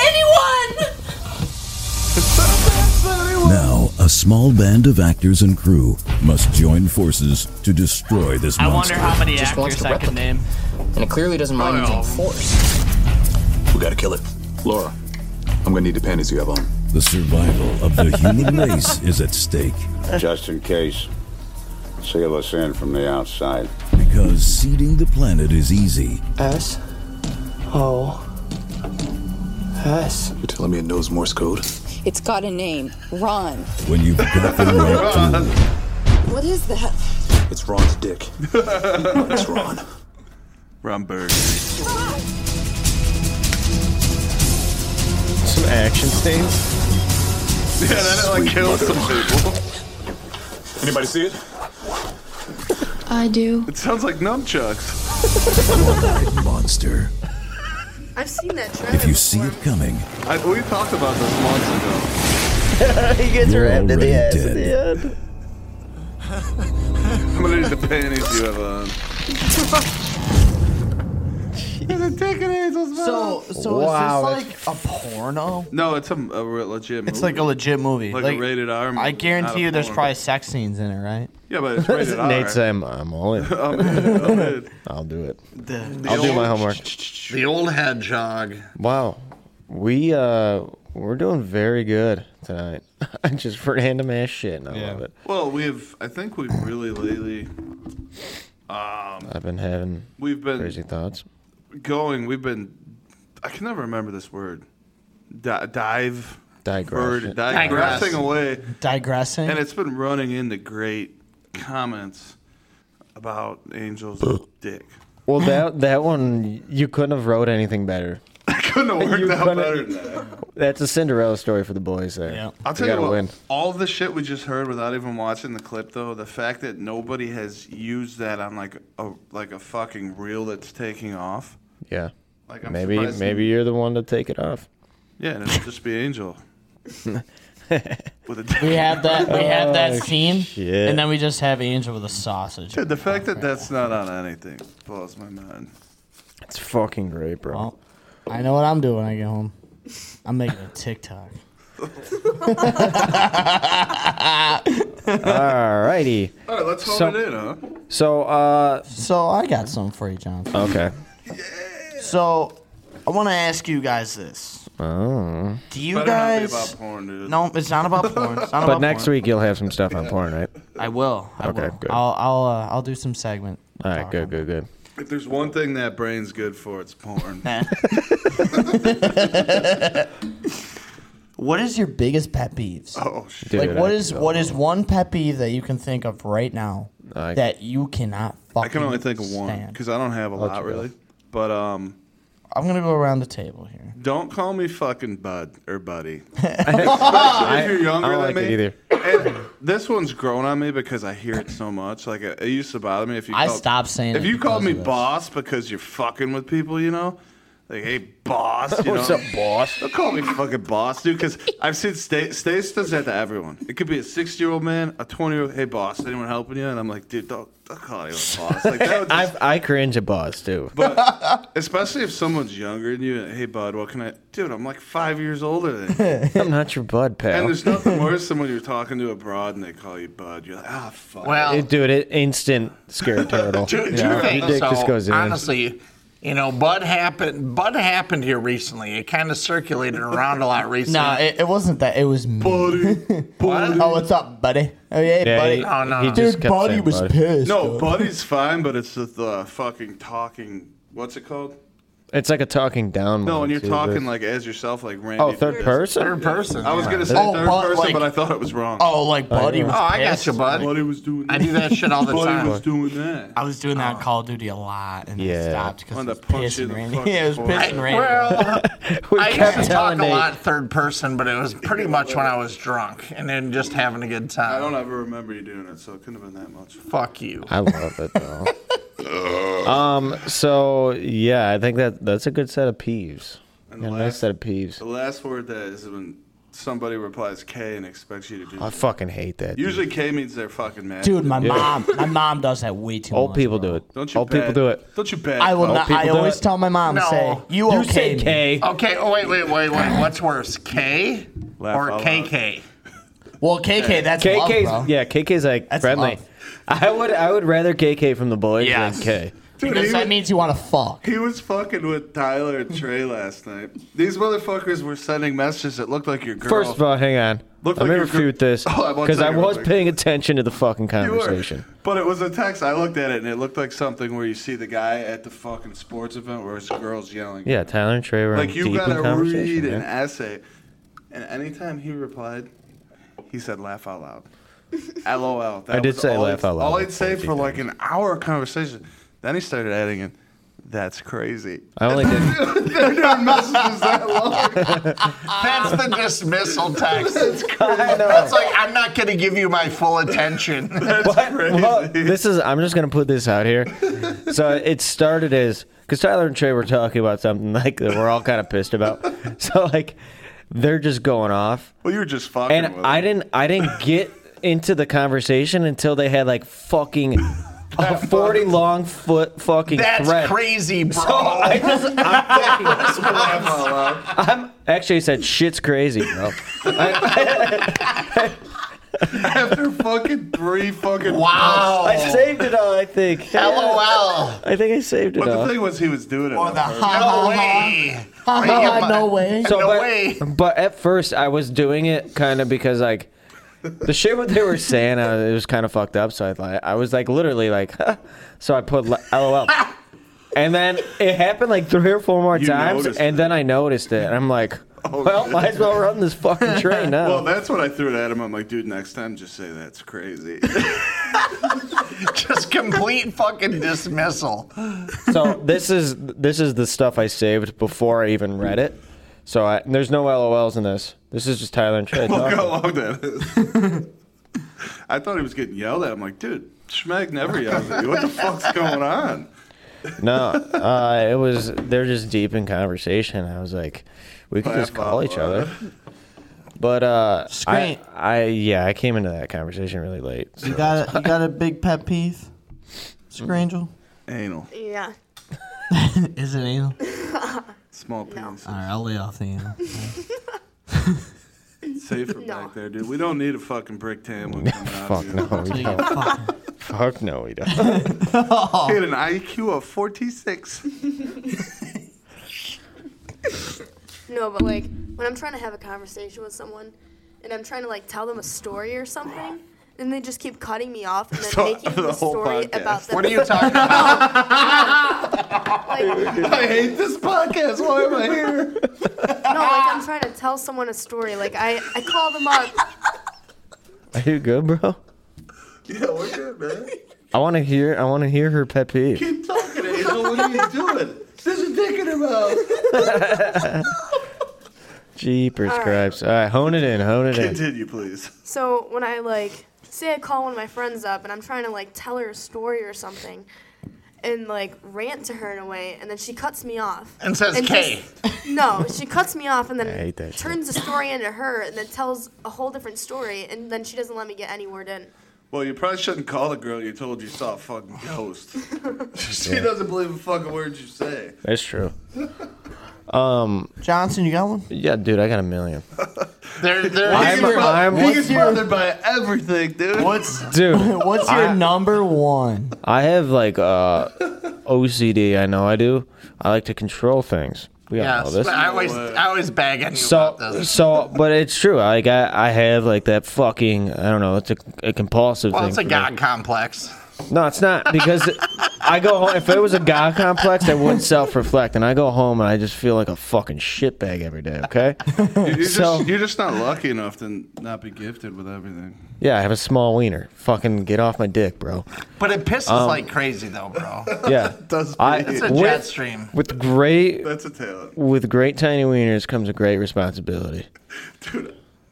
Speaker 7: anyone!
Speaker 9: now a small band of actors and crew must join forces to destroy this
Speaker 13: I
Speaker 9: monster.
Speaker 13: wonder how many
Speaker 9: Just
Speaker 13: actors I could name. And it clearly doesn't mind using force.
Speaker 9: We gotta kill it, Laura. I'm gonna need the panties you have on. The survival of the
Speaker 6: <laughs>
Speaker 9: human race is at stake
Speaker 15: Just in case. Seal us in from the outside.
Speaker 9: because seeding the planet is easy. S
Speaker 13: Oh.
Speaker 9: S. You're telling me it knows Morse code?
Speaker 5: It's got a name. Ron.
Speaker 9: When you've got the right tool.
Speaker 5: What is that?
Speaker 9: It's Ron's dick.
Speaker 2: it's
Speaker 9: Ron.
Speaker 2: Ron Burgundy.
Speaker 3: Some action scenes.
Speaker 2: Yeah, that like killed some people.
Speaker 9: Anybody see it?
Speaker 2: I do. It sounds like nunchucks.
Speaker 9: Monster.
Speaker 16: I've seen that trailer.
Speaker 9: If you see it coming,
Speaker 2: I, we talked about this months ago.
Speaker 3: he gets
Speaker 9: You're
Speaker 3: wrapped in the
Speaker 9: already
Speaker 3: ass at
Speaker 9: dead.
Speaker 3: the end.
Speaker 2: I'm gonna need the panties you have on.
Speaker 14: so
Speaker 1: So
Speaker 14: is Wow, this that's-
Speaker 1: like a porno?
Speaker 2: No, it's a, a re- legit. Movie.
Speaker 1: It's like a legit movie.
Speaker 2: Like,
Speaker 1: Like,
Speaker 2: a rated R.
Speaker 1: I
Speaker 2: movie, not
Speaker 1: guarantee
Speaker 2: a
Speaker 1: you there's
Speaker 2: porn.
Speaker 1: probably sex scenes in it, right?
Speaker 2: Yeah, but
Speaker 1: <laughs>
Speaker 2: it's rated R.
Speaker 3: Nate said, "I'm all in.
Speaker 10: <laughs>
Speaker 2: I'm in, I'm in.
Speaker 3: I'll do it.
Speaker 10: the
Speaker 3: I'll do
Speaker 10: old-
Speaker 3: my homework."
Speaker 10: The old hedgehog.
Speaker 3: Wow, we uh, we're doing very good tonight. <laughs> just for random ass shit. And I love it.
Speaker 2: Well, we've I think we've really lately um
Speaker 3: I've been having
Speaker 2: We've been-
Speaker 3: crazy thoughts.
Speaker 2: going we've been I can never remember this word. Di- dive
Speaker 3: Digression.
Speaker 2: bird- digressing away.
Speaker 4: Digressing.
Speaker 2: And it's been running into great comments about
Speaker 1: <clears throat>
Speaker 2: Angel's dick.
Speaker 3: Well, that that one you couldn't have wrote anything better.
Speaker 2: Couldn't have worked out
Speaker 3: couldn't-
Speaker 2: better than that.
Speaker 3: That's a Cinderella story for the boys there.
Speaker 2: I'll
Speaker 3: They
Speaker 2: tell you
Speaker 3: gotta
Speaker 2: what.
Speaker 3: win.
Speaker 2: All the shit we just heard without even watching the clip, though, the fact that nobody has used that on like a like a fucking reel that's taking off.
Speaker 3: Yeah.
Speaker 2: Like, I'm
Speaker 3: maybe
Speaker 2: surprised-
Speaker 3: maybe you're the one to take it off.
Speaker 2: Yeah, and it'll just be Angel. With a <laughs>
Speaker 4: We have that. We have that
Speaker 2: Oh,
Speaker 4: scene,
Speaker 2: shit.
Speaker 4: and then we just have Angel with a sausage.
Speaker 2: Dude, the fact that that's not on anything blows my mind.
Speaker 3: It's fucking great, bro.
Speaker 4: I know what I'm doing when I get home. I'm making a TikTok.
Speaker 3: <laughs> Alrighty.
Speaker 2: All right, let's hone it in, huh?
Speaker 3: So, uh,
Speaker 4: so I got something for you, John.
Speaker 3: Okay.
Speaker 4: So, I want to ask you guys this:
Speaker 3: Oh.
Speaker 4: Do you
Speaker 2: Better not be
Speaker 4: guys?
Speaker 2: about porn, dude.
Speaker 4: <laughs> No, it's not about porn. It's not
Speaker 3: But
Speaker 4: about
Speaker 3: next
Speaker 4: porn.
Speaker 3: week you'll have some stuff on porn, right?
Speaker 4: I will. I
Speaker 3: okay,
Speaker 4: will.
Speaker 3: good.
Speaker 4: I'll I'll uh, I'll do some segment.
Speaker 3: All right, good, good, good.
Speaker 2: If there's one thing that brain's good for, it's porn.
Speaker 4: What is your biggest pet peeves?
Speaker 2: Oh
Speaker 3: Dude,
Speaker 4: like what
Speaker 3: I
Speaker 4: is
Speaker 3: could
Speaker 4: what is one pet peeve that you can think of right now
Speaker 3: I-
Speaker 4: that you cannot fucking
Speaker 2: I can only think of one
Speaker 4: stand?
Speaker 2: because I don't have a lot
Speaker 4: you go.
Speaker 2: really. But um,
Speaker 4: I'm gonna go around the table here.
Speaker 2: don't call me fucking bud or buddy.
Speaker 4: <laughs>
Speaker 2: Especially
Speaker 4: I-
Speaker 2: if you're younger
Speaker 4: I
Speaker 2: than
Speaker 4: don't like
Speaker 2: me.
Speaker 4: it either.
Speaker 2: And this one's grown on me because I hear it so much. Like it, it used to bother me if you.
Speaker 4: I
Speaker 2: called-
Speaker 4: stopped saying
Speaker 2: Oh, If
Speaker 4: it
Speaker 2: you called
Speaker 4: because
Speaker 2: me
Speaker 4: of this.
Speaker 2: boss because you're fucking with people, you know. Like, hey, boss.
Speaker 4: <laughs>
Speaker 2: You
Speaker 3: What's
Speaker 2: know?
Speaker 3: up, boss?
Speaker 2: Don't call me fucking boss, dude, because I've seen Stace, Stace does that to everyone. It could be a 60 year old man, a 20 year old, hey, boss, anyone helping you? And I'm like, dude, don't, don't call anyone boss. Like,
Speaker 4: <laughs>
Speaker 2: that would
Speaker 3: I I cringe at boss too.
Speaker 2: But especially if someone's younger than you, hey bud, what can I, dude? I'm like five years older than you.
Speaker 3: <laughs> I'm not your bud, pal.
Speaker 2: And there's
Speaker 3: <laughs>
Speaker 2: nothing worse than when you're talking to a broad and they call you bud. You're like, ah, fuck.
Speaker 3: It- dude, it instant scared
Speaker 2: <laughs>
Speaker 3: turtle.
Speaker 1: Two, two
Speaker 3: Yeah.
Speaker 1: things.
Speaker 3: Your dick
Speaker 1: so,
Speaker 3: just goes in.
Speaker 1: Honestly, you know, Bud happened. Bud happened here recently. It kind of circulated around a <laughs> lot recently.
Speaker 4: No, it, it wasn't that. It was me. Buddy, Oh, what's up, buddy? Oh yeah,
Speaker 1: Yeah,
Speaker 4: buddy.
Speaker 1: he- No, no. he
Speaker 4: Dude,
Speaker 1: just kept
Speaker 4: buddy
Speaker 1: saying
Speaker 4: was
Speaker 1: buddy.
Speaker 4: pissed.
Speaker 2: no,
Speaker 4: dude.
Speaker 2: buddy's fine, but it's the, the fucking talking. What's it called?
Speaker 3: It's like a talking down.
Speaker 2: No,
Speaker 3: one,
Speaker 2: and you're
Speaker 3: too,
Speaker 2: talking
Speaker 3: but-
Speaker 2: like as yourself, like Randy.
Speaker 3: Oh,
Speaker 2: <laughs>
Speaker 3: third
Speaker 2: Pitchford.
Speaker 3: person?
Speaker 1: Third
Speaker 3: <laughs>
Speaker 1: person.
Speaker 2: I was
Speaker 1: yeah.
Speaker 2: gonna say
Speaker 1: Oh,
Speaker 2: third
Speaker 1: but,
Speaker 2: person,
Speaker 1: like-
Speaker 2: but I thought it was wrong.
Speaker 4: Oh, like buddy was.
Speaker 1: Oh, I got
Speaker 4: pissed.
Speaker 1: you, bud.
Speaker 2: Buddy was doing.
Speaker 1: I do that shit all the
Speaker 2: Buddy
Speaker 1: time.
Speaker 2: was doing that.
Speaker 4: I was doing that on Call of Duty a lot, and
Speaker 3: Yeah.
Speaker 4: I stopped because it
Speaker 2: Wanted
Speaker 4: was
Speaker 2: to punch you in Oh.
Speaker 4: pissing
Speaker 2: the
Speaker 4: Randy. <laughs>
Speaker 2: fucking
Speaker 4: Yeah, it was
Speaker 2: forehead.
Speaker 4: pissing
Speaker 2: I-
Speaker 4: Randy.
Speaker 1: Well, I
Speaker 3: kept
Speaker 1: used to talk
Speaker 3: telling
Speaker 1: a
Speaker 3: Nate-
Speaker 1: lot third person, but it was pretty much when I was drunk and then just having a good time.
Speaker 2: I don't ever remember you doing it, so it couldn't have been that much.
Speaker 1: Fuck you.
Speaker 3: I love it though.
Speaker 2: <laughs>
Speaker 3: um. So yeah, I think that that's a good set of peeves.
Speaker 2: And
Speaker 3: Got a
Speaker 2: the
Speaker 3: nice
Speaker 2: last-
Speaker 3: set of peeves.
Speaker 2: The last word that is when somebody replies K and expects you to do.
Speaker 3: I fucking hate that. dude.
Speaker 2: Usually K means they're fucking mad.
Speaker 4: Dude, my
Speaker 3: Yeah.
Speaker 4: mom, my mom does that way
Speaker 6: Oh,
Speaker 4: too
Speaker 3: Old
Speaker 4: much.
Speaker 3: people do it.
Speaker 2: Don't you
Speaker 3: Old
Speaker 2: bad,
Speaker 3: people do it.
Speaker 2: Don't you bad.
Speaker 4: I will
Speaker 2: fuck.
Speaker 4: not.
Speaker 3: people
Speaker 4: I
Speaker 3: do
Speaker 4: always
Speaker 3: it.
Speaker 4: tell my mom,
Speaker 1: No.
Speaker 4: say, "You
Speaker 3: You
Speaker 4: okay?"
Speaker 3: say
Speaker 4: me."
Speaker 3: K.
Speaker 1: Okay. Oh wait, wait, wait, wait. What's worse, K
Speaker 2: Laugh
Speaker 1: or
Speaker 2: out loud.
Speaker 1: KK?
Speaker 4: Well, KK, that's love,
Speaker 3: KK's
Speaker 4: bro.
Speaker 3: yeah, KK's like
Speaker 4: That's
Speaker 3: friendly.
Speaker 4: love.
Speaker 3: I would I would rather KK from the boys
Speaker 4: Yes.
Speaker 3: than K.
Speaker 2: Dude,
Speaker 4: Because
Speaker 2: he,
Speaker 4: that
Speaker 2: was,
Speaker 4: means you want to fuck.
Speaker 2: he was fucking with Tyler and Trey last night. These motherfuckers were sending messages that looked like your girl.
Speaker 3: First of all, hang on.
Speaker 2: Looked
Speaker 3: Let
Speaker 2: like
Speaker 3: me
Speaker 2: your gr-
Speaker 3: refute
Speaker 2: <laughs>
Speaker 3: this
Speaker 2: Oh, I won't
Speaker 3: because
Speaker 2: tell
Speaker 3: I
Speaker 2: you real
Speaker 3: was
Speaker 2: quick.
Speaker 3: paying attention to the fucking
Speaker 2: You were.
Speaker 3: conversation.
Speaker 2: But it was a text. I looked at it and it looked like something where you see the guy at the fucking sports event where his girl's yelling.
Speaker 3: Yeah, Tyler and Trey were
Speaker 2: Like
Speaker 3: in
Speaker 2: you
Speaker 3: deep in
Speaker 2: gotta
Speaker 3: conversation.
Speaker 2: read an
Speaker 3: man.
Speaker 2: essay. And anytime he replied, he said laugh out loud. <laughs> LOL. That
Speaker 3: I did
Speaker 2: was
Speaker 3: say
Speaker 2: all
Speaker 3: laugh
Speaker 2: I'd-
Speaker 3: out loud
Speaker 2: All
Speaker 3: like
Speaker 2: I'd say
Speaker 3: 40
Speaker 2: for like an hour of conversation. Then he started adding in, that's crazy. <laughs>
Speaker 3: I only did.
Speaker 2: They're doing messages that long.
Speaker 1: That's the dismissal text. That's, like I'm not going to give you my full attention.
Speaker 2: That's crazy.
Speaker 3: Well, this is. I'm just gonna put this out here. so it started as because Tyler and Trey were talking about something like that we're all kind of pissed about. <laughs> So like they're just going off,
Speaker 2: Well, you were just fucking
Speaker 3: and
Speaker 2: with
Speaker 3: I
Speaker 2: him.
Speaker 3: didn't. I didn't get into the conversation until they had like fucking a forty long foot fucking
Speaker 1: That's
Speaker 3: thread.
Speaker 1: crazy, bro.
Speaker 3: So I just,
Speaker 1: That's wild.
Speaker 2: <laughs>
Speaker 3: I'm actually I said shit's crazy, bro. I,
Speaker 2: <laughs> After fucking three fucking. <laughs>
Speaker 3: I saved it all, I think.
Speaker 2: LOL.
Speaker 3: I think I saved it
Speaker 2: But
Speaker 3: all.
Speaker 2: the thing was, he was doing it.
Speaker 3: Or
Speaker 2: on
Speaker 3: the
Speaker 2: purpose.
Speaker 3: ha,
Speaker 2: no
Speaker 3: ha,
Speaker 2: way.
Speaker 4: ha.
Speaker 2: Are you
Speaker 4: Ha, ha,
Speaker 2: gonna-
Speaker 4: no way.
Speaker 3: So,
Speaker 2: no
Speaker 3: but,
Speaker 2: way.
Speaker 3: but at first, I was doing it kind of because like the shit what they were saying, I, it was kind of fucked up. So I like, I was like literally like, <laughs> so I put l-
Speaker 2: <laughs>
Speaker 3: LOL, and then it happened like three or four more
Speaker 2: You
Speaker 3: times,
Speaker 2: noticed Oh,
Speaker 3: and then I noticed it, and
Speaker 2: <laughs>
Speaker 3: I'm like, well, might as well run this fucking train now.
Speaker 2: Well, that's what I threw at him. I'm like, dude, next time just say that's
Speaker 3: <laughs>
Speaker 2: crazy.
Speaker 1: <laughs>
Speaker 2: <laughs>
Speaker 1: Just complete fucking dismissal.
Speaker 3: so this is this is the stuff I saved before I even read it. So I, there's no LOLs in this. This is just Tyler and Trey.
Speaker 2: Look
Speaker 3: talking.
Speaker 2: how long that is. I thought he was getting yelled at. I'm like, dude, Schmeg never yells at you. What the fuck's going on?
Speaker 3: No, uh, it was they're just deep in conversation. I was like, we could just call each other. But uh,
Speaker 4: Screen.
Speaker 3: I, I yeah, I came into that conversation really late.
Speaker 4: You got a, you got a big pet peeve,
Speaker 3: Mm-hmm.
Speaker 4: Scrangel?
Speaker 2: Anal.
Speaker 5: Yeah.
Speaker 4: Is it anal?
Speaker 2: Small penis.
Speaker 4: All right, I'll lay off the anal.
Speaker 2: Safer back there, dude. We don't need a fucking brick tan one coming out.
Speaker 3: Fuck
Speaker 2: here.
Speaker 3: no, we don't. <laughs> Fuck no, we don't.
Speaker 2: He had an IQ of 46.
Speaker 5: No, but like when I'm trying to have a conversation with someone and I'm trying to like tell them a story or something, and they just keep cutting me off and then
Speaker 2: So-
Speaker 5: making the,
Speaker 2: the whole
Speaker 5: story
Speaker 2: podcast.
Speaker 5: about them.
Speaker 2: What are you
Speaker 5: <laughs>
Speaker 2: talking <laughs> I hate this podcast. Why am I here?
Speaker 5: No, like I'm trying to tell someone a story. Like I, I call them up.
Speaker 3: Are you good, bro?
Speaker 2: Yeah, we're good, man.
Speaker 3: I want to hear. I want to hear her pet peeve.
Speaker 2: Keep talking, Angel. What are you doing? This is digging about.
Speaker 3: Jeepers,
Speaker 5: All right.
Speaker 3: cripes! All right, hone it in, hone it in.
Speaker 2: Continue, please.
Speaker 5: So when I like say I call one of my friends up and I'm trying to like tell her a story or something, and like rant to her in a way, and then she cuts me off
Speaker 1: And says,
Speaker 5: just- no, she cuts me off and
Speaker 3: I
Speaker 5: then
Speaker 3: hate that. Shit.
Speaker 5: turns the story into her and then tells a whole different story and then she doesn't let me get any word in.
Speaker 2: Well, you probably shouldn't call the girl you told you saw a fucking ghost. she doesn't believe a fucking word you say.
Speaker 3: That's true. Um,
Speaker 4: Johnson, you got one?
Speaker 3: Yeah, dude, I got a million.
Speaker 1: They're, they're,
Speaker 3: I'm- I'm-
Speaker 2: He's bothered by everything, dude.
Speaker 4: What's
Speaker 3: Dude,
Speaker 4: what's your
Speaker 3: I- Oh,
Speaker 4: number one?
Speaker 3: I have like uh, OCD. I know I do. I like to control things. We all know
Speaker 1: Yes,
Speaker 3: this.
Speaker 1: I always, I always bag at you about
Speaker 3: so,
Speaker 1: this. <laughs>
Speaker 3: so, but it's true. Like I, I have like that fucking. I don't know. It's a, a compulsive
Speaker 1: Well,
Speaker 3: thing.
Speaker 1: it's a
Speaker 3: for me.
Speaker 1: god complex.
Speaker 3: No, it's not because I go home. If it was a god complex, I wouldn't self-reflect, and I go home and I just feel like a fucking shitbag every day. Okay.
Speaker 2: You're just,
Speaker 3: So-
Speaker 2: you're just not lucky enough to not be gifted with everything.
Speaker 3: Yeah, I have a small wiener. Fucking get off my dick, bro.
Speaker 1: But it pisses
Speaker 3: Um,
Speaker 1: like crazy, though,
Speaker 3: <laughs>
Speaker 1: bro.
Speaker 3: Yeah. I-
Speaker 1: It's a
Speaker 3: with-
Speaker 1: jet stream.
Speaker 3: With great
Speaker 2: That's a talent.
Speaker 3: with great tiny wieners comes a great responsibility.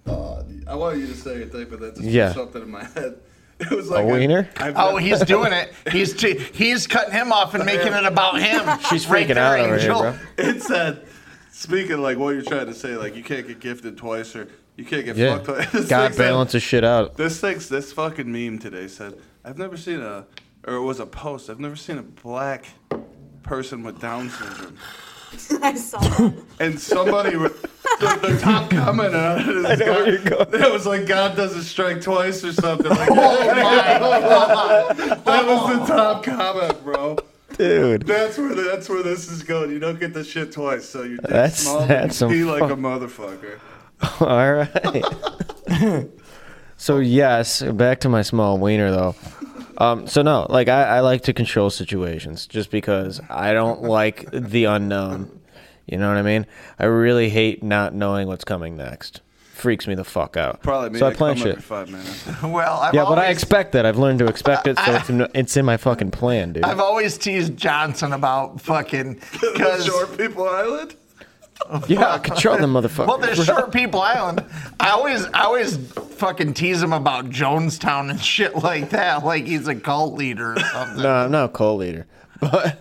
Speaker 2: I wanted you to say your thing, but that just
Speaker 3: Yeah.
Speaker 2: something in my head. <laughs> It was
Speaker 3: a wiener?
Speaker 1: Oh, he's doing it. He's t- he's cutting him off and making it about him.
Speaker 3: <laughs> She's
Speaker 1: Right
Speaker 3: freaking
Speaker 1: there,
Speaker 3: out over here,
Speaker 1: Angel.
Speaker 3: bro.
Speaker 2: It said, speaking of, like what you're trying to say, like you can't get gifted twice or you can't get fucked
Speaker 3: Yeah.
Speaker 1: <laughs>
Speaker 2: twice. <laughs> This
Speaker 3: God
Speaker 2: thing said-
Speaker 3: balances shit out.
Speaker 2: This thing's this fucking meme today said, I've never seen a or it was a post, I've never seen a black person with Down syndrome.
Speaker 5: <laughs> I saw that.
Speaker 2: And somebody re- the, the top comment on it is God, it was like God doesn't strike twice or something.
Speaker 3: <laughs>
Speaker 2: Like, Oh that was the top comment, bro.
Speaker 3: Dude.
Speaker 2: That's where the, that's where this is going. You don't get the shit twice, so you
Speaker 3: That's-
Speaker 2: small
Speaker 3: that's
Speaker 2: but you pee
Speaker 3: some
Speaker 2: like a
Speaker 3: fuck-
Speaker 2: motherfucker.
Speaker 3: <laughs> All right. so yes, back to my small wiener though. Um, so no, like I, I like to control situations just because I don't like the unknown. You know what I mean? I really hate not knowing what's coming next. Freaks me the fuck out.
Speaker 2: Probably made
Speaker 3: so I
Speaker 2: it
Speaker 3: plan
Speaker 2: come every
Speaker 3: shit.
Speaker 2: five
Speaker 3: <laughs>
Speaker 2: minutes.
Speaker 1: Well, I've
Speaker 3: yeah, but I
Speaker 1: always-
Speaker 3: expect that. I've learned to expect it, so it's in, it's in my fucking plan, dude.
Speaker 1: I've always teased Johnson about
Speaker 2: <laughs>
Speaker 1: fucking because
Speaker 2: Short People Island?
Speaker 3: yeah, control the motherfucker.
Speaker 1: well, there's Short People Island. I always, I always fucking tease him about Jonestown and shit like that, like he's a cult leader or something.
Speaker 3: No, I'm not a cult leader, but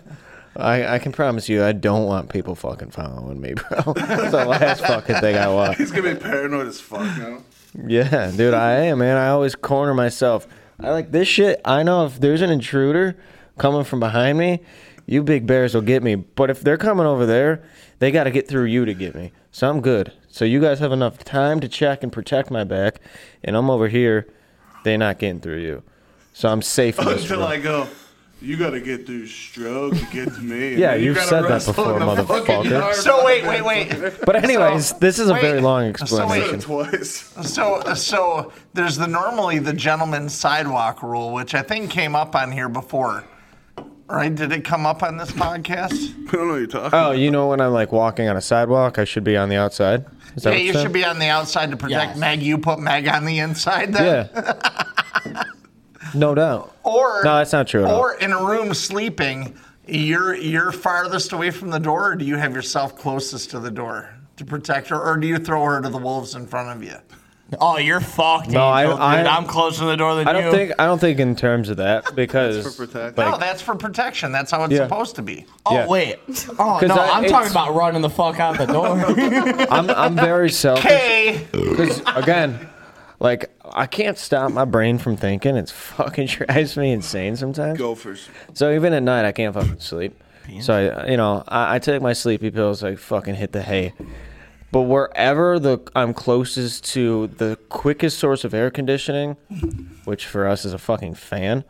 Speaker 3: I, I can promise you, I don't want people fucking following me, bro. <laughs> That's the last fucking thing I want.
Speaker 2: He's gonna be paranoid as fuck now.
Speaker 3: Yeah, dude, I am, man. I always corner myself. I like this shit. I know if there's an intruder coming from behind me, you big bears will get me. But if they're coming over there, they got to get through you to get me. So I'm good. So you guys have enough time to check and protect my back, and I'm over here. They're not getting through you, so I'm safe.
Speaker 1: <laughs>
Speaker 3: In
Speaker 2: <laughs>
Speaker 3: this
Speaker 2: Until
Speaker 3: room.
Speaker 2: I go, you gotta get through stroke to get to me.
Speaker 3: Yeah,
Speaker 2: And you
Speaker 3: you've
Speaker 2: gotta
Speaker 3: said that
Speaker 2: wrestle
Speaker 3: before,
Speaker 2: in the fucking
Speaker 3: motherfucker.
Speaker 2: yard
Speaker 3: So
Speaker 2: by
Speaker 1: wait,
Speaker 2: the
Speaker 1: wait,
Speaker 2: motherfucker.
Speaker 1: wait.
Speaker 3: But anyways, this is a very long
Speaker 1: So wait.
Speaker 3: explanation.
Speaker 2: <laughs>
Speaker 1: So so there's the normally the gentleman's sidewalk rule, which I think came up on here before. Right? Did it come up on this podcast?
Speaker 2: I don't know what you're talking.
Speaker 3: oh, you know when I'm like walking on a sidewalk, I should be on the outside. Is that
Speaker 1: yeah,
Speaker 3: what
Speaker 1: you
Speaker 3: said?
Speaker 1: should be on the outside to protect Meg. You put Meg on the inside then?
Speaker 3: Yeah. no doubt.
Speaker 1: Or
Speaker 3: no, that's not true at all.
Speaker 1: Or in a room sleeping, you're you're farthest away from the door, or do you have yourself closest to the door to protect her, or do you throw her to the wolves in front of you?
Speaker 4: Oh, you're fucked.
Speaker 3: No, I-
Speaker 4: Angel,
Speaker 3: I-
Speaker 4: dude. I'm closer to the door than
Speaker 3: I don't
Speaker 4: you.
Speaker 3: think I don't think in terms
Speaker 1: <laughs>
Speaker 3: of that because
Speaker 1: no,
Speaker 3: like,
Speaker 1: that's for protection. That's how it's
Speaker 3: Yeah.
Speaker 1: supposed to be.
Speaker 4: Oh
Speaker 3: Yeah.
Speaker 4: wait. Oh
Speaker 3: 'Cause
Speaker 4: no,
Speaker 3: I-
Speaker 4: I, am
Speaker 3: it's-
Speaker 4: talking about running the fuck out
Speaker 3: <laughs>
Speaker 4: the door.
Speaker 3: I'm
Speaker 1: <laughs>
Speaker 3: I'm very selfish
Speaker 1: Okay.
Speaker 3: because again, like I can't stop my brain from thinking. It's fucking <laughs> drives me insane sometimes.
Speaker 2: Gophers.
Speaker 3: So even at night, I can't fucking sleep. So I, you know, I, I take my sleepy pills. I fucking hit the hay. But wherever the I'm closest to the quickest source of air conditioning, which for us is a fucking fan.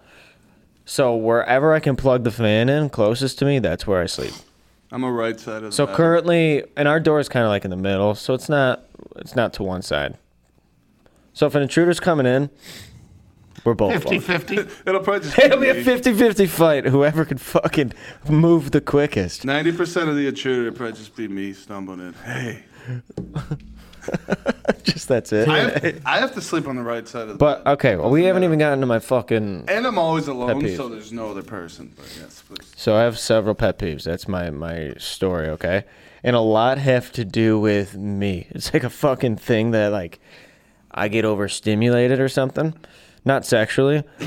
Speaker 3: So wherever I can plug the fan in closest to me, that's where I sleep.
Speaker 2: I'm a right side of the
Speaker 3: So
Speaker 2: bed.
Speaker 3: currently, and our door is kind of like in the middle, so it's not it's not to one side. So if an intruder's coming in, we're both
Speaker 1: 50
Speaker 3: fucked.
Speaker 1: 50.
Speaker 2: It'll probably just
Speaker 3: <laughs> It'll be a 50-50 fight. Whoever can fucking move the quickest. <laughs>
Speaker 2: Ninety percent of the intruder would probably just be me stumbling in. Hey,
Speaker 3: Just that's it.
Speaker 2: I have, I have to sleep on the right side of the.
Speaker 3: But okay, well, we haven't even gotten to my fucking.
Speaker 2: and I'm always alone,
Speaker 3: peeve.
Speaker 2: so there's no other person. But yes, please.
Speaker 3: So I have several pet peeves. That's my my story, okay? And a lot have to do with me. It's like a fucking thing that like I get overstimulated or something. Not sexually. <laughs>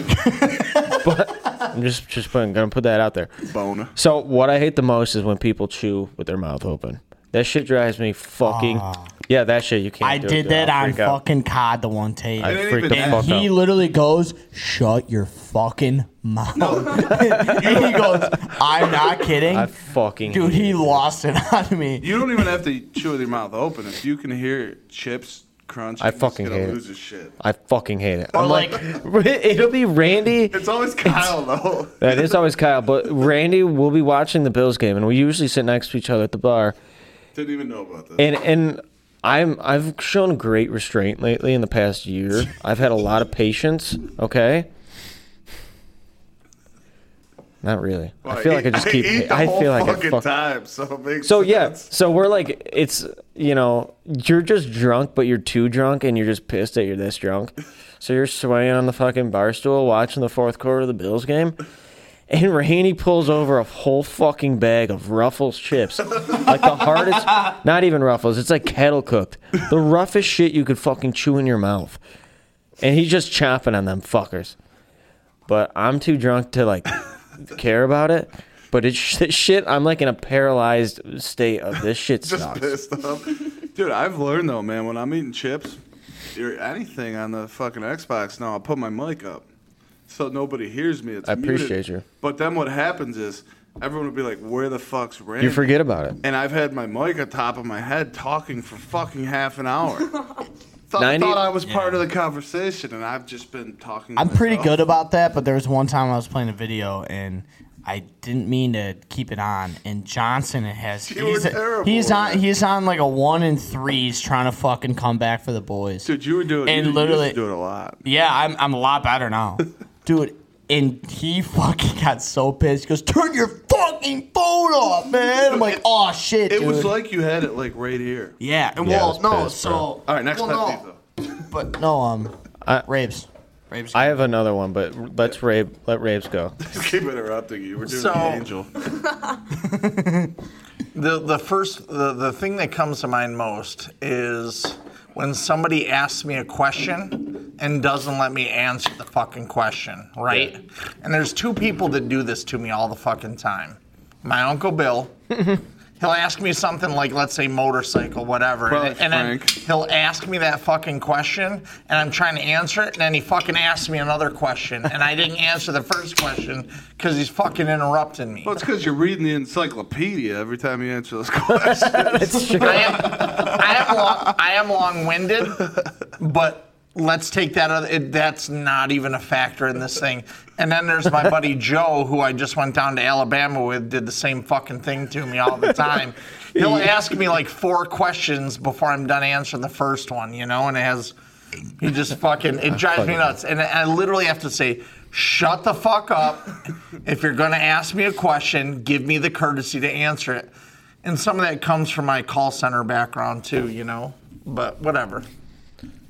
Speaker 3: but I'm just just putting, gonna put that out there.
Speaker 2: Boner.
Speaker 3: So what I hate the most is when people chew with their mouth open. That shit drives me fucking Yeah, that shit you can't
Speaker 4: Ah. I
Speaker 3: do
Speaker 4: did
Speaker 3: it, dude. I'll
Speaker 4: that on
Speaker 3: freak out.
Speaker 4: fucking COD the one tape.
Speaker 3: I freaked the
Speaker 4: and
Speaker 3: fuck
Speaker 4: he
Speaker 3: out.
Speaker 4: literally goes, "Shut your fucking mouth." and <laughs> he goes, "I'm not kidding."
Speaker 3: I
Speaker 4: <laughs>
Speaker 3: fucking
Speaker 4: Dude, he lost it <laughs> on me.
Speaker 2: You don't even have to chew with your mouth open. If you can hear chips crunching,
Speaker 3: I
Speaker 2: he's
Speaker 3: fucking
Speaker 2: gonna
Speaker 3: hate
Speaker 2: lose
Speaker 3: it.
Speaker 2: his shit.
Speaker 3: I fucking hate it.
Speaker 2: Or
Speaker 3: I'm like, <laughs> it'll be Randy.
Speaker 2: It's always Kyle though. <laughs>
Speaker 3: That is always Kyle, but Randy will be watching the Bills game, and we usually sit next to each other at the bar.
Speaker 2: Didn't even know about that.
Speaker 3: And and I'm I've shown great restraint lately in the
Speaker 2: <laughs>
Speaker 3: past year. I've had a lot of patience. Okay. Not really. I feel like I
Speaker 2: <laughs>
Speaker 3: just keep.
Speaker 2: I, eat the
Speaker 3: I
Speaker 2: whole
Speaker 3: feel like I
Speaker 2: fucking
Speaker 3: fuck.
Speaker 2: time. So it makes
Speaker 3: So
Speaker 2: sense. <laughs>
Speaker 3: yeah, so we're like, it's you know, you're just drunk, but you're too drunk, and you're just pissed that you're this drunk. So you're swaying on the fucking bar stool, watching the fourth quarter of the Bills game, and Rainey pulls over a whole fucking bag of Ruffles chips, like the hardest, not even Ruffles, it's like kettle cooked, the roughest shit you could fucking chew in your mouth, and he's just chopping on them fuckers. But I'm too drunk to <laughs> like care about it. But it's sh- shit. I'm like in a paralyzed state of this <laughs> shit
Speaker 2: just
Speaker 3: sucks.
Speaker 2: pissed off. <laughs> Dude, I've learned though, man, when I'm eating chips or anything on the fucking Xbox now, I'll put my mic up so nobody hears me. It's
Speaker 3: I
Speaker 2: muted.
Speaker 3: appreciate you.
Speaker 2: But then what happens is everyone will be like, where the fuck's Randy?
Speaker 3: You forget about it.
Speaker 2: And I've had my mic on top of my head talking for fucking half an
Speaker 3: <laughs>
Speaker 2: hour. Thought,
Speaker 3: 90
Speaker 2: thought I was part of the conversation, and I've just been talking. to
Speaker 4: I'm pretty
Speaker 2: myself.
Speaker 4: good about that, but there was one time I was playing a video and I didn't mean to keep it on. And Johnson has
Speaker 2: You were
Speaker 4: he's,
Speaker 2: terrible
Speaker 4: he's
Speaker 2: with
Speaker 4: on
Speaker 2: it.
Speaker 4: he's on like a one and threes trying to fucking come back for the boys.
Speaker 2: Dude, you were doing
Speaker 4: And
Speaker 2: you,
Speaker 4: literally-
Speaker 2: you used to do it a lot.
Speaker 4: Yeah, I'm I'm a lot
Speaker 2: <laughs>
Speaker 4: better now, dude. And he fucking got so pissed. He goes, "Turn your fucking phone off, man!" I'm like, "Oh shit,
Speaker 2: It
Speaker 4: dude."
Speaker 2: was like you had it like right here.
Speaker 4: yeah, and
Speaker 3: Yeah, I
Speaker 4: well,
Speaker 3: was
Speaker 4: no,
Speaker 3: pissed,
Speaker 4: so
Speaker 3: bro.
Speaker 2: All right, next
Speaker 4: well,
Speaker 2: time,
Speaker 4: no, but no, um,
Speaker 3: I-
Speaker 4: rapes, rapes.
Speaker 3: I have another one, but let's rave. Let raves go.
Speaker 2: <laughs> Keep interrupting you. We're doing
Speaker 1: So-
Speaker 2: the angel.
Speaker 1: The the first the, the thing that comes to mind most is when somebody asks me a question and doesn't let me answer the fucking question, right? And there's two people that do this to me all the fucking time. My uncle Bill He'll ask me something like, let's say motorcycle, whatever, and,
Speaker 2: Probably
Speaker 1: and then he'll ask me that fucking question, and I'm trying to answer it, and then he fucking asks me another question, and I didn't <laughs> answer the first question because he's fucking interrupting me.
Speaker 2: Well, it's because you're reading the encyclopedia every time you answer those <laughs> questions. That's true.
Speaker 1: I am, long, I am long-winded, but let's take that. Other, it, that's not even a factor in this thing. And then there's my buddy Joe, who I just went down to Alabama with, did the same fucking thing to me all the time. He'll ask me like four questions before I'm done answering the first one, you know, and it has. He just fucking it drives me nuts, and I literally have to say, "Shut the fuck up! If you're gonna ask me a question, give me the courtesy to answer it." And some of that comes from my call center background too, you know. But whatever,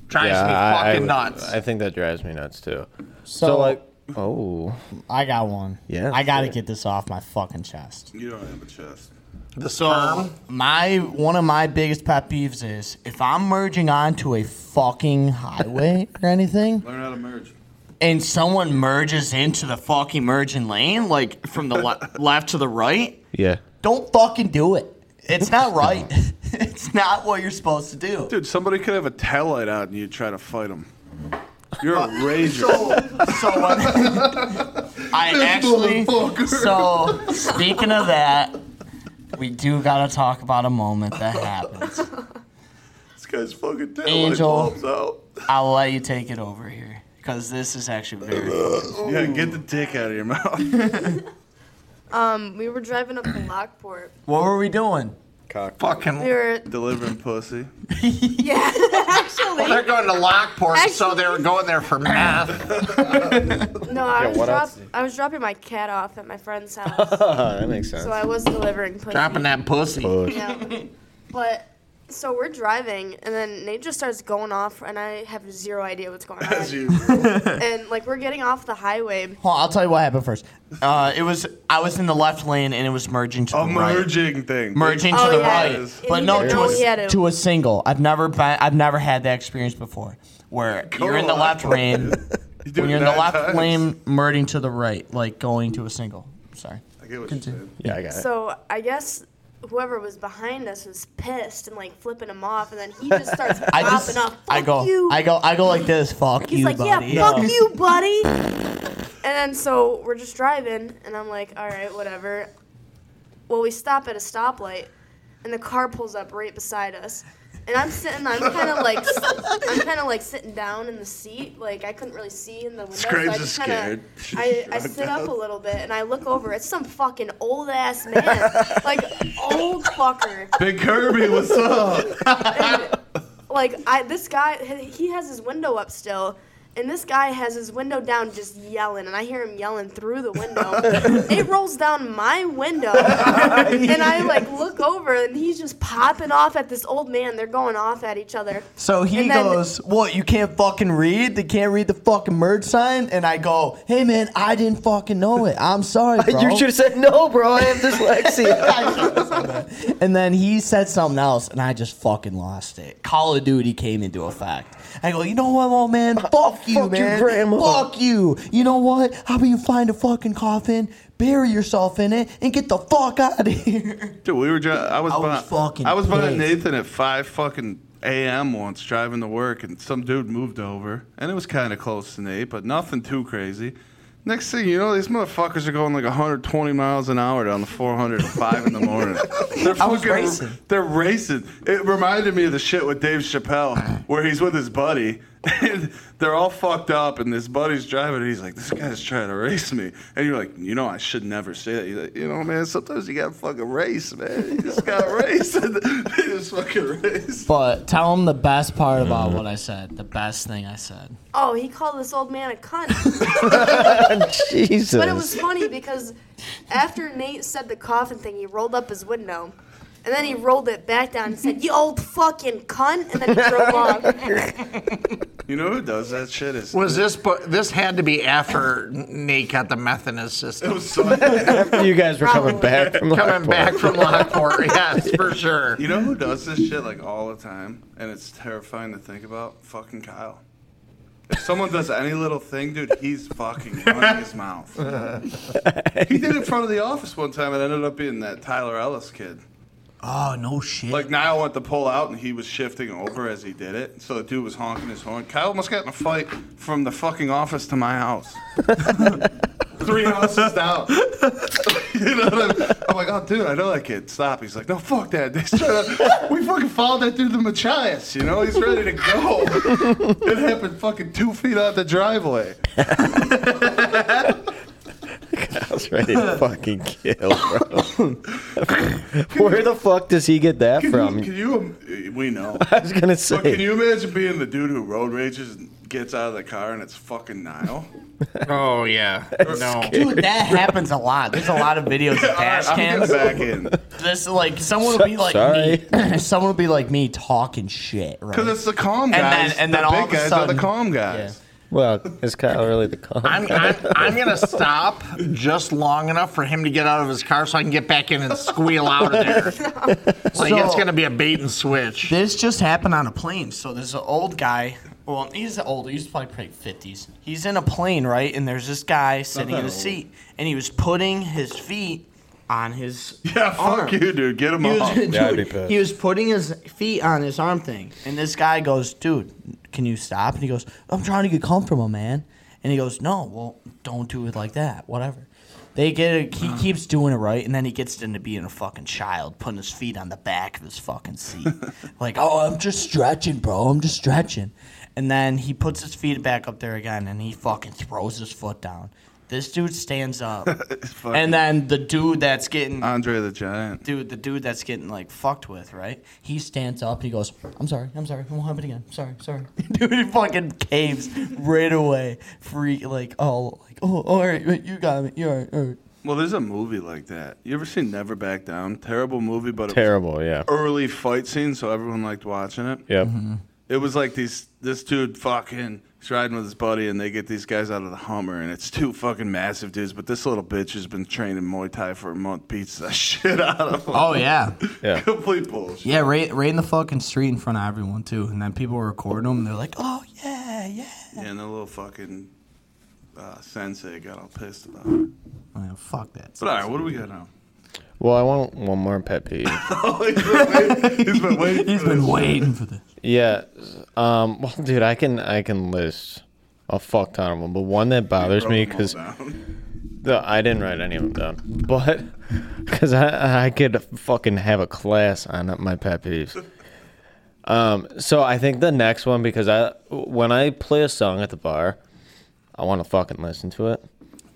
Speaker 1: drives me
Speaker 3: I-
Speaker 1: fucking
Speaker 3: I,
Speaker 1: nuts.
Speaker 3: I think that drives me nuts too. So,
Speaker 4: So-
Speaker 3: like, oh,
Speaker 4: I got one.
Speaker 3: Yeah,
Speaker 4: I got to
Speaker 3: sure.
Speaker 4: get this off my fucking chest.
Speaker 2: You don't have a chest.
Speaker 1: The
Speaker 4: so my one of my biggest pet peeves is if I'm merging onto a fucking highway or anything,
Speaker 2: Learn how to merge.
Speaker 4: and someone merges into the fucking merging lane, like from the le- <laughs> left to the right,
Speaker 3: yeah.
Speaker 4: don't fucking do it. It's not right. it's not what you're supposed to do.
Speaker 2: Dude, somebody could have a taillight out and you try to fight them. You're <laughs> a rager.
Speaker 4: So uh, I actually. So speaking of that, we do gotta talk about a moment that happened.
Speaker 2: this guy's fucking taillight
Speaker 4: Angel,
Speaker 2: pops out.
Speaker 4: I'll let you take it over here because this is actually very.
Speaker 2: Uh-huh. Yeah, get the dick out of your mouth.
Speaker 5: Um, we were driving up to Lockport.
Speaker 4: what were we doing?
Speaker 2: Cock.
Speaker 1: Fucking
Speaker 5: We were-
Speaker 2: <laughs> delivering pussy.
Speaker 5: Yeah,
Speaker 1: Well, they're
Speaker 5: actually.
Speaker 1: going to Lockport, so they were going there for math.
Speaker 5: No, I,
Speaker 1: Yeah,
Speaker 5: was
Speaker 1: what
Speaker 5: drop-
Speaker 1: else?
Speaker 5: I was dropping my cat off at my friend's house,
Speaker 3: Uh-huh, that makes
Speaker 4: <laughs>
Speaker 3: sense.
Speaker 5: so I was delivering pussy.
Speaker 1: Dropping that pussy.
Speaker 5: Yeah. But so we're driving, and then Nate just starts going off, and I have zero idea what's
Speaker 4: <laughs>
Speaker 5: going on. As and like we're getting off the highway.
Speaker 4: Hold on, I'll tell you what happened first. Uh, it was I was in the left lane and it was merging to the right.
Speaker 2: Oh, merging thing.
Speaker 4: Merging to
Speaker 2: Oh,
Speaker 4: the
Speaker 2: yeah.
Speaker 4: right,
Speaker 2: And
Speaker 4: but
Speaker 2: he
Speaker 4: no,
Speaker 2: didn't
Speaker 4: to
Speaker 2: know he
Speaker 4: a,
Speaker 2: had
Speaker 4: s-
Speaker 2: to.
Speaker 4: to a single. I've never been, I've never had that experience before where you're in the
Speaker 2: on.
Speaker 4: left
Speaker 2: <laughs>
Speaker 4: lane.
Speaker 2: do
Speaker 4: when
Speaker 2: it
Speaker 4: you're in the
Speaker 2: nine
Speaker 4: left
Speaker 2: times.
Speaker 4: lane, merging to the right, like going to a single. Sorry.
Speaker 2: I get what
Speaker 4: Continue.
Speaker 3: Yeah, I got
Speaker 5: So I guess whoever was behind us was pissed and like flipping him off, and then he just starts
Speaker 4: <laughs> I
Speaker 5: popping
Speaker 4: just,
Speaker 5: up.
Speaker 4: I go, I go, I go like this. Fuck
Speaker 5: He's
Speaker 4: you,
Speaker 5: like,
Speaker 4: buddy.
Speaker 5: yeah, fuck you, buddy. And then so we're just driving, and I'm like, all right, whatever. Well, we stop at a stoplight, and the car pulls up right beside us. And I'm sitting, I'm kind of like, I'm kind of like sitting down in the seat, like I couldn't really see in the window. so
Speaker 2: Graves
Speaker 5: I
Speaker 2: is
Speaker 5: just kinda-
Speaker 2: <laughs> scared.
Speaker 5: I, I
Speaker 2: She's
Speaker 5: sit up
Speaker 2: down.
Speaker 5: a little bit and I look over. It's some fucking old ass man, like old fucker.
Speaker 2: Big Kirby, what's up?
Speaker 5: like I this guy he has his window up still and this guy has his window down just yelling and I hear him yelling through the window. it rolls down my window and I like look over and he's just popping off at this old man. They're going off at each other.
Speaker 4: So he
Speaker 5: And then-
Speaker 4: goes, What, you can't fucking read? They can't read the fucking merge sign? And I go, Hey man, I didn't fucking know it. I'm
Speaker 5: <laughs>
Speaker 4: sorry. Bro.
Speaker 3: You
Speaker 4: <laughs>
Speaker 3: should have said no, bro. I have dyslexia.
Speaker 4: And then he said something else, and I just fucking lost it. Call of Duty came into effect. I go, you know what, old man? Fuck you,
Speaker 3: fuck your
Speaker 4: man.
Speaker 3: grandma."
Speaker 4: Fuck you. You know what? How about you find a fucking coffin, bury yourself in it, and get the fuck out of <laughs> here?
Speaker 2: Dude, we were. Dri- I was.
Speaker 4: I was
Speaker 2: behind,
Speaker 4: fucking
Speaker 2: I was behind
Speaker 4: pissed.
Speaker 2: Nathan at five fucking a.m. once driving to work, and some dude moved over, and it was kind of close to Nate, but nothing too crazy. Next thing you know, these motherfuckers are going like 120 miles an hour down the 400 at five in the morning. They're
Speaker 4: <laughs> I was
Speaker 2: fucking-
Speaker 4: racing.
Speaker 2: They're racing. It reminded me of the shit with Dave Chappelle, where he's with his buddy. And they're all fucked up, and this buddy's driving, and he's like, "This guy's trying to race me," and you're like, "You know, I should never say that." You're like, you know, man, sometimes you gotta fucking race, man. You just gotta race, <laughs> and they just fucking race.
Speaker 4: But tell him the best part about what I said. The best thing I said.
Speaker 5: Oh, he called this old man a cunt.
Speaker 4: Jesus.
Speaker 5: But it was funny because after Nate said the coffin thing, he rolled up his window. And then he rolled it back down and said, You old fucking cunt. And then he drove off.
Speaker 2: You know who does that shit? Is
Speaker 1: Was this? But this had to be after Nate got the meth in his system.
Speaker 3: After you guys were coming back
Speaker 1: <laughs>
Speaker 3: from
Speaker 1: coming
Speaker 3: Lockport.
Speaker 1: back from Lockport. <laughs> Yes, for sure.
Speaker 2: You know who does this shit like all the time, and it's terrifying to think about. Fucking Kyle. If someone does any little thing, dude, he's fucking running his mouth. He did it in front of the office one time, and ended up being that Tyler Ellis kid.
Speaker 4: Oh no shit!
Speaker 2: Like Niall went to pull out, and he was shifting over as he did it. So the dude was honking his horn. Kyle almost got in a fight from the fucking office to my
Speaker 4: <laughs>
Speaker 2: house. Three houses down. <laughs> you know what I mean? I'm like, oh, dude, I know that kid. Stop. He's like, no, fuck that. <laughs> They straight up- we fucking followed that dude to Machias. You know, he's ready to go. <laughs> it happened fucking two feet out the driveway.
Speaker 3: I was <laughs> ready to fucking kill, bro. <laughs> Where the fuck does he get that
Speaker 2: Can
Speaker 3: from?
Speaker 2: You, can you? We
Speaker 3: <laughs>
Speaker 2: know.
Speaker 3: I was gonna say.
Speaker 2: But can you imagine being the dude who road rages and gets out of the car and it's fucking Nile?
Speaker 4: Oh yeah, no,
Speaker 2: scary,
Speaker 4: dude, that happens a lot. There's a lot of videos of dash
Speaker 2: I'm getting
Speaker 4: cams.
Speaker 2: back in.
Speaker 4: This like someone will be like me. <laughs> someone will be like me talking shit, right?
Speaker 2: Because it's the calm
Speaker 4: And
Speaker 2: guys.
Speaker 4: then- and then
Speaker 2: the
Speaker 4: all
Speaker 2: big
Speaker 4: of a
Speaker 2: guys are
Speaker 4: sudden-
Speaker 2: the calm guys.
Speaker 3: Well, is Kyle really the con?
Speaker 1: I'm, I'm, I'm going to stop just long enough for him to get out of his car so I can get back in and squeal out of
Speaker 5: <laughs>
Speaker 1: there. Like, it's going to be a bait and switch.
Speaker 4: This just happened on a plane. So there's an old guy. Well, he's old. He's probably probably fifties. He's in a plane, right? And there's this guy sitting
Speaker 2: that
Speaker 4: in a
Speaker 2: old.
Speaker 4: seat, and he was putting his feet on his
Speaker 2: Yeah, fuck
Speaker 4: arm.
Speaker 2: you, dude. Get him
Speaker 4: He
Speaker 2: off.
Speaker 4: <laughs> was, dude, he was putting his feet on his arm thing, and this guy goes, "Dude, can you stop?" And he goes, "I'm trying to get comfortable, man." And he goes, "No, well, don't do it like that. Whatever." They get it. He keeps doing it right, and then he gets into being a fucking child, putting his feet on the back of his fucking seat, like, "Oh, I'm just stretching, bro. I'm just stretching." And then he puts his feet back up there again, and he fucking throws his foot down. This dude stands up, and then the dude that's getting
Speaker 2: Andre the Giant.
Speaker 4: dude, the dude that's getting like fucked with, right? He stands up. He goes, "I'm sorry, I'm sorry, it won't happen again. Sorry, sorry." <laughs> dude, he fucking caves right away. Freak, like, oh, like, oh, all right, wait, you got me. You're all right, all right.
Speaker 2: Well, there's a movie like that. You ever seen Never Back Down? Terrible movie, but it was
Speaker 3: Terrible, yeah.
Speaker 2: early fight scene, so everyone liked watching it.
Speaker 3: Yep.
Speaker 2: It was like these this dude fucking he's riding with his buddy and they get these guys out of the Hummer and it's two fucking massive dudes, but this little bitch has been training Muay Thai for a month, beats the <laughs> shit out of him.
Speaker 4: Oh yeah,
Speaker 3: yeah.
Speaker 2: Complete bullshit.
Speaker 4: yeah, right, right in the fucking street in front of everyone too. And then people were recording him. And they're like, "Oh yeah, yeah."
Speaker 2: Yeah, and the little fucking uh, sensei got all pissed about it.
Speaker 4: Man, fuck that.
Speaker 2: But all right, what do we got now?
Speaker 3: Well, I want one more pet peeve.
Speaker 2: He's been
Speaker 4: <laughs>
Speaker 2: waiting.
Speaker 4: He's been waiting for this.
Speaker 3: yeah. Um. Well, dude, I can I can list a fuck ton of them, but one that bothers me because I didn't write any of them down, but <laughs> because I I could fucking have a class on my pet peeves. Um. So I think the next one because I when I play a song at the bar, I want to fucking listen to it.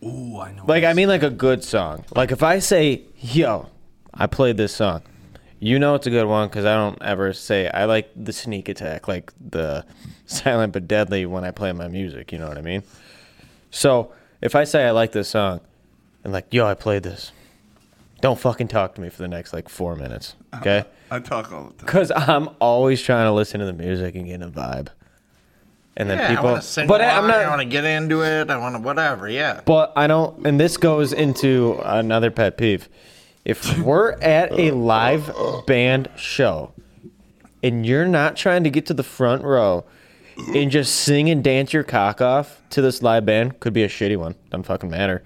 Speaker 4: Ooh, I know.
Speaker 3: Like I mean, like a good song. Like if I say, "Yo, I played this song," you know it's a good one because I don't ever say I like the sneak attack, like the <laughs> silent but deadly when I play my music. You know what I mean? So if I say I like this song, and like, "Yo, I played this," don't fucking talk to me for the next like four minutes,
Speaker 1: Uh-huh.
Speaker 3: okay?
Speaker 2: I talk all the time.
Speaker 3: Because I'm always trying to listen to the music and get in a vibe, and then
Speaker 1: yeah,
Speaker 3: people.
Speaker 1: I want to sing
Speaker 3: but
Speaker 1: along,
Speaker 3: I- I'm not.
Speaker 1: I want to get into it. I want to whatever, yeah.
Speaker 3: But I don't, and this goes into another pet peeve.
Speaker 2: <laughs>
Speaker 3: If we're at
Speaker 2: Uh,
Speaker 3: a live band show and you're not trying to get to the front row and just sing and dance your cock off to this live band, could be a shitty one. Doesn't fucking matter.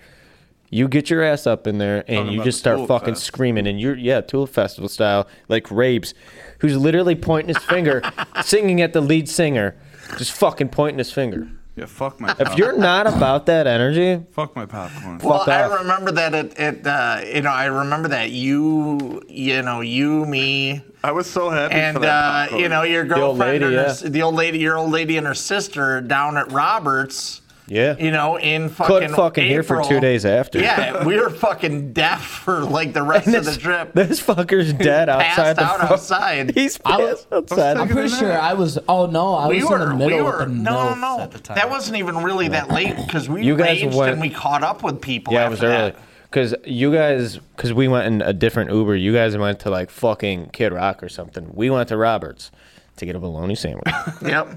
Speaker 3: You get your ass up in there and
Speaker 2: Talking
Speaker 3: you
Speaker 2: about
Speaker 3: just
Speaker 2: the
Speaker 3: start
Speaker 2: Tool
Speaker 3: fucking
Speaker 2: Fest.
Speaker 3: screaming and you're yeah, Tool Festival style, like Rabes, who's literally pointing
Speaker 2: <laughs>
Speaker 3: his finger, singing at the lead singer, just fucking pointing his finger.
Speaker 2: Yeah, fuck my.
Speaker 3: If you're not about that energy,
Speaker 2: fuck my popcorn.
Speaker 1: Well,
Speaker 3: fuck off.
Speaker 1: I remember that it, it uh, you know, I remember that you, you know, you, me,
Speaker 2: I was so happy for
Speaker 1: and
Speaker 2: that
Speaker 1: uh,
Speaker 2: popcorn.
Speaker 1: you know your
Speaker 3: The old
Speaker 1: girlfriend,
Speaker 3: lady,
Speaker 1: and her
Speaker 3: yeah.
Speaker 1: s- the old lady, your old lady, and her sister down at Roberts.
Speaker 3: Yeah.
Speaker 1: You know, in fucking
Speaker 3: Couldn't fucking hear for
Speaker 1: April.
Speaker 3: two days after.
Speaker 1: Yeah, we were fucking deaf for like the
Speaker 3: <laughs>
Speaker 1: rest of the
Speaker 3: This,
Speaker 1: trip.
Speaker 3: this fucker's dead
Speaker 1: Passed
Speaker 3: outside the
Speaker 1: out
Speaker 3: fu-
Speaker 1: outside.
Speaker 3: <laughs> He's
Speaker 1: I
Speaker 3: passed outside.
Speaker 6: I'm pretty sure I was. Oh no, I
Speaker 1: we
Speaker 6: was
Speaker 1: were,
Speaker 6: in the middle
Speaker 1: we
Speaker 6: of
Speaker 1: were,
Speaker 6: the
Speaker 1: no,
Speaker 6: MILFs
Speaker 1: no,
Speaker 6: at the time.
Speaker 1: that wasn't even really that late because we
Speaker 3: You guys
Speaker 1: raged
Speaker 3: went-
Speaker 1: and we caught up with people.
Speaker 3: yeah,
Speaker 1: after
Speaker 3: it was
Speaker 1: that.
Speaker 3: early. Cause you guys, cause we went in a different Uber. You guys went to like fucking Kid Rock or something. We went to Roberts to get a
Speaker 1: <laughs>
Speaker 3: bologna sandwich.
Speaker 1: Yep.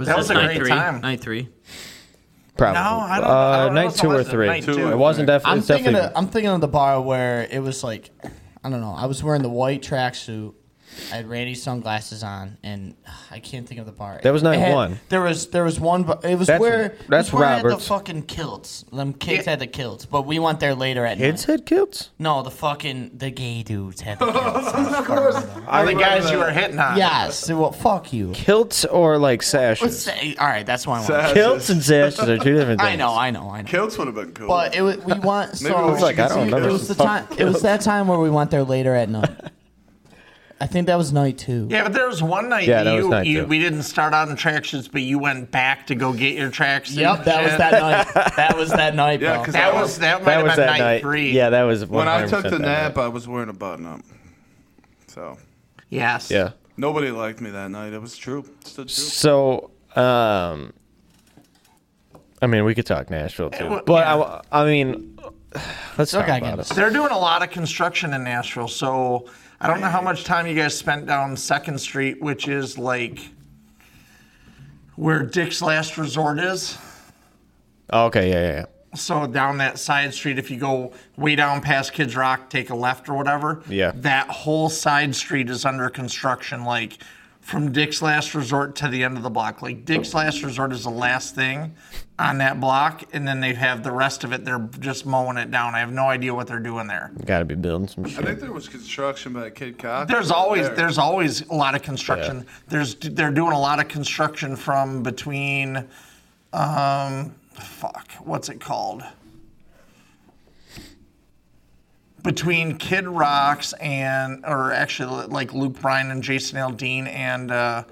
Speaker 1: that was a great time.
Speaker 4: Night three.
Speaker 3: Probably.
Speaker 1: No, I don't-
Speaker 3: Uh,
Speaker 1: I don't know
Speaker 3: night
Speaker 1: if it
Speaker 3: two or
Speaker 1: was a
Speaker 3: three.
Speaker 1: night Two, two. I
Speaker 3: It wasn't def-
Speaker 6: I'm
Speaker 3: it's
Speaker 6: thinking.
Speaker 3: definitely.
Speaker 6: Of, I'm thinking of the bar where it was like, I don't know. I was wearing the white tracksuit.
Speaker 4: I had Randy's sunglasses on, and ugh, I can't think of the bar.
Speaker 3: That was
Speaker 4: It had-
Speaker 3: 9-1.
Speaker 4: There was there was one. bar- It was
Speaker 3: That's-
Speaker 4: where it
Speaker 3: that's
Speaker 4: was where I had the
Speaker 3: Roberts.
Speaker 4: fucking kilts. Them kids had the kilts, but we went there later at night.
Speaker 3: Kids had kilts.
Speaker 4: No, the fucking the gay dudes had <laughs> the kilts.
Speaker 1: of course. All the guys you were hitting on.
Speaker 4: Yes. Well, fuck you.
Speaker 3: Kilts or like
Speaker 4: Let's
Speaker 3: sashes.
Speaker 4: say- all right, that's why I
Speaker 3: Sashes.
Speaker 4: wanted.
Speaker 3: Kilts and sashes are two different
Speaker 4: I
Speaker 3: things.
Speaker 4: know, I know, I know.
Speaker 2: Kilts would have been cool.
Speaker 4: But it was, we want
Speaker 2: Maybe
Speaker 4: so
Speaker 2: we should Like, I don't get some remember
Speaker 4: It
Speaker 2: kilts.
Speaker 4: was the
Speaker 2: some
Speaker 4: time.
Speaker 2: fucking
Speaker 4: It was
Speaker 2: kilts.
Speaker 4: that time where we went there later at night. I think that was night two.
Speaker 1: Yeah, but there was one night
Speaker 4: Yeah,
Speaker 1: that
Speaker 4: that was
Speaker 1: you,
Speaker 4: night
Speaker 1: you
Speaker 4: two.
Speaker 1: we didn't start out in tractions, but you went back to go get your tractions.
Speaker 4: Yep, that was that night. That was Oh. that night, bro.
Speaker 1: Yeah, 'cause That I was- was- that might have
Speaker 3: was
Speaker 1: been
Speaker 3: that
Speaker 1: night three.
Speaker 3: Yeah, that was
Speaker 2: When I
Speaker 3: 100%
Speaker 2: took the
Speaker 3: that night.
Speaker 2: nap, I was wearing a button up. So.
Speaker 1: Yes.
Speaker 3: Yeah.
Speaker 2: Nobody liked me that night. It was true. It's the truth.
Speaker 3: So, um, I mean, we could talk Nashville too, but I, I mean, let's talk about it.
Speaker 1: They're doing a lot of construction in Nashville, so I don't know how much time you guys spent down Second Street, which is like where Dick's Last Resort is.
Speaker 3: Oh, Okay, yeah, yeah, yeah.
Speaker 1: So down that side street, if you go way down past Kids Rock, take a left or whatever.
Speaker 3: Yeah.
Speaker 1: That whole side street is under construction, like from Dick's Last Resort to the end of the block. Like Dick's Last Resort is the last thing on that block, and then they have the rest of it. They're just mowing it down. I have no idea what they're doing there.
Speaker 3: Got to be building some
Speaker 2: I think
Speaker 3: shit.
Speaker 2: there was construction by Kid Cock.
Speaker 1: There's always
Speaker 2: There.
Speaker 1: there's always a lot of construction. There's they're doing a lot of construction from between, um, fuck, what's it called? Between Kid Rocks and, or actually like Luke Bryan and Jason Aldean and uh,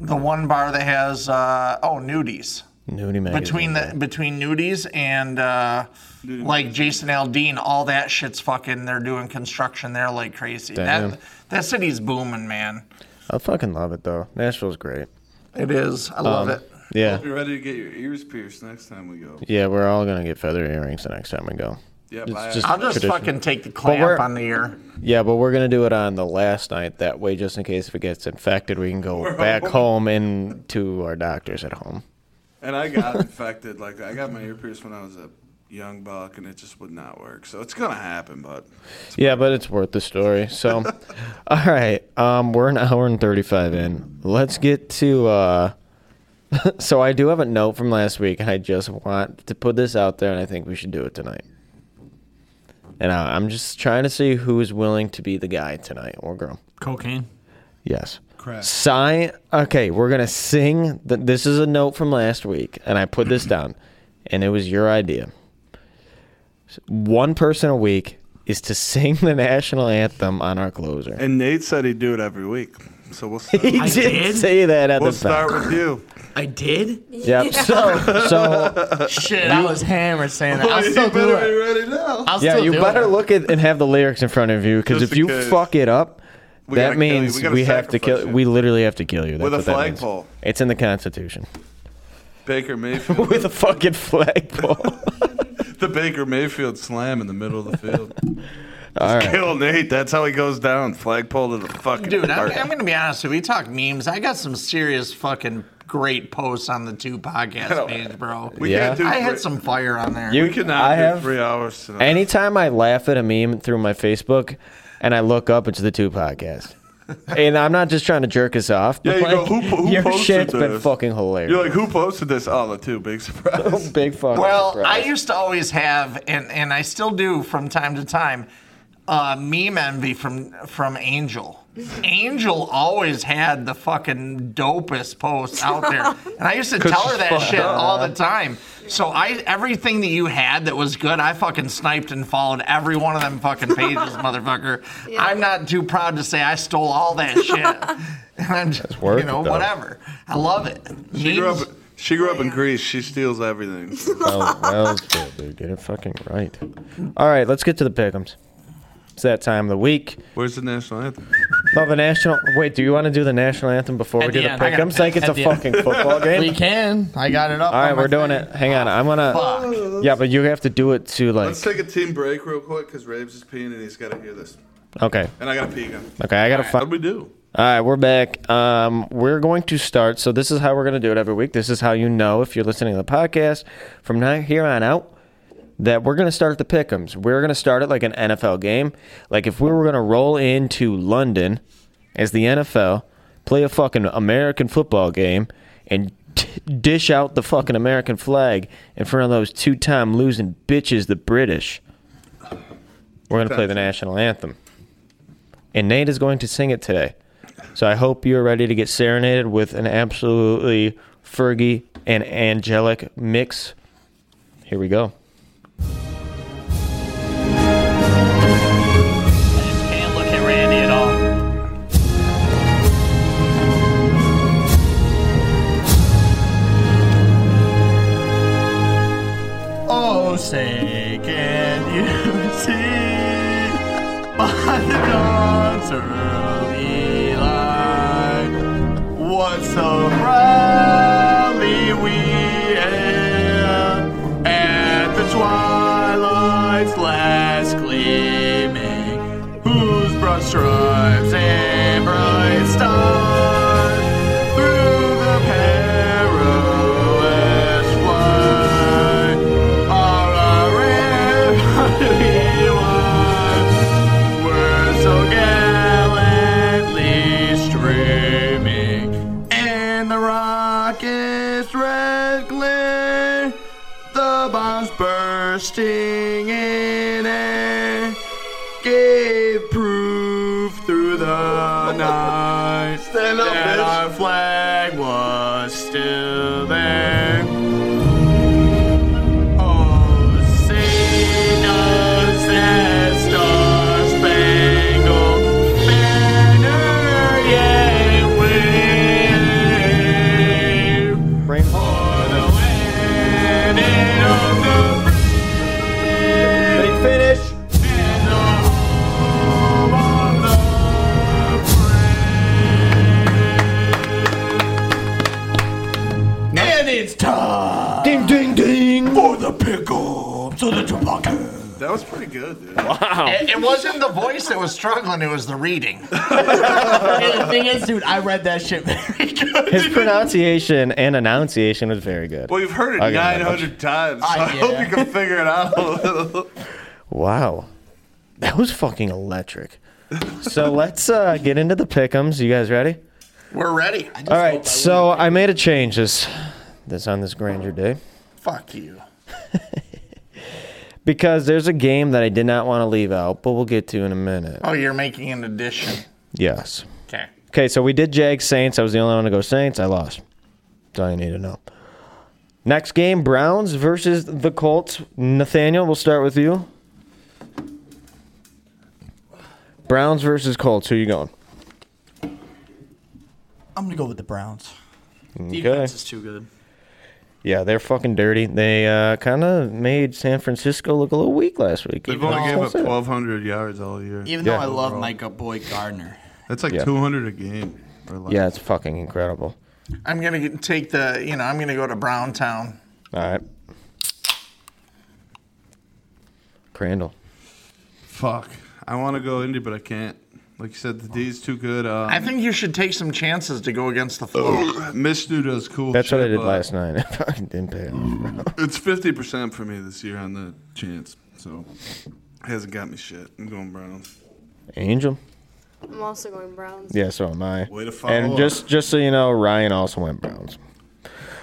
Speaker 1: the one bar that has uh, oh nudies
Speaker 3: Nudie magazine.
Speaker 1: between the between nudies and uh, like Jason Aldean, all that shit's fucking. They're doing construction there like crazy.
Speaker 3: Damn.
Speaker 1: That that city's booming, man.
Speaker 3: I fucking love it though. Nashville's great.
Speaker 1: It is. I love
Speaker 3: Um,
Speaker 1: it.
Speaker 3: Yeah,
Speaker 2: Hope you're ready to get your ears pierced next time we go.
Speaker 3: yeah. We're all gonna get feather earrings the next time we go.
Speaker 2: Yep,
Speaker 3: It's
Speaker 2: I-
Speaker 1: I'll just
Speaker 3: tradition.
Speaker 1: fucking take the
Speaker 3: But
Speaker 1: clamp
Speaker 3: we're-
Speaker 1: on the ear.
Speaker 3: Yeah, but we're gonna do it on the last night. That way, just in case if it gets infected, we can go
Speaker 2: We're
Speaker 3: back
Speaker 2: home.
Speaker 3: home and to our doctors at home.
Speaker 2: And I <laughs> got infected. Like I got my ear pierced when I was a young buck, and it just would not work. So it's gonna happen, but
Speaker 3: Yeah, but it's worth the story. So,
Speaker 2: <laughs>
Speaker 3: all right, um, we're an hour and thirty-five in. Let's get to. Uh, <laughs> so I do have a note from last week, and I just want to put this out there, and I think we should do it tonight. And I, I'm just trying to see who is willing to be the guy tonight or girl.
Speaker 4: Cocaine.
Speaker 3: Yes.
Speaker 2: Crap.
Speaker 3: Sign. Okay, we're gonna sing. The, this is a note from last week, and I put this down, and it was your idea. S- One person a week is to <laughs> sing the national anthem on our closer.
Speaker 2: and Nate said he'd do it every week. So <laughs> we'll. Start.
Speaker 3: He did, say that at
Speaker 2: we'll
Speaker 3: the
Speaker 2: start
Speaker 3: back.
Speaker 2: with <laughs> you.
Speaker 4: I did.
Speaker 3: Yep.
Speaker 4: <laughs>
Speaker 3: So, so
Speaker 4: Shit, I was hammered saying that. I'll
Speaker 2: You
Speaker 4: still do
Speaker 2: better be
Speaker 4: it.
Speaker 2: ready now.
Speaker 4: I'll
Speaker 3: yeah,
Speaker 4: still
Speaker 3: you
Speaker 4: do
Speaker 3: better
Speaker 4: it.
Speaker 3: look at and have the lyrics in front of you because
Speaker 2: Just
Speaker 3: if
Speaker 2: in
Speaker 3: you
Speaker 2: case.
Speaker 3: fuck it up,
Speaker 2: We gotta
Speaker 3: that
Speaker 2: kill you. We
Speaker 3: means we,
Speaker 2: gotta
Speaker 3: have to kill.
Speaker 2: sacrifice you.
Speaker 3: We literally have to kill you. That's
Speaker 2: With a
Speaker 3: what that means.
Speaker 2: flagpole.
Speaker 3: It's in the Constitution. <laughs>
Speaker 1: <laughs>
Speaker 2: Baker Mayfield.
Speaker 3: With a fucking flagpole.
Speaker 2: <laughs> the Baker Mayfield slam in the middle of the <laughs> field.
Speaker 3: All right.
Speaker 2: Kill Nate. That's how he goes down. Flagpole to the fucking.
Speaker 1: Dude, I'm,
Speaker 2: heart.
Speaker 1: I'm gonna be honest with you. We talk memes. I got some serious fucking great posts on the two
Speaker 2: <laughs>
Speaker 1: podcast page, bro.
Speaker 2: We can't do
Speaker 1: I had
Speaker 2: great-
Speaker 1: some fire on there.
Speaker 3: You-
Speaker 2: we cannot
Speaker 3: I
Speaker 2: do
Speaker 3: have-
Speaker 2: three hours tonight.
Speaker 3: Anytime I laugh at a meme through my Facebook and I look up, it's the two podcast. and I'm not just trying to jerk us off.
Speaker 2: Yeah,
Speaker 3: But
Speaker 2: you go,
Speaker 3: like,
Speaker 2: who, po- who
Speaker 3: your
Speaker 2: posted
Speaker 3: shit's
Speaker 2: this?
Speaker 3: been fucking hilarious.
Speaker 2: You're like, who posted this? Oh, the two big <laughs> surprise.
Speaker 3: <laughs> Big fucking
Speaker 1: Well, I
Speaker 3: surprise.
Speaker 1: used to always have, and, and I still do from time to time, uh, meme envy from from Angel. Angel always had the fucking dopest posts out there, and I used to
Speaker 2: 'Cause
Speaker 1: tell her
Speaker 2: she's
Speaker 1: that
Speaker 2: fucked
Speaker 1: shit
Speaker 2: up.
Speaker 1: all the time. So I everything that you had that was good, I fucking sniped and followed every one of them fucking pages, motherfucker. I'm not too proud to say I stole all that shit. <laughs> And I'm just,
Speaker 3: worth
Speaker 1: you know,
Speaker 3: it, though.
Speaker 1: whatever. I love it.
Speaker 2: She grew
Speaker 1: Memes-
Speaker 2: up. She grew up in Greece. She steals everything. <laughs>
Speaker 3: Oh, that was good, dude. Get it fucking right. All right, let's get to the pickums. It's that time of the week.
Speaker 2: Where's the national anthem?
Speaker 3: Oh, the national. Wait, do you want to do the national anthem before
Speaker 4: At
Speaker 3: we do
Speaker 4: the
Speaker 3: the
Speaker 4: end. I got-
Speaker 3: pickums? Like it's
Speaker 4: at
Speaker 3: a
Speaker 4: the end.
Speaker 3: fucking
Speaker 4: <laughs>
Speaker 3: football
Speaker 4: We
Speaker 3: game.
Speaker 4: can. I got it up.
Speaker 3: All right, we're doing it. Hang on, I'm gonna. Yeah, but you have to do it to like.
Speaker 2: Let's take a team break real quick because Raves is peeing and he's got to hear this.
Speaker 3: Okay.
Speaker 2: And I got to pee again.
Speaker 3: Okay, I
Speaker 2: All
Speaker 3: gotta
Speaker 2: right,
Speaker 3: fi-
Speaker 2: How'd we do?
Speaker 3: All right, we're back. Um, we're going to start. So this is how we're going to do it every week. This is how you know if you're listening to the podcast from now here on out that we're going to start the pickums. We're going to start it like an NFL game. Like if we were going to roll into London as the NFL, play a fucking American football game, and t- dish out the fucking American flag in front of those two time losing bitches, the British. We're going to play the national anthem. And Nate is going to sing it today. So I hope you're ready to get serenaded with an absolutely Fergie and angelic mix. Here we go.
Speaker 9: Can't look at Randy at all.
Speaker 1: Oh, say, can you <laughs> see by the dawn's early light what so proudly we hailed at the twilight's last gleaming, whose broad stripes and bright stars through the perilous flight are a river to be won, were so gallantly streaming in the rocket's red glare, the bombs bursting in air gave proof through the night that our flag was still there. Oh, say does that star-spangled banner yet wave? For the landing of the free. finish. And the home of the And it's time. Ding, ding, ding. For the pickups of the Chewbacca.
Speaker 2: That was pretty good, dude. <laughs>
Speaker 17: It, it wasn't the voice that was struggling, it was the reading.
Speaker 4: and the thing is, dude, I read that shit. <laughs>
Speaker 3: His pronunciation and enunciation was very good.
Speaker 2: Well, you've heard it
Speaker 3: I'll give him
Speaker 2: 900
Speaker 3: that
Speaker 2: times, so
Speaker 4: Ah,
Speaker 2: I hope
Speaker 4: yeah.
Speaker 2: you can figure it out a little.
Speaker 3: much. Wow. That was fucking electric.
Speaker 2: <laughs>
Speaker 3: So let's uh, get into the pickums. You guys ready?
Speaker 17: We're ready.
Speaker 3: All right. So I made a change this, this on this grandeur day.
Speaker 17: Fuck you.
Speaker 3: because there's a game that I did not want to leave out, but we'll get to in a minute.
Speaker 17: Oh, you're making an addition.
Speaker 3: Yes.
Speaker 17: Okay.
Speaker 3: Okay, so we did Jag Saints. I was the only one to go Saints. I lost. That's all you need to know. Next game, Browns versus the Colts. Nathaniel, we'll start with you. Browns versus Colts. Who you going?
Speaker 4: I'm gonna go with the Browns.
Speaker 3: Okay.
Speaker 18: is too good.
Speaker 3: Yeah, they're fucking dirty. They uh, kind of made San Francisco look a little weak last week.
Speaker 2: They've
Speaker 3: Even
Speaker 2: only
Speaker 3: though-
Speaker 2: gave up 1,200 yards all year.
Speaker 4: Even though I love Micah Boyd <laughs> Gardner.
Speaker 2: That's like
Speaker 3: Yeah.
Speaker 2: 200 a game. Or less.
Speaker 3: Yeah, it's fucking incredible.
Speaker 17: I'm gonna get, take the. You know, I'm gonna go to Brown Town.
Speaker 3: All right. Crandall.
Speaker 2: Fuck. I want to go indie, but I can't. Like you said, the D's too good. Um,
Speaker 17: I think you should take some chances to go against the
Speaker 3: Oh.
Speaker 17: flow.
Speaker 2: Mishnu does cool
Speaker 3: That's what I
Speaker 2: shit,
Speaker 3: did
Speaker 2: but
Speaker 3: last night. <laughs> It fucking didn't pay
Speaker 2: <laughs>
Speaker 3: off. bro.
Speaker 2: It's 50% for me this year on the chance. So, hasn't got me shit. I'm going Browns.
Speaker 3: Angel.
Speaker 5: I'm also going Browns.
Speaker 3: Yeah, so am I.
Speaker 2: Way to follow
Speaker 3: and
Speaker 2: up.
Speaker 3: just just so you know, Ryan also went Browns.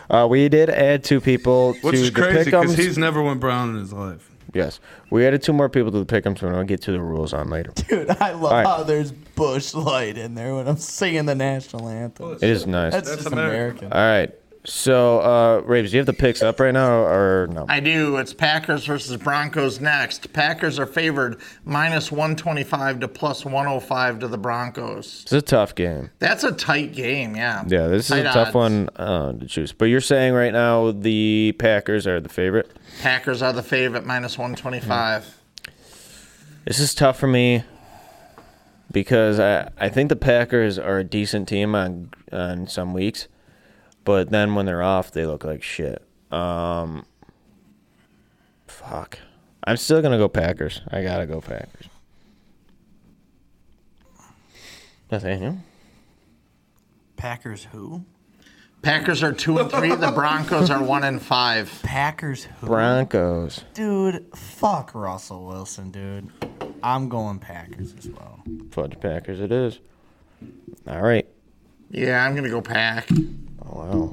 Speaker 3: Uh, we did add two people
Speaker 2: Which
Speaker 3: to
Speaker 2: is
Speaker 3: the
Speaker 2: crazy because
Speaker 3: pickums.
Speaker 2: he's never went Brown in his life.
Speaker 3: yes, we added two more people to the pickums, and I'll get to the rules on later.
Speaker 4: Dude, I love
Speaker 3: All right.
Speaker 4: how there's bush light in there when I'm singing the national anthem.
Speaker 3: It is nice.
Speaker 4: That's, just American.
Speaker 3: All right. So, uh, Raves, do you have the picks up right now or no?
Speaker 17: I do. It's Packers versus Broncos next. Packers are favored minus 125 to plus 105 to the Broncos.
Speaker 3: It's a tough game.
Speaker 17: That's a tight game, yeah.
Speaker 3: Yeah, this is a
Speaker 17: Tight
Speaker 3: tough
Speaker 17: odds.
Speaker 3: one uh, to choose. But you're saying right now the Packers are the favorite.
Speaker 17: Packers are the favorite minus 125.
Speaker 3: Hmm. This is tough for me because I, I think the Packers are a decent team on on some weeks, but then when they're off, they look like shit. Um, fuck. I'm still gonna go Packers. I gotta go Packers. Nathaniel.
Speaker 4: Packers who?
Speaker 17: Packers are 2 and 3, the Broncos are 1 and 5.
Speaker 4: Packers who?
Speaker 3: Broncos.
Speaker 4: Dude, fuck Russell Wilson, dude. I'm going Packers as well.
Speaker 3: Fudge Packers it is. All right.
Speaker 1: Yeah, I'm gonna go pack.
Speaker 3: Oh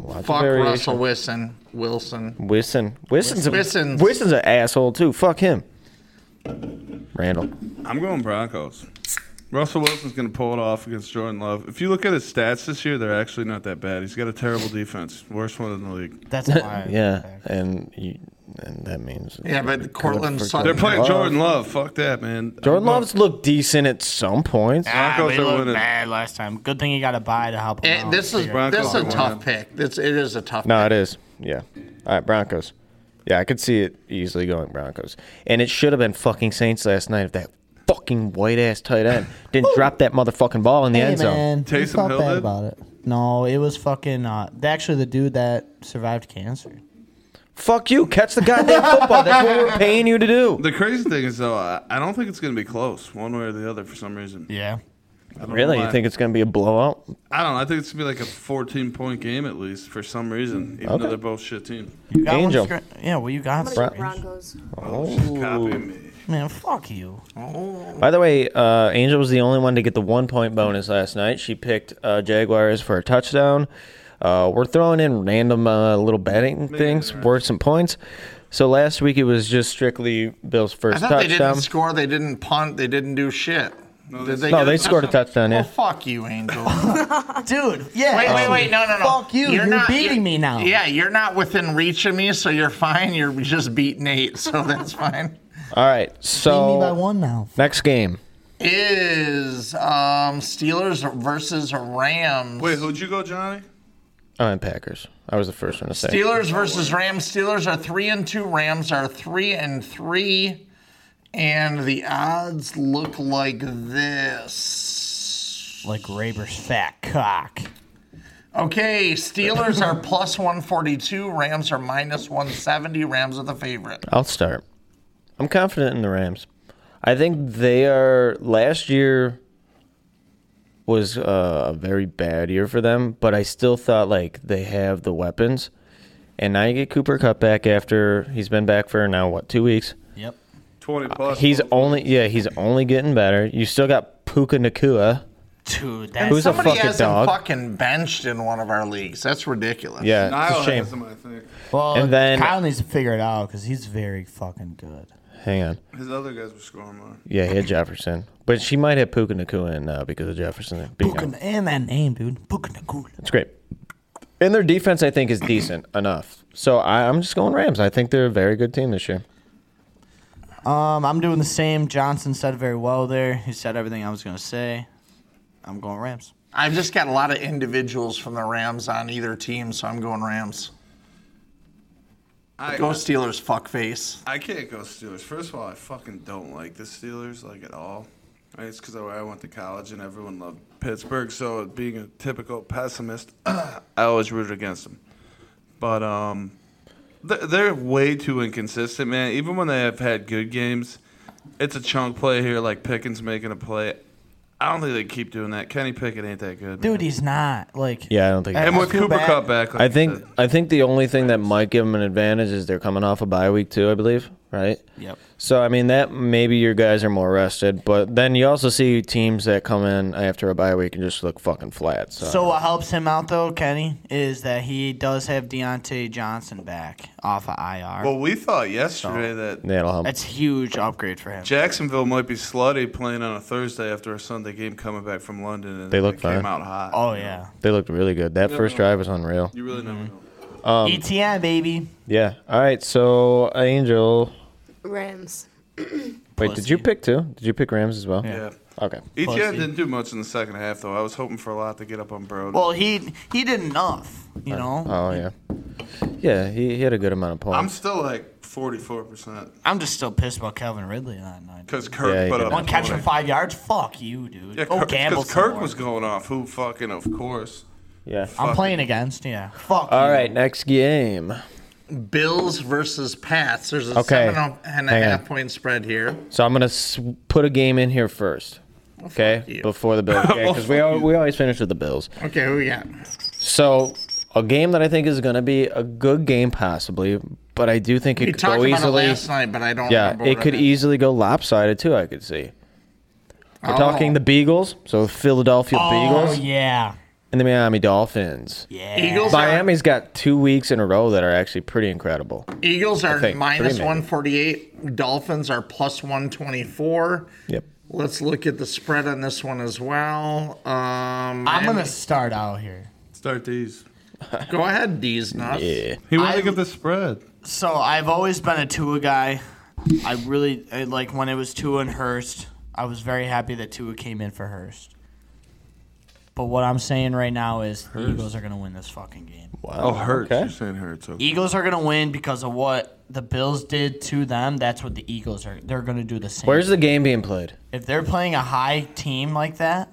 Speaker 3: wow.
Speaker 1: Fuck
Speaker 3: variation.
Speaker 1: Russell Wilson. Wilson.
Speaker 3: Wilson. Wilson's a,
Speaker 1: Wilson's-
Speaker 3: Wilson's an asshole too. Fuck him. Randall.
Speaker 2: I'm going Broncos. Russell Wilson's going to pull it off against Jordan Love. If you look at his stats this year, they're actually not that bad. He's got a terrible defense, worst one in the league.
Speaker 3: <laughs>
Speaker 4: That's
Speaker 3: yeah, and you, and that means
Speaker 2: Yeah, but
Speaker 1: Cortland
Speaker 3: Good for
Speaker 2: They're playing
Speaker 3: Love.
Speaker 2: Jordan Love. Fuck that, man.
Speaker 3: Jordan Love's looked decent at some points.
Speaker 4: Ah,
Speaker 2: Broncos
Speaker 4: we
Speaker 2: are
Speaker 4: looked
Speaker 2: winning.
Speaker 4: bad last time. Good thing you got a buy to help.
Speaker 1: Eh,
Speaker 4: him out.
Speaker 1: this is this is a tough pick. It's it is a tough.
Speaker 3: No, it is. Yeah. All right, Broncos. Yeah, I could see it easily going Broncos. And it should have been fucking Saints last night if that fucking white ass tight end didn't drop that motherfucking ball in the
Speaker 4: Hey,
Speaker 3: end zone.
Speaker 4: man, we felt bad about it. No, Oh, it was fucking. Uh, actually, the dude that survived cancer.
Speaker 3: Fuck you! Catch the goddamn football. That's what we're paying you
Speaker 2: <laughs>
Speaker 3: to do.
Speaker 2: The crazy thing is, though, I I don't think it's going to be close one way or the other for some reason.
Speaker 4: Yeah.
Speaker 3: Really? You think it's going to be a blowout?
Speaker 2: I don't know. I think it's going to be like a 14 point game at least for some reason, even
Speaker 3: Okay.
Speaker 2: though they're both shit teams.
Speaker 4: got one
Speaker 3: Angel.
Speaker 4: scra- yeah, well, you got
Speaker 3: Bron-
Speaker 5: Broncos.
Speaker 3: Oh.
Speaker 4: Man, fuck you. Oh.
Speaker 3: By the way, uh, Angel was the only one to get the one point bonus last night. She picked uh, Jaguars for a touchdown. Uh, we're throwing in random uh, little betting things worth some points. So last week it was just strictly Bill's
Speaker 1: I
Speaker 3: first
Speaker 1: thought they
Speaker 3: touchdown.
Speaker 1: didn't score. They didn't punt. They didn't do shit. No, they,
Speaker 3: no, they scored a touchdown, yeah.
Speaker 1: <laughs> Well, Oh, fuck you,
Speaker 3: <laughs>
Speaker 1: Angel.
Speaker 4: Dude, yeah.
Speaker 1: Wait, wait, wait! No, no, no!
Speaker 4: Fuck you. You're,
Speaker 1: not-
Speaker 4: beating
Speaker 1: you're-
Speaker 4: me now.
Speaker 1: Yeah, you're not within reach of me, so you're fine. You're just beating eight, so that's fine.
Speaker 3: All right, so
Speaker 4: by one now.
Speaker 3: Next game,
Speaker 1: Is um, Steelers versus Rams?
Speaker 2: Wait, who'd you go, Johnny?
Speaker 3: I'm in Packers. I was the first one to say.
Speaker 1: Steelers versus Rams. Steelers are three and two. Rams are three and three, and the odds look like this.
Speaker 4: Like Raber's fat cock.
Speaker 1: Okay, Steelers are plus 142, Rams are minus 170, Rams are the favorite.
Speaker 3: I'll start. I'm confident in the Rams. I think they are. Last year was uh, a very bad year for them, but I still thought like they have the weapons. And now you get Cooper Cup back after he's been back for now what two weeks.
Speaker 4: Yep.
Speaker 2: 20 plus.
Speaker 3: He's only yeah he's only getting better. You still got Puka Nakua.
Speaker 4: Dude,
Speaker 1: And
Speaker 3: who's a
Speaker 1: somebody
Speaker 3: fucking
Speaker 1: has him
Speaker 3: dog.
Speaker 1: fucking benched in one of our leagues. That's ridiculous.
Speaker 3: Yeah, it's a shame.
Speaker 4: Well,
Speaker 3: And then-
Speaker 4: Kyle needs to figure it out because he's very fucking good.
Speaker 3: Hang on.
Speaker 2: His other guys were scoring more.
Speaker 3: Yeah, he had Jefferson, but she might have Puka Nakua in now because of Jefferson being out.
Speaker 4: Fucking- And that name, dude. Puka Nakua.
Speaker 3: It's great. And their defense, I think, is decent enough. So I, I'm just going Rams. I think they're a very good team this year.
Speaker 4: Um, I'm doing the same. Johnson said it very well there. He said everything I was gonna say. I'm going Rams.
Speaker 1: I've just got a lot of individuals from the Rams on either team, so I'm going Rams.
Speaker 2: I,
Speaker 1: Go Steelers, fuckface.
Speaker 2: I can't go Steelers. First of all, I fucking don't like the Steelers like at all. Right? It's because I went to college and everyone loved Pittsburgh. So being a typical pessimist, <clears throat> I always rooted against them. But um, th- they're way too inconsistent, man. Even when they have had good games, it's a chunk play here, like Pickens making a play. I don't think they keep doing that. Kenny Pickett ain't that good, man.
Speaker 4: Dude, he's not like.
Speaker 3: Yeah, I don't think.
Speaker 2: And with
Speaker 4: feel
Speaker 2: Cooper
Speaker 4: bad.
Speaker 2: Cup back, like
Speaker 3: I
Speaker 2: you
Speaker 3: think
Speaker 2: said,
Speaker 3: I think the only thing that might give them an advantage is they're coming off a bye week too. I believe, right?
Speaker 4: Yep.
Speaker 3: So I mean that maybe your guys are more rested, but then you also see teams that come in after a bye week and just look fucking flat. So,
Speaker 4: So what helps him out though, Kenny, is that he does have Deontay Johnson back off of IR.
Speaker 2: Well, we thought yesterday that
Speaker 3: that'll help.
Speaker 4: That's huge upgrade for him.
Speaker 2: Jacksonville might be slutty playing on a Thursday after a Sunday game coming back from London, and
Speaker 3: They look
Speaker 2: came
Speaker 3: fine.
Speaker 2: out hot.
Speaker 4: Oh
Speaker 2: you know?
Speaker 4: yeah,
Speaker 3: They looked really good. That
Speaker 2: Yeah,
Speaker 3: first
Speaker 2: no.
Speaker 3: drive was unreal.
Speaker 2: you really never know.
Speaker 3: Um,
Speaker 4: ETN E baby.
Speaker 3: yeah. All right. So Angel,
Speaker 5: Rams.
Speaker 3: wait, did you pick too? Did you pick Rams as well?
Speaker 2: Yeah.
Speaker 3: Okay.
Speaker 2: ETN
Speaker 4: Pussy.
Speaker 2: didn't do much in the second half, though. I was hoping for a lot to get up on Broad.
Speaker 4: Well, he he did enough, you know.
Speaker 3: Oh yeah. Yeah, he, he had a good amount of points.
Speaker 2: I'm still like 44 percent
Speaker 4: I'm just still pissed about Kevin Ridley that night.
Speaker 2: because Kirk
Speaker 3: Yeah, he
Speaker 2: put
Speaker 3: did
Speaker 2: up
Speaker 4: One catch for
Speaker 2: 20.
Speaker 4: five yards. Fuck you, dude.
Speaker 2: Yeah,
Speaker 4: Go
Speaker 2: Kirk,
Speaker 4: gamble
Speaker 2: 'cause
Speaker 4: some
Speaker 2: Kirk
Speaker 4: more.
Speaker 2: was going off. Who fucking, of course.
Speaker 3: Yeah.
Speaker 4: I'm
Speaker 2: Fuck.
Speaker 4: playing against. Yeah. Fuck.
Speaker 3: All right, next game.
Speaker 1: Bills versus Pats. There's a
Speaker 3: Okay,
Speaker 1: seven and a
Speaker 3: hang on.
Speaker 1: half point spread here.
Speaker 3: So I'm gonna s- put a game in here first, okay? Before the Bills, because we al- we always finish with the Bills.
Speaker 1: Okay, who we got?
Speaker 3: So a game that I think is gonna be a good game, possibly, but I do think
Speaker 1: We
Speaker 3: it could
Speaker 1: talked
Speaker 3: go
Speaker 1: about it
Speaker 3: easily.
Speaker 1: last night, but I don't
Speaker 3: yeah, e-
Speaker 1: remember
Speaker 3: it
Speaker 1: what
Speaker 3: could
Speaker 1: it is.
Speaker 3: easily go lopsided too. I could see. We're talking the Beagles, so the Philadelphia
Speaker 4: Oh,
Speaker 3: Beagles.
Speaker 4: yeah.
Speaker 3: And the Miami Dolphins.
Speaker 4: Yeah. Eagles are-
Speaker 3: Miami's got two weeks in a row that are actually pretty incredible.
Speaker 1: Eagles
Speaker 3: I
Speaker 1: are
Speaker 3: think,
Speaker 1: minus
Speaker 3: three, maybe.
Speaker 1: 148. Dolphins are plus 124.
Speaker 3: Yep.
Speaker 1: Let's look at the spread on this one as well. Um,
Speaker 4: I'm gonna start out here.
Speaker 2: Start these.
Speaker 1: Go ahead, D's nuts.
Speaker 2: Yeah. He won't look at the spread.
Speaker 4: So I've always been a Tua guy. I really I, like when it was Tua and Hurst. I was very happy that Tua came in for Hurst. But what I'm saying right now is the
Speaker 2: Hurst.
Speaker 4: Eagles are gonna win this fucking game.
Speaker 2: Oh, Hurts. You're saying Hurts. Okay.
Speaker 4: Eagles are gonna win because of what the Bills did to them. That's what the Eagles are. They're gonna do the same.
Speaker 3: Where's the game being played?
Speaker 4: If they're playing a high team like that,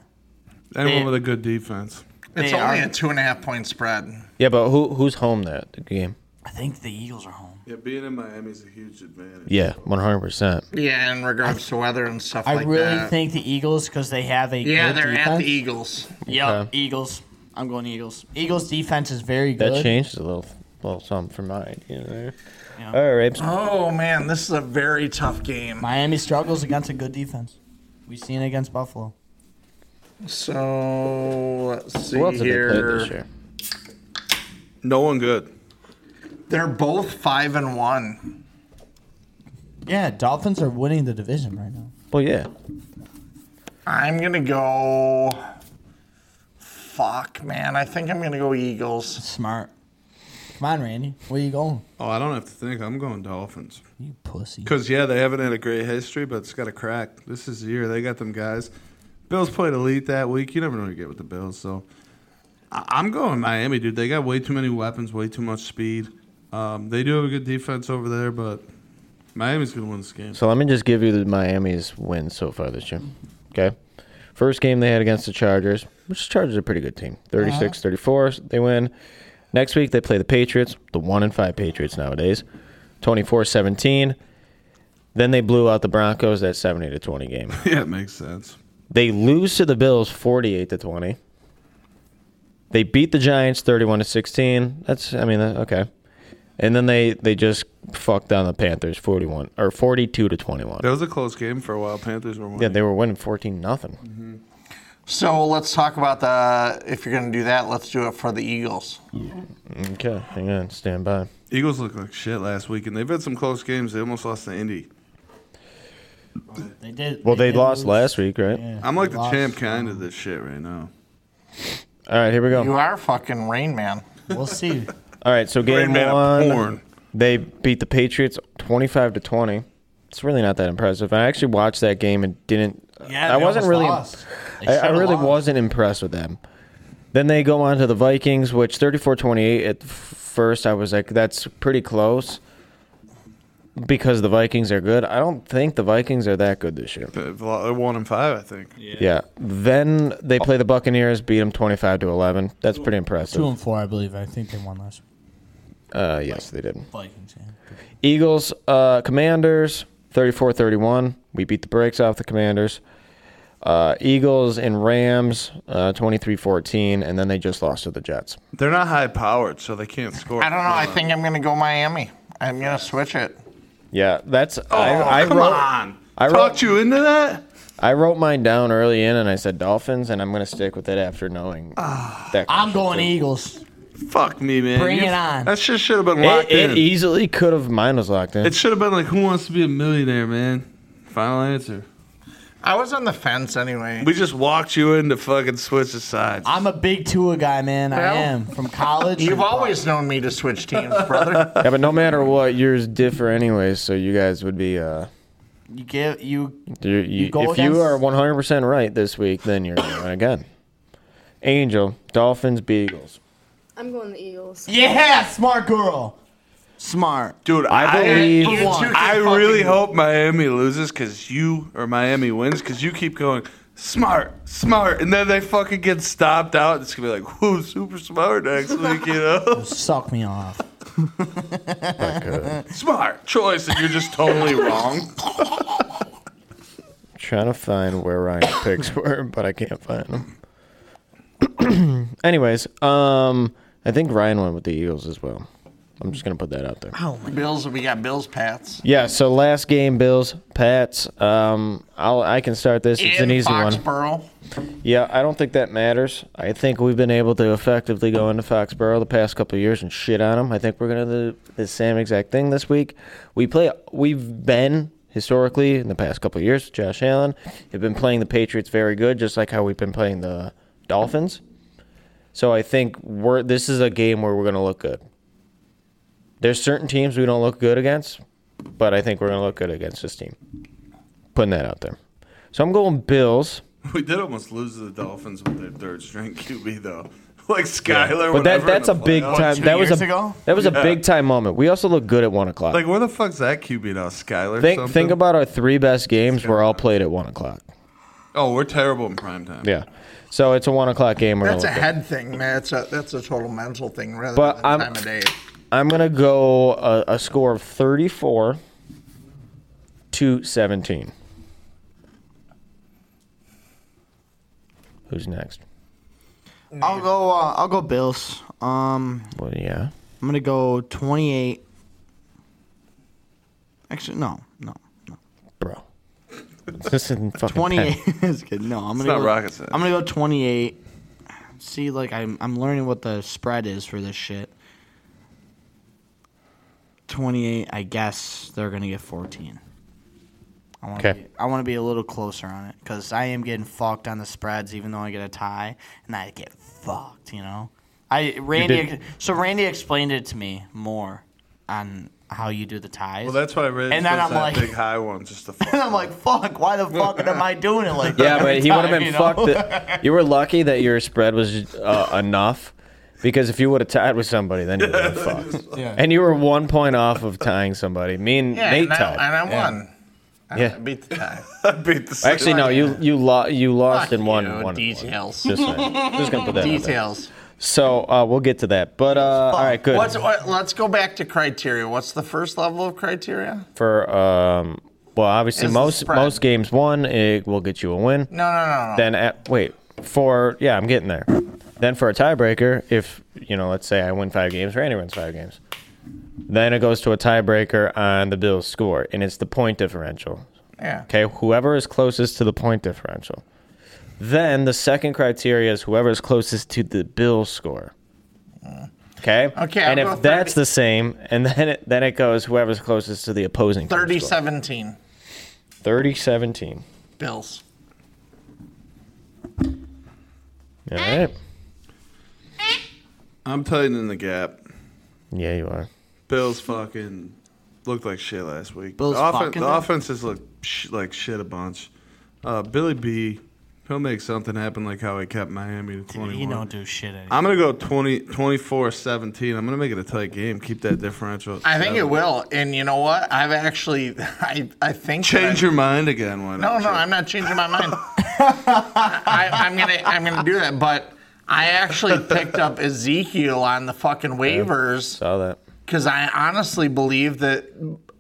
Speaker 2: Anyone with a good defense.
Speaker 1: It's
Speaker 4: They
Speaker 1: only
Speaker 4: are-
Speaker 1: a two and a half point spread.
Speaker 3: Yeah, but who who's home that the game?
Speaker 4: I think the Eagles are home.
Speaker 2: Yeah, being in Miami is a huge advantage.
Speaker 3: Yeah, one hundred percent.
Speaker 1: Yeah, in regards to weather and stuff
Speaker 4: I
Speaker 1: like
Speaker 4: really
Speaker 1: that.
Speaker 4: think the Eagles because they have a
Speaker 1: Yeah,
Speaker 4: good
Speaker 1: they're at
Speaker 4: defense.
Speaker 1: the Eagles.
Speaker 4: Yep,
Speaker 3: Okay.
Speaker 4: Eagles. I'm going Eagles. Eagles defense is very good.
Speaker 3: That changes a little little something for mine, you know.
Speaker 4: Yeah.
Speaker 3: All right.
Speaker 1: Oh man, this is a very tough game.
Speaker 4: Miami struggles against a good defense. We've seen it against Buffalo.
Speaker 1: So let's see
Speaker 4: Who else have they
Speaker 1: here.
Speaker 4: played this year?
Speaker 2: No one good.
Speaker 1: They're both five and one.
Speaker 4: Yeah, Dolphins are winning the division right now.
Speaker 3: Well, yeah.
Speaker 1: I'm gonna go. Fuck, man. I think I'm gonna go Eagles.
Speaker 4: Smart. Come on, Randy. Where you going?
Speaker 2: Oh, I don't have to think. I'm going Dolphins.
Speaker 4: You pussy. <laughs>
Speaker 2: Because, yeah, they haven't had a great history, but it's got a crack. This is the year. They got them guys. Bills played elite that week. You never know what you get with the Bills. So I- I'm going Miami, dude. They got way too many weapons, way too much speed. Um, they do have a good defense over there, but Miami's going to win this
Speaker 3: <laughs>
Speaker 2: game.
Speaker 3: So let me just give you the Miami's wins so far this year. Okay. First game they had against the Chargers, which the Chargers are a pretty good team. 36 34, they win. Next week they play the Patriots, the 1 and 5 Patriots nowadays, 24 17. Then they blew out the Broncos that 70 to 20 game.
Speaker 2: yeah, it makes sense.
Speaker 3: They lose to the Bills 48 to 20. They beat the Giants 31 to 16. That's I mean that- okay. And then they they just fucked down the Panthers 41 or 42 to 21.
Speaker 2: That was a close game for a while. Panthers were winning.
Speaker 3: Yeah, they were winning 14 nothing.
Speaker 1: So let's talk about the. If you're gonna do that, let's do it for the Eagles.
Speaker 3: Mm-hmm. Okay, hang on, stand by.
Speaker 2: Eagles looked like shit last week, and they've had some close games. They almost lost to Indy.
Speaker 4: They did.
Speaker 3: Well, they
Speaker 4: did
Speaker 3: lost
Speaker 4: lose.
Speaker 3: last week, right?
Speaker 2: I'm like
Speaker 4: They
Speaker 2: the
Speaker 4: lost.
Speaker 2: champ kind of this shit right now.
Speaker 3: All right, here we go.
Speaker 1: You are fucking Rain Man.
Speaker 4: We'll see.
Speaker 3: All right, so
Speaker 2: Great
Speaker 3: game
Speaker 2: man of
Speaker 3: one,
Speaker 2: porn.
Speaker 3: they beat the Patriots 25 to 20. It's really not that impressive. I actually watched that game and didn't.
Speaker 4: Yeah,
Speaker 3: I
Speaker 4: they
Speaker 3: wasn't
Speaker 4: almost
Speaker 3: really.
Speaker 4: lost. They
Speaker 3: I, I
Speaker 4: should've
Speaker 3: really
Speaker 4: lost.
Speaker 3: wasn't impressed with them. Then they go on to the Vikings, which 34 28 at f- first, I was like, that's pretty close because the Vikings are good. I don't think the Vikings are that good this year.
Speaker 2: They've lo- They're one and five, I think.
Speaker 3: Yeah. Then they play the Buccaneers, beat them 25 to 11. That's pretty impressive.
Speaker 4: Two and four, Oh, I believe. I think they won last week.
Speaker 3: Uh, yes, they did.
Speaker 4: Vikings. Yeah.
Speaker 3: Eagles, uh, Commanders, 34 31. We beat the brakes off the Commanders. Uh, Eagles and Rams, 23 14. And then they just lost to the Jets.
Speaker 2: They're not high powered, so they can't score.
Speaker 1: I don't know. I think I'm gonna go Miami. I'm gonna switch it.
Speaker 3: Yeah, that's.
Speaker 2: Oh,
Speaker 3: I, I
Speaker 2: come
Speaker 3: wrote,
Speaker 2: on.
Speaker 3: I wrote,
Speaker 2: Talked you into that?
Speaker 3: I wrote mine down early in and I said Dolphins, and I'm going to stick with it after knowing
Speaker 2: Ah,
Speaker 3: that.
Speaker 4: I'm going Eagles.
Speaker 2: Fuck me, man.
Speaker 4: Bring
Speaker 2: You-
Speaker 4: it on.
Speaker 2: That shit should have been
Speaker 3: It,
Speaker 2: locked
Speaker 3: it e-
Speaker 2: in.
Speaker 3: easily could have. Mine was locked in.
Speaker 2: It should have been like, who wants to be a millionaire, man? Final answer.
Speaker 1: I was on the fence anyway.
Speaker 2: We just walked you into fucking switch the sides.
Speaker 4: I'm a big Tua guy, man. I
Speaker 1: Well,
Speaker 4: am from college.
Speaker 1: You've always known me to switch teams,
Speaker 4: <laughs>
Speaker 1: brother.
Speaker 3: yeah, but no matter what, yours differ anyways, so you guys would be. Uh,
Speaker 4: You give you
Speaker 3: You, you,
Speaker 4: go
Speaker 3: if you
Speaker 4: against-
Speaker 3: are 100% right this week, then you're going again. Angel, Dolphins, Beagles.
Speaker 5: I'm going the Eagles.
Speaker 4: Yeah, smart girl. Smart.
Speaker 2: Dude,
Speaker 3: I
Speaker 2: I,
Speaker 3: believe-
Speaker 2: I,
Speaker 3: You two
Speaker 1: can
Speaker 2: really
Speaker 1: fucking-
Speaker 2: hope Miami loses because you or Miami wins because you keep going smart, smart, and then they fucking get stopped out. It's gonna be like, who's super smart next week, you
Speaker 4: <laughs>
Speaker 2: know?
Speaker 4: Suck me off.
Speaker 2: smart choice, and you're just totally wrong.
Speaker 3: Trying to find where Ryan's picks were, but I can't find them. <coughs> Anyways, um, I think Ryan went with the Eagles as well. I'm just gonna put that out there.
Speaker 4: Oh
Speaker 1: Bills, we got Bills, Pats.
Speaker 3: Yeah. So last game, Bills, Pats. Um, I'll I can start this. It's an
Speaker 1: In
Speaker 3: easy one.
Speaker 1: Foxborough.
Speaker 3: Yeah, I don't think that matters. I think we've been able to effectively go into Foxborough the past couple of years and shit on them. I think we're gonna do the same exact thing this week. We play. We've been historically in the past couple of years. Josh Allen have been playing the Patriots very good, just like how we've been playing the Dolphins. So I think we're. This is a game where we're gonna look good. There's certain teams we don't look good against, but I think we're gonna look good against this team. Putting that out there. So I'm going Bills.
Speaker 2: <laughs> We did almost lose to the Dolphins with their third string QB though. <laughs> Like Skyler,
Speaker 3: But that, that's a big time. That was a that was a big time moment. We also look good at one o'clock.
Speaker 2: Like where the fuck's that QB now, Skyler?
Speaker 3: think
Speaker 2: something?
Speaker 3: think about our three best games were all played at one o'clock.
Speaker 2: Oh, we're terrible in prime time.
Speaker 3: Yeah, so it's a one o'clock game. We're gonna
Speaker 1: That's a
Speaker 3: look good.
Speaker 1: head thing, man. That's a that's a total mental thing rather
Speaker 3: But
Speaker 1: than
Speaker 3: I'm-
Speaker 1: time of day.
Speaker 3: I'm gonna go a, a score of 34 to 17. Who's next?
Speaker 4: I'll go. Uh, I'll go Bills. Um,
Speaker 3: Well, yeah.
Speaker 4: I'm gonna go 28. Actually, no, no,
Speaker 3: bro. <laughs> This isn't fucking
Speaker 4: <laughs> 28
Speaker 3: pen.
Speaker 4: is good. No, I'm
Speaker 3: It's
Speaker 4: gonna.
Speaker 3: not
Speaker 4: go,
Speaker 3: rocket science.
Speaker 4: I'm gonna go 28. See, like I'm, I'm learning what the spread is for this shit. 28. I guess they're gonna get 14. I want to
Speaker 3: Okay.
Speaker 4: be, I want to be a little closer on it because I am getting fucked on the spreads, even though I get a tie, and I get fucked. You know, I Randy.
Speaker 2: did-
Speaker 4: So Randy explained it to me more on how you do the ties.
Speaker 2: Well, that's why I really
Speaker 4: And then
Speaker 2: chose
Speaker 4: I'm
Speaker 2: that
Speaker 4: like-
Speaker 2: big high one just to.
Speaker 4: <laughs> and I'm
Speaker 2: <laughs>
Speaker 4: like, fuck, why the fuck am I doing it like
Speaker 3: Yeah,
Speaker 4: that? every
Speaker 3: but he would have
Speaker 4: time,
Speaker 3: been
Speaker 4: you know?
Speaker 1: <laughs>
Speaker 3: fucked. that- you were lucky that your spread was uh, enough because if you would have tied with somebody, then you would have been
Speaker 1: <laughs>
Speaker 3: fucked.
Speaker 1: Yeah.
Speaker 3: And you were one point off of tying somebody. Me and
Speaker 1: Yeah,
Speaker 3: Nate
Speaker 1: and I,
Speaker 3: tied.
Speaker 1: and I won. I
Speaker 3: Yeah.
Speaker 1: beat the <laughs> tie.
Speaker 2: I beat the.
Speaker 3: Actually, no, you you, lo- you lost and won.
Speaker 1: you,
Speaker 3: one
Speaker 1: details.
Speaker 3: Just, saying. Just gonna put that out
Speaker 1: <laughs>
Speaker 3: there.
Speaker 1: Details.
Speaker 3: So uh, we'll get to that. But uh, all right, good.
Speaker 1: What's, what, let's go back to criteria. What's the first level of criteria?
Speaker 3: For um, well, obviously
Speaker 1: Is the
Speaker 3: most
Speaker 1: spread.
Speaker 3: most games won it will get you a win.
Speaker 1: No, no, no, no.
Speaker 3: Then at, wait for yeah, I'm getting there. Then for a tiebreaker, if you know, let's say I win five games, Randy wins five games. Then it goes to a tiebreaker on the Bills score, and it's the point differential.
Speaker 1: Yeah.
Speaker 3: Okay, whoever is closest to the point differential. Then the second criteria is whoever is closest to the Bills score. Okay.
Speaker 1: Okay, I'll
Speaker 3: And
Speaker 1: go
Speaker 3: if that's the same, and then it, then it goes whoever's closest to the opposing.
Speaker 1: 30 17.
Speaker 3: 30 17.
Speaker 1: Bills.
Speaker 3: All
Speaker 1: Eh.
Speaker 3: right.
Speaker 2: I'm tightening the gap.
Speaker 3: Yeah, you are.
Speaker 2: Bills fucking looked like shit last week.
Speaker 3: Bills
Speaker 2: the, offen-
Speaker 3: fucking
Speaker 2: the
Speaker 3: them?
Speaker 2: offenses look sh- like shit a bunch. Uh, Billy B, he'll make something happen like how he kept Miami to 21.
Speaker 4: He don't do shit anymore.
Speaker 2: I'm going to go 20, 24-17. I'm going to make it a tight game. Keep that differential. at
Speaker 1: I think it
Speaker 2: seven.
Speaker 1: will. And you know what? I've actually, <laughs> I, I think. that
Speaker 2: Change
Speaker 1: I-
Speaker 2: your mind again. Why
Speaker 1: Oh, No,
Speaker 2: not?
Speaker 1: no, I'm not changing my <laughs> mind. I, I'm gonna, I'm gonna do that. But I actually picked up Ezekiel on the fucking waivers
Speaker 3: Saw that.
Speaker 1: because I honestly believe that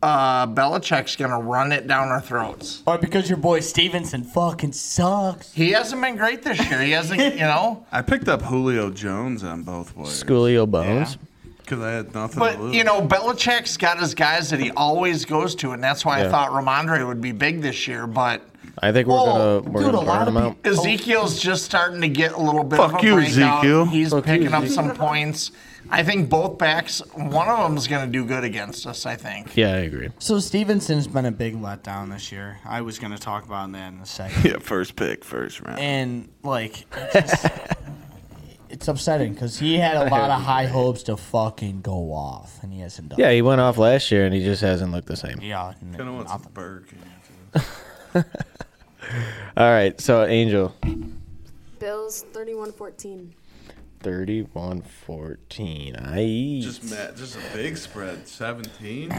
Speaker 1: uh, Belichick's gonna run it down our throats.
Speaker 4: Or because your boy Stevenson fucking sucks.
Speaker 1: He hasn't been great this year. He hasn't, you know.
Speaker 2: I picked up Julio Jones on both ways
Speaker 3: Schoolio Bones.
Speaker 2: because I had nothing
Speaker 1: <laughs>
Speaker 2: to
Speaker 1: But
Speaker 2: lose.
Speaker 1: you know, Belichick's got his guys that he always goes to, and that's why I
Speaker 3: Yeah.
Speaker 1: thought Ramondre would be big this year. But
Speaker 3: I think we're
Speaker 1: Well,
Speaker 3: gonna we're
Speaker 1: Oh, dude, a
Speaker 3: gonna burn
Speaker 1: lot
Speaker 3: them out.
Speaker 1: Ezekiel's just starting to get a little bit
Speaker 3: Oh. Fuck
Speaker 1: of a
Speaker 3: you,
Speaker 1: breakout.
Speaker 3: Ezekiel.
Speaker 1: He's
Speaker 3: Fuck you,
Speaker 1: picking up
Speaker 3: Ezekiel.
Speaker 1: some points. I think both backs. One of them's going to do good against us. I think.
Speaker 3: Yeah, I agree.
Speaker 4: So Stevenson's been a big letdown this year. I was gonna talk about that in
Speaker 3: <laughs>
Speaker 4: a second.
Speaker 2: yeah, first pick, first round.
Speaker 4: And like, it's, just, it's upsetting because he had a lot of high hopes to fucking go off, and he hasn't done.
Speaker 3: Yeah, he went off last year and he just hasn't looked the same.
Speaker 4: it. yeah. n-
Speaker 2: Kind of wants
Speaker 4: nothing.
Speaker 2: Berg.
Speaker 3: All right, so Angel,
Speaker 5: Bills 31-14.
Speaker 3: 31-14. I
Speaker 2: Just Matt, just a big spread,
Speaker 4: <clears throat>
Speaker 2: seventeen.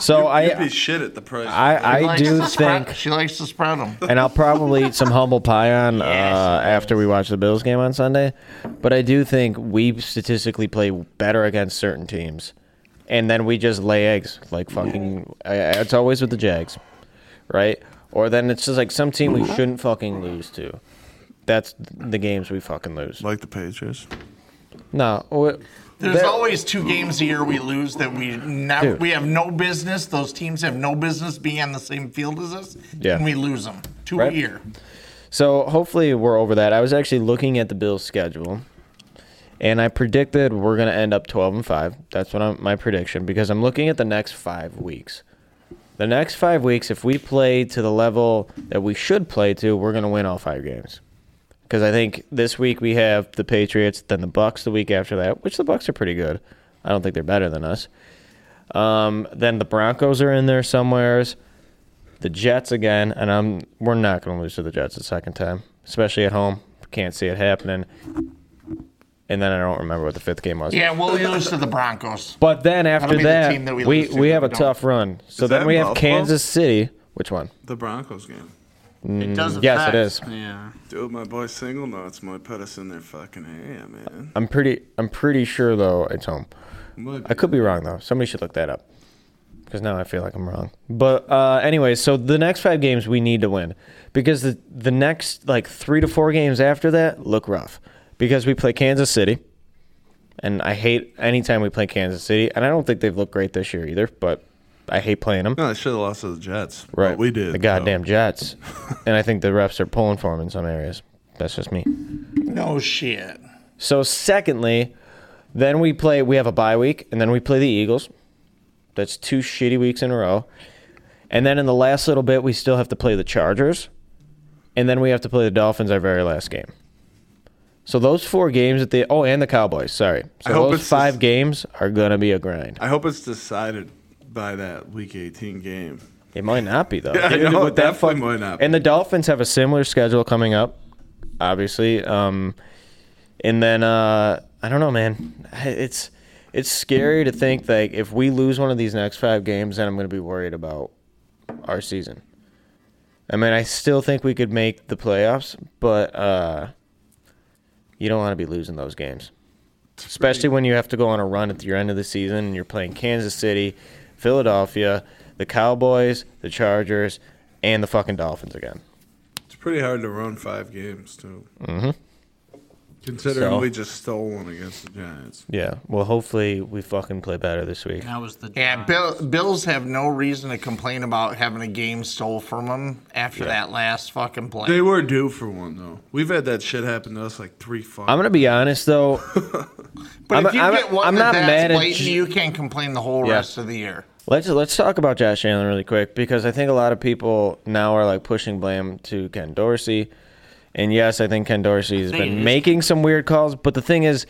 Speaker 3: So
Speaker 2: You'd-
Speaker 3: I-
Speaker 2: you'd be shit at the price.
Speaker 3: I-
Speaker 1: She
Speaker 3: I
Speaker 1: likes
Speaker 3: do
Speaker 1: to spread-
Speaker 3: think-
Speaker 1: she likes to spread them.
Speaker 3: and I'll probably eat some humble pie on uh, after we watch the Bills game on Sunday. But I do think we statistically play better against certain teams, and then we just lay eggs like fucking. I, I- it's always with the Jags, right? Or then it's just like some team we shouldn't fucking lose to. That's the games we fucking lose.
Speaker 2: Like the Patriots.
Speaker 3: No,
Speaker 1: There's
Speaker 3: There-
Speaker 1: always two games a year we lose that we never.
Speaker 3: Dude.
Speaker 1: We have no business. Those teams have no business being on the same field as us.
Speaker 3: Yeah.
Speaker 1: And we lose them two
Speaker 3: Right.
Speaker 1: a year.
Speaker 3: So hopefully we're over that. I was actually looking at the Bills' schedule, and I predicted we're going to end up 12 and five. That's what I'm, my prediction because I'm looking at the next five weeks. The next five weeks, if we play to the level that we should play to, we're going to win all five games. Because I think this week we have the Patriots, then the Bucks the week after that, which the Bucks are pretty good. I don't think they're better than us. Um, then the Broncos are in there somewheres the Jets again, and I'm we're not going to lose to the Jets a second time, especially at home. Can't see it happening. And then I don't remember what the fifth game was.
Speaker 1: Yeah, we'll lose to the Broncos.
Speaker 3: But then after
Speaker 1: That'll be the
Speaker 3: that,
Speaker 1: team that
Speaker 3: we
Speaker 1: we
Speaker 3: we,
Speaker 1: lose to if
Speaker 3: have
Speaker 1: we
Speaker 3: a
Speaker 1: don't.
Speaker 3: tough run. So
Speaker 2: Is
Speaker 3: then
Speaker 2: that
Speaker 3: we have
Speaker 2: Buffalo?
Speaker 3: Kansas City. Which one?
Speaker 2: The Broncos game.
Speaker 3: Mm, yes, it is.
Speaker 2: Yeah. Dude, my boy Single Nuts might put us in their fucking area, man.
Speaker 3: I'm pretty I'm pretty sure though it's home.
Speaker 2: Might be.
Speaker 3: I could be wrong though. Somebody should look that up. Because now I feel like I'm wrong. But uh, anyway, so the next five games we need to win because the the next like three to four games after that look rough because we play Kansas City, and I hate anytime we play Kansas City, and I don't think they've looked great this year either. But I hate playing them.
Speaker 2: No, I should have lost to the Jets.
Speaker 3: Right.
Speaker 2: But we did.
Speaker 3: The goddamn Jets. <laughs> and I think the refs are pulling for him in some areas. That's just me.
Speaker 1: No shit.
Speaker 3: So, secondly, then we play, we have a bye week, and then we play the Eagles. That's two shitty weeks in a row. And then in the last little bit, we still have to play the Chargers. And then we have to play the Dolphins our very last game. So those four games that they oh and the Cowboys sorry so
Speaker 2: I hope
Speaker 3: those
Speaker 2: it's
Speaker 3: five games are gonna be a grind.
Speaker 2: I hope it's decided by that Week 18 game.
Speaker 3: It might not be though.
Speaker 2: <laughs> Yeah, I
Speaker 3: Dude,
Speaker 2: know,
Speaker 3: with that
Speaker 2: definitely
Speaker 3: fuck-
Speaker 2: might not be.
Speaker 3: And the Dolphins have a similar schedule coming up, obviously. Um, and then uh, I don't know, man. It's it's scary to think like if we lose one of these next five games, then I'm going to be worried about our season. I mean, I still think we could make the playoffs, but uh, you don't want to be losing those games, especially when you have to go on a run at your end of the season and you're playing Kansas City, Philadelphia, the Cowboys, the Chargers, and the fucking Dolphins again.
Speaker 2: It's pretty hard to run five games, too.
Speaker 3: Mm-hmm.
Speaker 2: Considering
Speaker 3: So-
Speaker 2: we just stole one against the Giants.
Speaker 3: Yeah. Well, hopefully we fucking play better this week.
Speaker 4: That was the
Speaker 1: Yeah, Bill, Bills have no reason to complain about having a game stole from them after that last fucking play.
Speaker 2: They were due for one, though. We've had that shit happen to us like three fucking
Speaker 3: I'm gonna be honest though. <laughs>
Speaker 1: but
Speaker 3: I'm-
Speaker 1: if you
Speaker 3: I'm-
Speaker 1: get one
Speaker 3: I'm
Speaker 1: that
Speaker 3: not
Speaker 1: that's
Speaker 3: mad at
Speaker 1: blatant,
Speaker 3: J-
Speaker 1: you can complain the whole
Speaker 3: Yeah.
Speaker 1: rest of the year.
Speaker 3: Let's let's talk about Josh Allen really quick because I think a lot of people now are like pushing blame to Ken Dorsey, and yes, I think Ken Dorsey has
Speaker 19: think it
Speaker 3: been
Speaker 19: is-
Speaker 3: making some weird calls. But the thing is,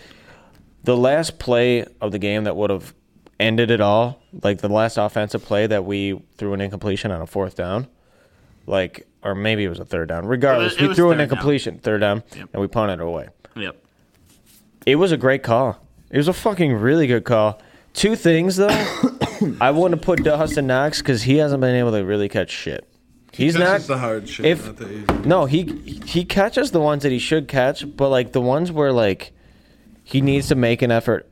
Speaker 3: the last play of the game that would have ended it all, like the last offensive play that we threw an incompletion on a fourth down, like or maybe it was a third down. Regardless,
Speaker 19: it
Speaker 3: we
Speaker 19: was
Speaker 3: threw
Speaker 19: third
Speaker 3: an
Speaker 19: down.
Speaker 3: incompletion third down, and we punted it away.
Speaker 19: Yep.
Speaker 3: It was a great call. It was a fucking really good call. Two things though,
Speaker 19: <coughs>
Speaker 3: I want to put Dustin Knox because he hasn't been able to really catch shit. He's not
Speaker 2: catches the hard shit,
Speaker 3: If
Speaker 2: not the easy.
Speaker 3: no, he he catches the ones that he should catch, but like the ones where like he needs to make an effort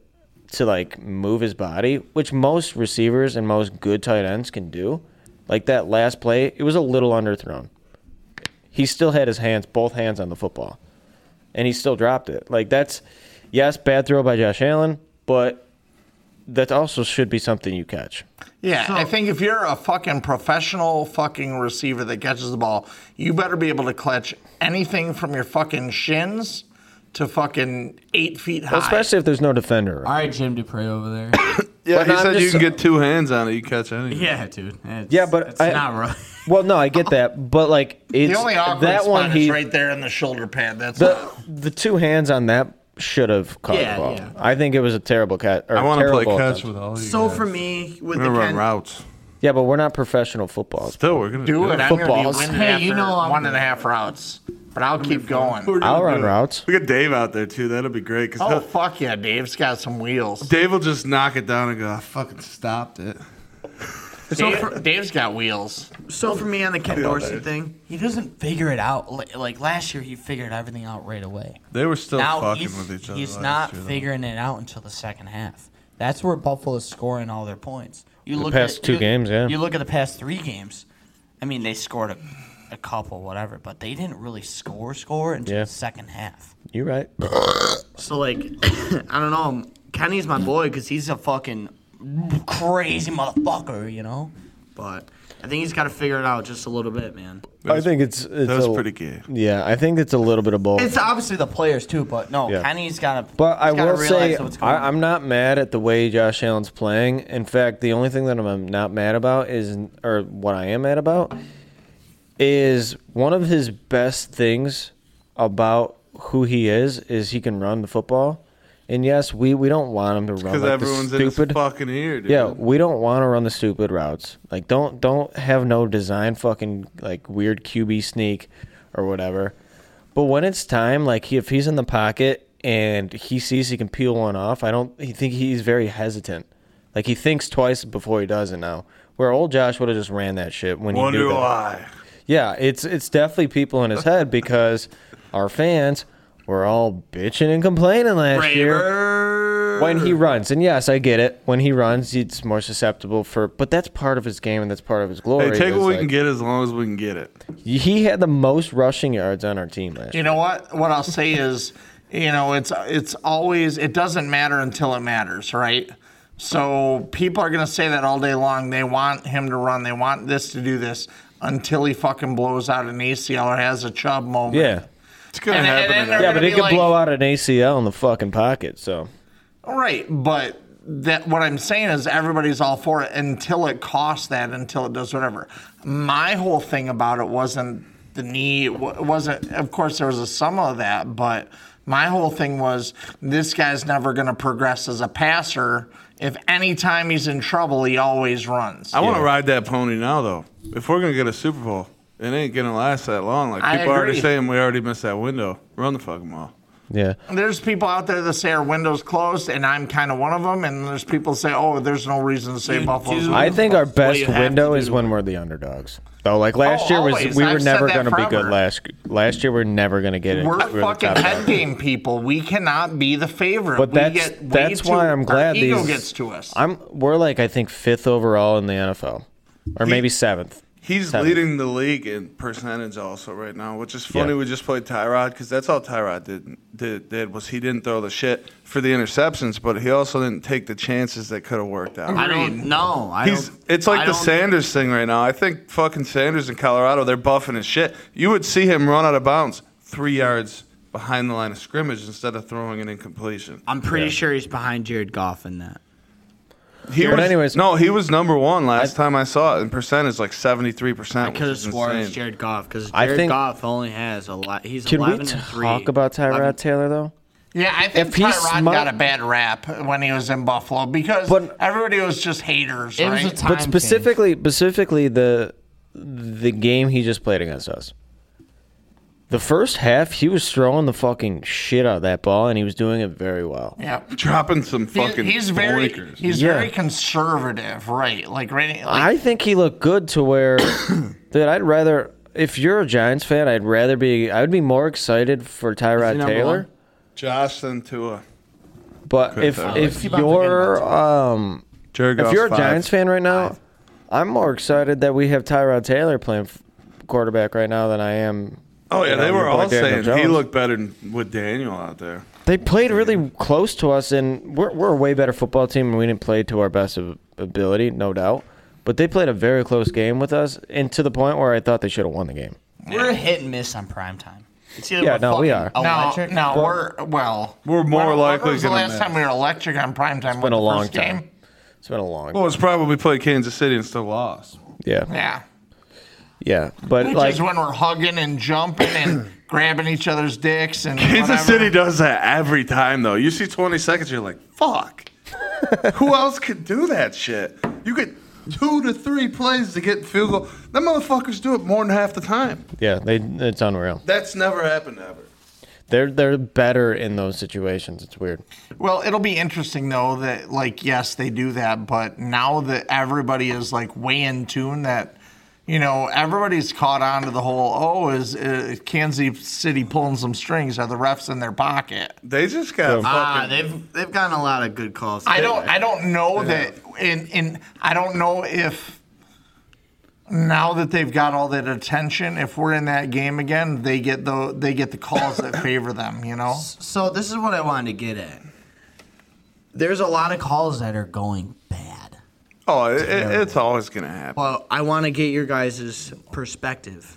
Speaker 3: to like move his body, which most receivers and most good tight ends can do. Like that last play, it was a little underthrown. He still had his hands, both hands on the football, and he still dropped it. Like that's yes, bad throw by Josh Allen, but that also should be something you catch.
Speaker 1: Yeah, I think if you're a fucking professional fucking receiver that catches the ball, you better be able to clutch anything from your fucking shins to fucking eight feet high.
Speaker 3: Especially if there's no defender.
Speaker 4: All right, Jim Dupre over there.
Speaker 3: <coughs>
Speaker 2: Yeah,
Speaker 3: But
Speaker 2: he
Speaker 3: I'm
Speaker 2: said you
Speaker 3: just-
Speaker 2: can get two hands on it, you catch anything.
Speaker 4: yeah, dude. It's,
Speaker 3: Yeah, but
Speaker 4: it's
Speaker 3: I-
Speaker 4: not right.
Speaker 3: Well, no, I get that, but like it's
Speaker 1: the only awkward
Speaker 3: that
Speaker 1: spot
Speaker 3: one
Speaker 1: is
Speaker 3: he
Speaker 1: right there in the shoulder pad. That's
Speaker 3: the the two hands on that should have caught
Speaker 1: Yeah,
Speaker 3: the ball.
Speaker 1: yeah.
Speaker 3: I think it was a terrible catch.
Speaker 2: I want to play catch
Speaker 3: with
Speaker 2: with all you
Speaker 4: So
Speaker 2: guys.
Speaker 4: for me, with
Speaker 2: We're gonna
Speaker 4: the
Speaker 2: run
Speaker 4: Ken-
Speaker 2: routes.
Speaker 3: Yeah, but we're not professional football.
Speaker 2: Still, we're gonna
Speaker 1: do it. I'm gonna be
Speaker 3: Footballs.
Speaker 1: winning
Speaker 3: Hey,
Speaker 1: after
Speaker 3: you know I'm
Speaker 1: one and a half routes, but I'll keep going.
Speaker 3: I'll run routes.
Speaker 2: We got Dave out there too. That'll be great because
Speaker 1: Oh fuck yeah, Dave's got some wheels.
Speaker 2: Dave will just knock it down and go, "I fucking stopped it."
Speaker 1: Dave, Dave's got wheels.
Speaker 4: So for me on the Ken
Speaker 2: I'll be all
Speaker 4: Dorsey
Speaker 2: day.
Speaker 4: thing, he doesn't figure it out. Li- Like last year, he figured everything out right away.
Speaker 2: They were still
Speaker 4: now
Speaker 2: fucking
Speaker 4: he's,
Speaker 2: with each other.
Speaker 4: He's
Speaker 2: last
Speaker 4: not
Speaker 2: year, though.
Speaker 4: figuring it out until the second half. That's where Buffalo's scoring all their points. You
Speaker 3: The
Speaker 4: look
Speaker 3: past
Speaker 4: at,
Speaker 3: two
Speaker 4: you-
Speaker 3: games, yeah.
Speaker 4: You look at the past three games. I mean, they scored a, a couple, whatever, but they didn't really score score until
Speaker 2: <laughs>
Speaker 3: Yeah.
Speaker 4: the second half.
Speaker 3: You're right.
Speaker 4: So like, <coughs> I don't know. Kenny's my boy because he's a fucking crazy motherfucker, you know. But I think he's got to figure it out just a little bit, man.
Speaker 3: I think it's, it's
Speaker 2: that was
Speaker 3: a-
Speaker 2: pretty gay.
Speaker 3: Yeah, I think it's a little bit of both.
Speaker 4: It's obviously the players too, but no,
Speaker 3: Yeah.
Speaker 4: Kenny's got to.
Speaker 3: But I will say,
Speaker 4: what's going
Speaker 3: I, I'm not mad at the way Josh Allen's playing. In fact, the only thing that I'm not mad about is, or what I am mad about, is one of his best things about who he is is he can run the football. And yes, we, we don't want him to run
Speaker 2: Because
Speaker 3: like
Speaker 2: everyone's
Speaker 3: the
Speaker 2: in his
Speaker 3: stupid.
Speaker 2: fucking ear, dude.
Speaker 3: Yeah, we don't want to run the stupid routes. Like don't don't have no design fucking like weird QB sneak or whatever. But when it's time, like he, if he's in the pocket and he sees he can peel one off, I don't he think he's very hesitant. Like he thinks twice before he does it now. Where old Josh would have just ran that shit when he
Speaker 2: Wonder
Speaker 3: knew that.
Speaker 2: why.
Speaker 3: Yeah, it's it's definitely people in his head because our fans were all bitching and complaining last year when he runs. And yes, I get it. When he runs, he's more susceptible for. But that's part of his game and that's part of his glory.
Speaker 2: Hey, take
Speaker 3: is,
Speaker 2: what we can
Speaker 3: like,
Speaker 2: get as long as we can get it.
Speaker 3: He had the most rushing yards on our team last.
Speaker 1: You know what? What I'll say is, you know, it's it's always it doesn't matter until it matters, right? So people are gonna say that all day long. They want him to run. They want this to do this until he fucking blows out an ACL or has a chub moment.
Speaker 3: Yeah.
Speaker 1: it's
Speaker 2: gonna
Speaker 1: happen.
Speaker 3: Yeah, but he could blow out an ACL in the fucking pocket. So
Speaker 1: Right, but that what I'm saying is everybody's all for it until it costs that, until it does whatever. My whole thing about it wasn't the knee. It wa- it wasn't. Of course, there was a sum of that, but my whole thing was this guy's never going to progress as a passer. If any time he's in trouble, he always runs.
Speaker 2: I want to ride that pony now, though. If we're gonna get a Super Bowl, it ain't gonna last that long. Like
Speaker 1: I
Speaker 2: people are already
Speaker 1: agree.
Speaker 2: saying, we already missed that window. Run the fucking ball.
Speaker 3: yeah.
Speaker 1: There's people out there that say our windows closed, and I'm kind of one of them. And there's people say, "Oh, there's no reason to say Buffalo's."
Speaker 3: I think our best
Speaker 1: window.
Speaker 3: window is when we're the underdogs. Though, like
Speaker 1: Oh,
Speaker 3: last year was,
Speaker 1: always.
Speaker 3: we
Speaker 1: I've
Speaker 3: were
Speaker 1: said
Speaker 3: never
Speaker 1: that
Speaker 3: going to be good.
Speaker 1: forever.
Speaker 3: Last last year, we're never going to get it.
Speaker 1: We're
Speaker 3: 'cause we were the
Speaker 1: fucking
Speaker 3: top dog.
Speaker 1: head game people. We cannot be the favorite.
Speaker 3: But
Speaker 1: We
Speaker 3: that's
Speaker 1: get way
Speaker 3: that's
Speaker 1: too-
Speaker 3: why I'm glad
Speaker 1: our ego
Speaker 3: these
Speaker 1: gets to us.
Speaker 3: I'm we're like I think fifth overall in the NFL, or maybe seventh.
Speaker 2: He's
Speaker 3: Seventh.
Speaker 2: leading the league in percentage also right now, which is funny.
Speaker 3: Yeah.
Speaker 2: We just played Tyrod because that's all Tyrod did, did did was he didn't throw the shit for the interceptions, but he also didn't take the chances that could have worked out.
Speaker 4: I don't know. I
Speaker 2: He's,
Speaker 4: don't,
Speaker 2: it's like
Speaker 4: I
Speaker 2: the
Speaker 4: don't-
Speaker 2: Sanders thing right now. I think fucking Sanders in Colorado, they're buffing his shit. You would see him run out of bounds three yards behind the line of scrimmage instead of throwing an incompletion.
Speaker 4: I'm pretty sure he's behind Jared Goff in that.
Speaker 2: He
Speaker 4: But
Speaker 2: was,
Speaker 4: anyways-
Speaker 2: no, he was number one last time I saw it in percentage, like seventy three
Speaker 4: I
Speaker 2: percent.
Speaker 4: could have sworn it's Jared Goff because
Speaker 2: I
Speaker 4: Jared
Speaker 2: think-
Speaker 4: Goff only has a lot. He's
Speaker 3: Can we
Speaker 4: eleven and three.
Speaker 3: talk about Tyrod Taylor though?
Speaker 1: yeah, I think
Speaker 3: If he's
Speaker 1: Tyrod
Speaker 3: smart-
Speaker 1: got a bad rap when he was in Buffalo because everybody was just haters,
Speaker 4: It was
Speaker 1: right?
Speaker 4: a time
Speaker 3: but specifically, specifically the the game he just played against us. The first half, he was throwing the fucking shit out of that ball, and he was doing it very well.
Speaker 1: yeah.
Speaker 2: dropping some
Speaker 1: He-
Speaker 2: fucking.
Speaker 1: he's very
Speaker 2: blinkers.
Speaker 1: he's
Speaker 3: Yeah.
Speaker 1: very conservative, right? Like right. Like,
Speaker 3: I think he looked good to
Speaker 4: <coughs>
Speaker 3: where, dude. I'd rather if you're a Giants fan, I'd rather be. I would be more excited for Tyrod
Speaker 2: number
Speaker 3: Taylor.
Speaker 2: one? Josh then Tua.
Speaker 3: But
Speaker 2: Could
Speaker 3: if
Speaker 2: have.
Speaker 3: if
Speaker 2: Keep on forgetting
Speaker 3: you're um
Speaker 2: Jared
Speaker 3: if
Speaker 2: Goff's
Speaker 3: you're a
Speaker 2: five.
Speaker 3: Giants fan right now, i I'm more excited that we have Tyrod Taylor playing f- quarterback right now than I am.
Speaker 2: Oh yeah,
Speaker 3: you know,
Speaker 2: they were
Speaker 3: your boy
Speaker 2: all
Speaker 3: Daniel
Speaker 2: saying he
Speaker 3: Jones.
Speaker 2: looked better than- with Daniel out there.
Speaker 3: They played really close to us, and we're we're a way better football team, and we didn't play to our best of ability, no doubt. But they played a very close game with us, and to the point where I thought they should have won the game.
Speaker 4: We're hit and miss on prime time. It's either
Speaker 3: Yeah,
Speaker 4: we're
Speaker 3: no, we
Speaker 4: fucking
Speaker 3: are.
Speaker 1: no,
Speaker 4: Electric.
Speaker 1: no, we're well.
Speaker 2: We're more
Speaker 1: when-
Speaker 2: likely
Speaker 1: When was the
Speaker 2: gonna
Speaker 1: last
Speaker 2: miss.
Speaker 1: time we were electric on primetime? It's
Speaker 3: been a long
Speaker 1: first
Speaker 3: time.
Speaker 1: Game?
Speaker 3: It's been a long,
Speaker 2: Well, it's probably played Kansas City and still lost.
Speaker 3: yeah,
Speaker 1: Yeah.
Speaker 3: yeah. But
Speaker 1: Which
Speaker 3: like,
Speaker 1: is when we're hugging and jumping and
Speaker 3: <clears throat>
Speaker 1: grabbing each other's dicks and
Speaker 2: Kansas
Speaker 1: whatever.
Speaker 2: City does that every time though. You see twenty seconds, you're like,
Speaker 4: <laughs>
Speaker 2: fuck. Who else could do that shit? You get two to three plays to get field goal. Them motherfuckers do it more than half the time.
Speaker 3: yeah, they it's unreal.
Speaker 2: That's never happened ever.
Speaker 3: They're they're better in those situations. It's weird.
Speaker 1: Well, it'll be interesting though that like yes, they do that, but now that everybody is like way in tune that you know, everybody's caught on to the whole oh is uh, Kansas City pulling some strings are the refs in their pocket.
Speaker 2: They just got
Speaker 4: Ah,
Speaker 2: fucking.
Speaker 4: they've they've gotten a lot of good calls.
Speaker 1: I don't I don't know
Speaker 4: Yeah.
Speaker 1: that in in I don't know if now that they've got all that attention, if we're in that game again, they get the they get the calls that favor them, you know?
Speaker 4: So this is what I wanted to get at. there's a lot of calls that are going
Speaker 2: Oh, it, it, it's always gonna happen.
Speaker 4: Well, I want to get your guys' perspective.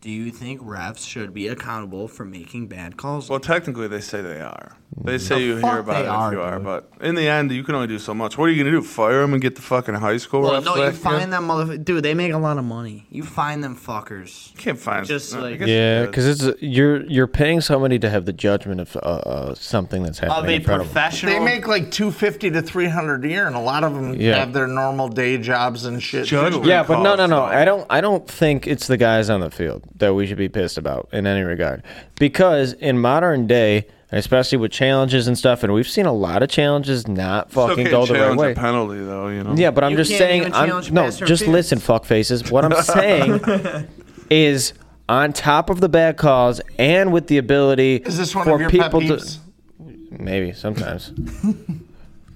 Speaker 4: Do you think refs should be accountable for making bad calls?
Speaker 2: Well, technically, they say they are.
Speaker 3: Mm-hmm.
Speaker 2: They say
Speaker 4: The
Speaker 2: you
Speaker 4: fuck
Speaker 2: hear about
Speaker 4: they
Speaker 2: it if
Speaker 4: are,
Speaker 2: you are,
Speaker 4: dude.
Speaker 2: but in the end, you can only do so much. What are you gonna do? Fire them and get the fucking high school
Speaker 4: Well,
Speaker 2: refs
Speaker 4: no, you
Speaker 2: back
Speaker 4: find
Speaker 2: again?
Speaker 4: them, motherf- dude. They make a lot of money. You find them fuckers. You
Speaker 2: can't find
Speaker 4: just
Speaker 2: no, I
Speaker 4: like
Speaker 2: guess-
Speaker 3: Yeah, because it's you're you're paying somebody to have the judgment of uh, uh, something that's happening in front of 'em.
Speaker 1: They make like two fifty to three hundred a year, and a lot of them
Speaker 3: Yeah.
Speaker 1: have their normal day jobs and shit.
Speaker 3: Yeah, but no, no, no. I don't. I don't think it's the guys on the field that we should be pissed about in any regard, because in modern day, especially with challenges and stuff, and we've seen a lot of challenges not
Speaker 2: It's
Speaker 3: fucking
Speaker 2: okay
Speaker 3: go
Speaker 2: to
Speaker 3: the right
Speaker 2: challenge
Speaker 3: way.
Speaker 2: A penalty though, you know.
Speaker 3: Yeah, but I'm just
Speaker 4: can't
Speaker 3: saying.
Speaker 4: even
Speaker 3: I'm,
Speaker 4: challenge
Speaker 3: no,
Speaker 4: past their
Speaker 3: just
Speaker 4: peers.
Speaker 3: listen, fuck faces.
Speaker 1: <laughs>
Speaker 3: What I'm saying is, on top of the bad calls and with the ability
Speaker 1: Is this one
Speaker 3: for
Speaker 1: of your pet
Speaker 3: people
Speaker 1: peeves?
Speaker 3: to maybe sometimes. <laughs>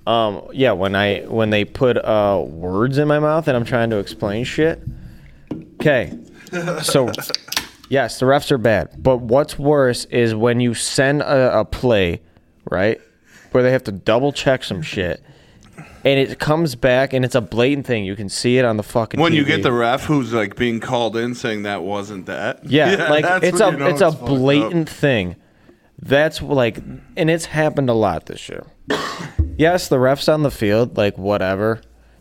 Speaker 3: um, yeah, when I when they put uh, words in my mouth and I'm trying to explain shit. Okay, so yes, the refs are bad, but what's worse is when you send a, a play, right, where they have to double check some shit, and it comes back and it's a blatant thing. You can see it on the fucking.
Speaker 2: When you
Speaker 3: TV.
Speaker 2: get the ref who's like being called in saying that wasn't that. <laughs>
Speaker 3: Yeah, like
Speaker 2: that's
Speaker 3: it's a
Speaker 2: when you know
Speaker 3: it's a
Speaker 2: fucked up.
Speaker 3: blatant thing. That's like, and it's happened a lot this year. <coughs> yes, the refs on the field, like whatever.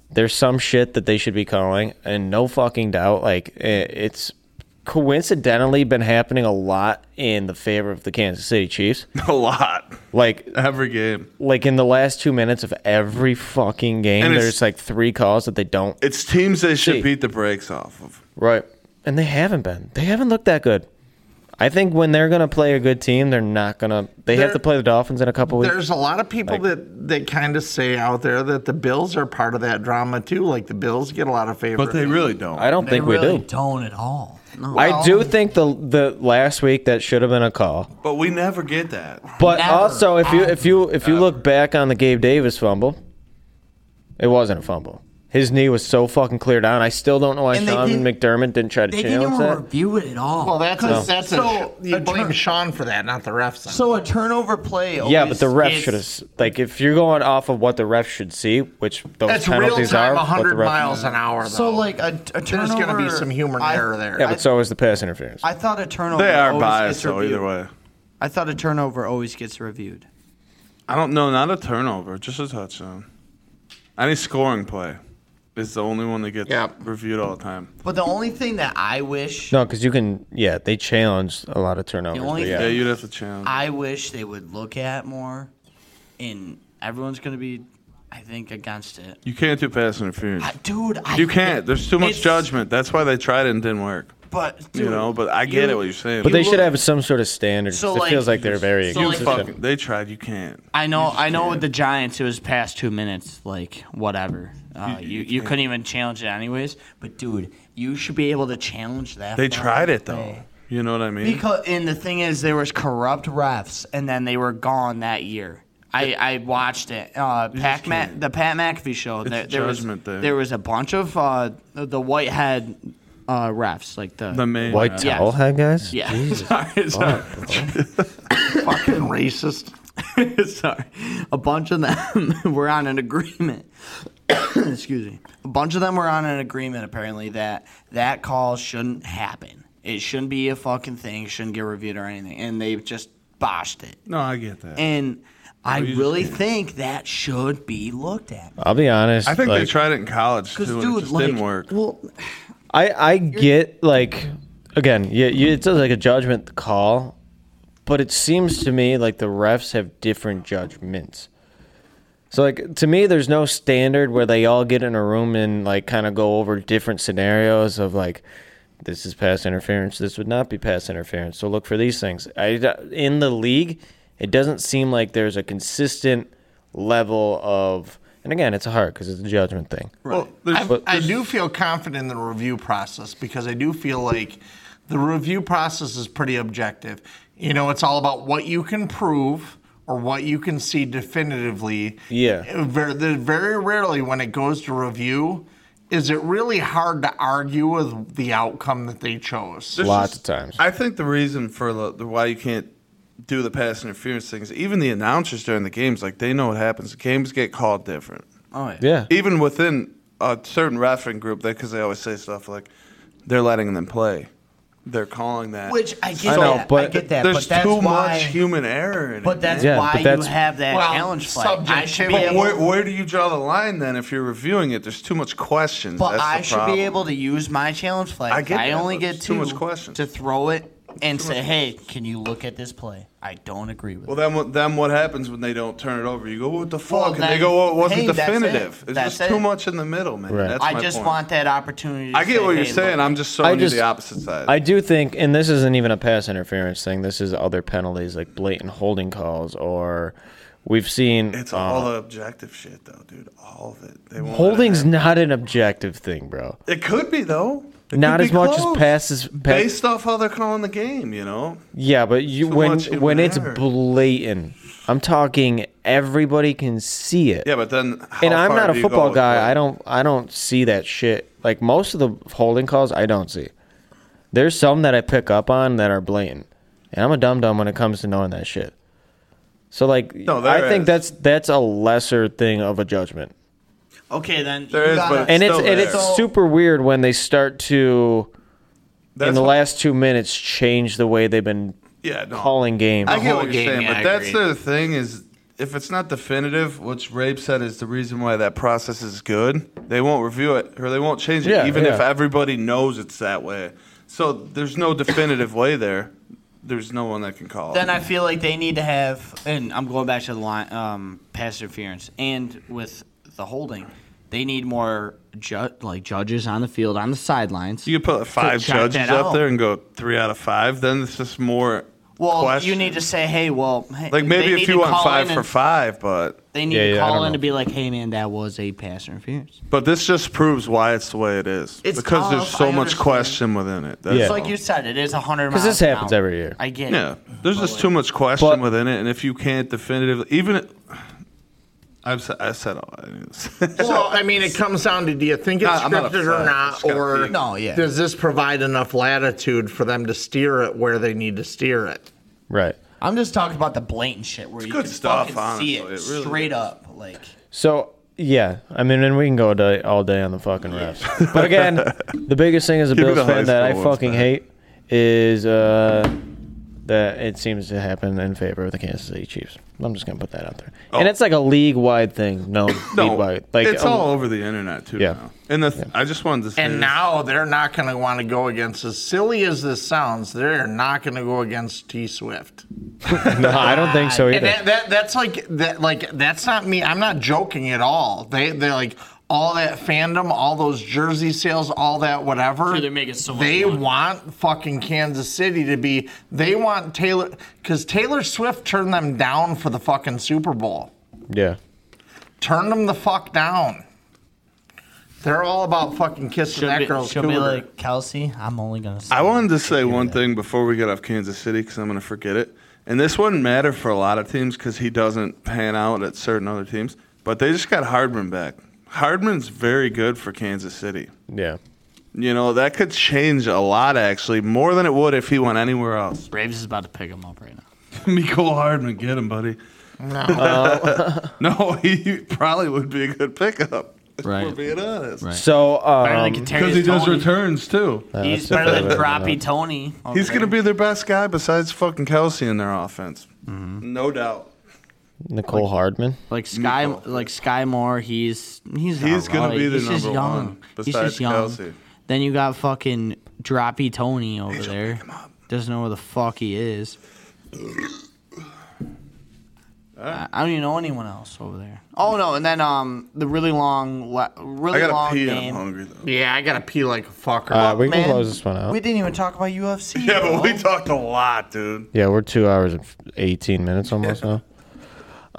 Speaker 3: There's some shit that they should be calling, and no fucking doubt, like i- it's coincidentally been happening a lot in the favor of the Kansas City Chiefs.
Speaker 2: <laughs> A lot. <laughs>
Speaker 3: Like
Speaker 2: every game.
Speaker 3: Like in the last two minutes of every fucking game,
Speaker 2: And it's-
Speaker 3: there's like three calls that they don't.
Speaker 2: It's teams they should
Speaker 3: See.
Speaker 2: beat the brakes off of.
Speaker 3: Right. And they haven't been. They haven't looked that good. I think when they're going to play a good team, they're not going to. They have
Speaker 1: There-
Speaker 3: to play the Dolphins in a couple weeks.
Speaker 1: There's a lot of people that that kind of say out there that the Bills are part of that drama too. Like the Bills get a lot of favor,
Speaker 2: But they really don't.
Speaker 3: I don't think we do.
Speaker 4: don't at all.
Speaker 3: I do think the the last week that should have been a call.
Speaker 2: But we never get that.
Speaker 3: But also, if you if you if you look back on the Gabe Davis fumble, it wasn't a fumble. His knee was so fucking clear down. I still don't know why
Speaker 4: And they
Speaker 3: Sean
Speaker 4: didn't-
Speaker 3: McDermott didn't try to
Speaker 4: They didn't
Speaker 3: challenge
Speaker 4: even
Speaker 3: that.
Speaker 4: review it at all.
Speaker 1: Well, that's a,
Speaker 3: No.
Speaker 1: that's
Speaker 4: So,
Speaker 1: a, you
Speaker 4: a
Speaker 1: blame
Speaker 4: turn-
Speaker 1: Sean for that, not the refs.
Speaker 4: So a turnover play.
Speaker 3: Yeah,
Speaker 4: always
Speaker 3: but the ref
Speaker 4: gets-
Speaker 3: should have like if you're going off of what the ref should see, which those
Speaker 1: That's
Speaker 3: penalties
Speaker 1: real-time,
Speaker 3: are. what the
Speaker 1: 100
Speaker 3: ref-
Speaker 1: miles an hour, though.
Speaker 4: So like a, a
Speaker 1: There's
Speaker 4: turnover.
Speaker 1: going to be some human error there.
Speaker 3: Yeah, but so is the pass interference.
Speaker 4: I thought a turnover.
Speaker 2: They are
Speaker 4: always
Speaker 2: biased
Speaker 4: gets
Speaker 2: though,
Speaker 4: reviewed.
Speaker 2: either way.
Speaker 4: I thought a turnover always gets reviewed.
Speaker 2: I don't know, not a turnover, just a touchdown. Any scoring play is the only one that gets reviewed all the time.
Speaker 4: But the only thing that I wish,
Speaker 3: No, because you can. Yeah, they challenged a lot of turnovers.
Speaker 4: The only
Speaker 3: but
Speaker 4: thing-
Speaker 3: yeah.
Speaker 2: Yeah, you'd have to challenge.
Speaker 4: I wish they would look at more, and everyone's gonna be, I think, against it.
Speaker 2: You can't do pass interference.
Speaker 4: Dude, I
Speaker 2: you can't. There's too much
Speaker 4: it's-
Speaker 2: judgment. That's why they tried it and didn't work.
Speaker 4: But
Speaker 2: you
Speaker 4: dude,
Speaker 2: know, but I get
Speaker 4: you-
Speaker 2: it what you're saying.
Speaker 3: but they should have some sort of standard.
Speaker 4: So,
Speaker 3: 'cause it
Speaker 4: like-
Speaker 3: feels like they're very.
Speaker 4: so, like-
Speaker 3: inconsistent.
Speaker 2: Fucking, they tried. You can't.
Speaker 4: I know. I know. With the Giants, it was past two minutes. Like whatever. Uh, you you couldn't even challenge it anyways. But dude, you should be able to challenge that.
Speaker 2: They
Speaker 4: fucking
Speaker 2: tried it though.
Speaker 4: play.
Speaker 2: You know what I mean?
Speaker 4: Because and the thing is, there was corrupt refs, and then they were gone that year. I, I watched it. Uh, Pat Ma- the Pat McAfee show.
Speaker 2: It's
Speaker 4: There, there was
Speaker 2: judgment day.
Speaker 4: there was a bunch of uh, the white head uh, refs, like the
Speaker 2: The main
Speaker 3: White
Speaker 2: refs.
Speaker 3: towel head guys.
Speaker 4: Yeah. <laughs>
Speaker 3: Jesus.
Speaker 2: Sorry, sorry.
Speaker 1: fucking racist.
Speaker 4: <laughs> Sorry. A bunch of them <laughs> were on an agreement. <coughs> Excuse me. A bunch of them were on an agreement apparently that that call shouldn't happen. It shouldn't be a fucking thing. It shouldn't get reviewed or anything. And they just botched it.
Speaker 2: No, I get that.
Speaker 4: And I
Speaker 2: you just
Speaker 4: really
Speaker 2: can't.
Speaker 4: think that should be looked at.
Speaker 3: I'll be honest.
Speaker 2: I think they
Speaker 3: like,
Speaker 2: tried it in college too,
Speaker 4: 'Cause,
Speaker 2: and it
Speaker 4: dude,
Speaker 2: just
Speaker 4: like-
Speaker 2: didn't work.
Speaker 4: Well,
Speaker 3: I I get like again, yeah, you, it's like a judgment call, but it seems to me like the refs have different judgments. So like to me, there's no standard where they all get in a room and like kind of go over different scenarios of like this is pass interference, this would not be pass interference. So look for these things. I in the league, it doesn't seem like there's a consistent level of. And again, it's hard because it's a judgment thing.
Speaker 1: Well, I, I do feel confident in the review process because I do feel like the review process is pretty objective. You know, it's all about what you can prove or what you can see definitively.
Speaker 3: Yeah.
Speaker 1: Very, very rarely, when it goes to review, is it really hard to argue with the outcome that they chose.
Speaker 2: There's
Speaker 3: Lots
Speaker 2: just-
Speaker 3: of times.
Speaker 2: I think the reason for the, the why you can't do the pass interference things. Even the announcers during the games, like they know what happens. The games get called different.
Speaker 4: Oh yeah.
Speaker 3: Yeah.
Speaker 2: Even within a certain refereeing group, because they always say stuff like they're letting them play. They're calling that.
Speaker 4: Which I get that. I get that,
Speaker 2: There's
Speaker 4: but that's
Speaker 2: too
Speaker 4: why-
Speaker 2: much human error in it.
Speaker 4: But that's
Speaker 2: man.
Speaker 4: why you have that
Speaker 2: Well,
Speaker 4: challenge flag. I should be
Speaker 2: But
Speaker 4: able.
Speaker 2: where, where do you draw the line then if you're reviewing it? There's too much questions.
Speaker 4: But
Speaker 2: That's the
Speaker 4: I should
Speaker 2: problem.
Speaker 4: be able to use my challenge flag.
Speaker 2: I
Speaker 4: I,
Speaker 2: get that,
Speaker 4: only
Speaker 2: but
Speaker 4: get
Speaker 2: it's
Speaker 4: two
Speaker 2: too much question.
Speaker 4: to throw it and
Speaker 2: Too
Speaker 4: say,
Speaker 2: much
Speaker 4: "Hey, can you look at this play?" I don't agree with.
Speaker 2: Well, then what, then what happens when they don't turn it over? You go, what the fuck?
Speaker 4: Well,
Speaker 2: and
Speaker 4: then-
Speaker 2: they go, well, it wasn't
Speaker 4: hey, that's it.
Speaker 2: definitive. It's
Speaker 4: That's
Speaker 2: just too
Speaker 4: it.
Speaker 2: much in the middle, man.
Speaker 3: Right.
Speaker 2: That's
Speaker 4: I
Speaker 2: my
Speaker 4: just
Speaker 2: point.
Speaker 4: want that opportunity. To
Speaker 2: I get
Speaker 4: say,
Speaker 2: what you're
Speaker 4: "Hey,
Speaker 2: saying.
Speaker 4: look."
Speaker 2: I'm just showing you the opposite side.
Speaker 3: I do think, and this isn't even a pass interference thing. This is other penalties like blatant holding calls, or we've seen
Speaker 2: it's
Speaker 3: uh,
Speaker 2: all the objective shit, though, dude. All of it. They won't let it
Speaker 3: holding's not an objective thing, bro.
Speaker 2: It could be though. It
Speaker 3: Not
Speaker 2: could
Speaker 3: as
Speaker 2: be
Speaker 3: much as
Speaker 2: close.
Speaker 3: passes- pa-
Speaker 2: based off how they're calling the game. You know,
Speaker 3: Yeah, but you
Speaker 2: Too
Speaker 3: when
Speaker 2: much human
Speaker 3: when it's
Speaker 2: error.
Speaker 3: blatant, I'm talking everybody can see it.
Speaker 2: Yeah, but then how
Speaker 3: and I'm
Speaker 2: far
Speaker 3: not a
Speaker 2: do you go
Speaker 3: football
Speaker 2: with
Speaker 3: guy.
Speaker 2: that?
Speaker 3: I don't I don't see that shit. Like most of the holding calls, I don't see. There's some that I pick up on that are blatant, and I'm a dumb dumb when it comes to knowing that shit. So like,
Speaker 2: No, there
Speaker 3: I think
Speaker 2: is.
Speaker 3: that's that's a lesser thing of a judgment,
Speaker 4: Okay, then
Speaker 2: There
Speaker 4: you
Speaker 2: is, but
Speaker 4: gotta-
Speaker 3: and it's
Speaker 2: still
Speaker 3: and
Speaker 2: there.
Speaker 3: it's super weird when they start to.
Speaker 2: That's
Speaker 3: in the
Speaker 2: what-
Speaker 3: last two minutes, change the way they've been
Speaker 2: Yeah, no.
Speaker 3: calling games.
Speaker 2: I get what you're saying,
Speaker 4: yeah,
Speaker 2: but
Speaker 4: I
Speaker 2: that's
Speaker 4: agree.
Speaker 2: the thing is, if it's not definitive, which Rabe said is the reason why that process is good. They won't review it or they won't change it,
Speaker 3: Yeah,
Speaker 2: even if
Speaker 3: yeah.
Speaker 2: everybody knows it's that way. So there's no definitive way there. There's no one that can call.
Speaker 4: Then
Speaker 2: it.
Speaker 4: I feel like they need to have, and I'm going back to the line, um, pass interference, and with the holding, they need more ju- like judges on the field, on the sidelines.
Speaker 2: you could put like, five
Speaker 4: check
Speaker 2: judges
Speaker 4: that
Speaker 2: up
Speaker 4: out.
Speaker 2: there and go three out of five. Then it's just more.
Speaker 4: well,
Speaker 2: questions.
Speaker 4: you need to say, hey, well, hey,
Speaker 2: like
Speaker 4: they
Speaker 2: maybe
Speaker 4: need
Speaker 2: if you
Speaker 4: to
Speaker 2: want
Speaker 4: call
Speaker 2: five
Speaker 4: in
Speaker 2: for
Speaker 4: and-
Speaker 2: five, but
Speaker 4: they need
Speaker 3: Yeah,
Speaker 4: to
Speaker 3: yeah, I
Speaker 4: call
Speaker 3: don't
Speaker 4: in
Speaker 3: know.
Speaker 4: to be like, hey, man, that was a pass interference.
Speaker 2: but this just proves why it's the way it is.
Speaker 4: It's
Speaker 2: because there's
Speaker 4: tough,
Speaker 2: so
Speaker 4: I
Speaker 2: much
Speaker 4: understand.
Speaker 2: question within it. That's
Speaker 4: It's
Speaker 2: all.
Speaker 4: like you said, it is 100 miles.
Speaker 3: Because this
Speaker 4: an
Speaker 3: happens
Speaker 4: hour.
Speaker 3: every year.
Speaker 4: I get
Speaker 2: Yeah,
Speaker 4: it.
Speaker 2: there's just too much question within it, and if you can't definitively, even I've said, I said all I knew this.
Speaker 1: Well, I mean, it comes down to do you think it's
Speaker 2: No, I'm not
Speaker 1: scripted
Speaker 2: upset.
Speaker 1: or
Speaker 2: It's
Speaker 1: not,
Speaker 2: gotta
Speaker 1: or
Speaker 2: be.
Speaker 4: No, yeah.
Speaker 1: does this provide enough latitude for them to steer it where they need to steer it?
Speaker 3: Right.
Speaker 4: I'm just talking about the blatant shit where you
Speaker 2: good
Speaker 4: can
Speaker 2: stuff,
Speaker 4: fucking see it,
Speaker 2: honestly, it really
Speaker 4: straight
Speaker 2: is.
Speaker 4: up. Like,
Speaker 3: So yeah, I mean, and we can go day, all day on the fucking refs. But again, the biggest thing as
Speaker 2: <laughs>
Speaker 3: a
Speaker 2: Keep it
Speaker 3: Bills
Speaker 2: the high
Speaker 3: fan that I
Speaker 2: school ones,
Speaker 3: fucking
Speaker 2: man.
Speaker 3: hate is uh, that it seems to happen in favor of the Kansas City Chiefs. I'm just gonna put that out there, and it's like a league wide thing. No,
Speaker 2: Oh. no,
Speaker 3: league wide. Like
Speaker 2: it's
Speaker 3: um,
Speaker 2: all over the internet too.
Speaker 3: Yeah.
Speaker 2: now. and the th- I just wanted to say
Speaker 1: And
Speaker 2: this.
Speaker 1: now they're not going to want to go against, as silly as this sounds, they're not going to go against T Swift.
Speaker 3: No, I don't think so
Speaker 1: And
Speaker 3: either.
Speaker 1: that, that, that's like that like that's not me. I'm not joking at all. They they like all that fandom, all those jersey sales, all that whatever.
Speaker 4: Dude, they're making so much
Speaker 1: They
Speaker 4: money.
Speaker 1: want fucking Kansas City to be. They want Taylor because Taylor Swift turned them down for the fucking Super Bowl.
Speaker 3: yeah.
Speaker 1: Turn them the fuck down. They're all about fucking kissing
Speaker 4: should
Speaker 1: that
Speaker 4: be,
Speaker 1: girl's
Speaker 4: should Ah, be
Speaker 1: cooter.
Speaker 4: like, Kelsey, I'm only going to
Speaker 2: I wanted to say one thing before we get off Kansas City because I'm going to forget it. And this wouldn't matter for a lot of teams because he doesn't pan out at certain other teams. But they just got Hardman back. Hardman's very good for Kansas City.
Speaker 3: Yeah.
Speaker 2: You know that could change a lot actually, more than it would if he went anywhere else.
Speaker 4: Braves is about to pick him up right now.
Speaker 2: <laughs> Miko Hardman, get him, buddy. <laughs> No, he probably would be a good pickup. If we're
Speaker 4: Right.
Speaker 2: being honest.
Speaker 3: So
Speaker 4: Better than
Speaker 3: um,
Speaker 4: Kadarius
Speaker 2: Because he does
Speaker 4: Toney.
Speaker 2: returns too.
Speaker 3: uh,
Speaker 4: He's
Speaker 3: that's
Speaker 4: better
Speaker 3: <laughs>
Speaker 4: than
Speaker 3: definitely-
Speaker 4: Droppy Tony.
Speaker 2: He's
Speaker 4: Okay.
Speaker 2: going to be their best guy besides fucking Kelsey in their offense.
Speaker 4: Mm-hmm.
Speaker 2: No doubt.
Speaker 3: Nicole Hardman.
Speaker 4: like Sky,
Speaker 2: Nico.
Speaker 4: like Sky Moore. He's he's
Speaker 2: He's
Speaker 4: all
Speaker 2: gonna
Speaker 4: right.
Speaker 2: be the
Speaker 4: he's just
Speaker 2: number
Speaker 4: young.
Speaker 2: one
Speaker 4: He's
Speaker 2: besides
Speaker 4: just young.
Speaker 2: Kelsey.
Speaker 4: Then you got fucking Droppy Tony over there. Doesn't know where the fuck he is.
Speaker 2: Uh.
Speaker 4: I, I don't even know anyone else over there. Oh no, and then um the really long, la-
Speaker 2: I
Speaker 4: really
Speaker 2: got
Speaker 4: long
Speaker 2: to pee and I'm
Speaker 4: game.
Speaker 2: hungry, though.
Speaker 1: yeah, I gotta pee like a fucker.
Speaker 3: Uh, we can
Speaker 4: Man,
Speaker 3: close this one out.
Speaker 4: We didn't even talk about
Speaker 2: <laughs> <laughs>
Speaker 4: UFC.
Speaker 2: Yeah, but we
Speaker 4: bro.
Speaker 2: talked a lot, dude.
Speaker 3: yeah, we're two hours and eighteen minutes almost now.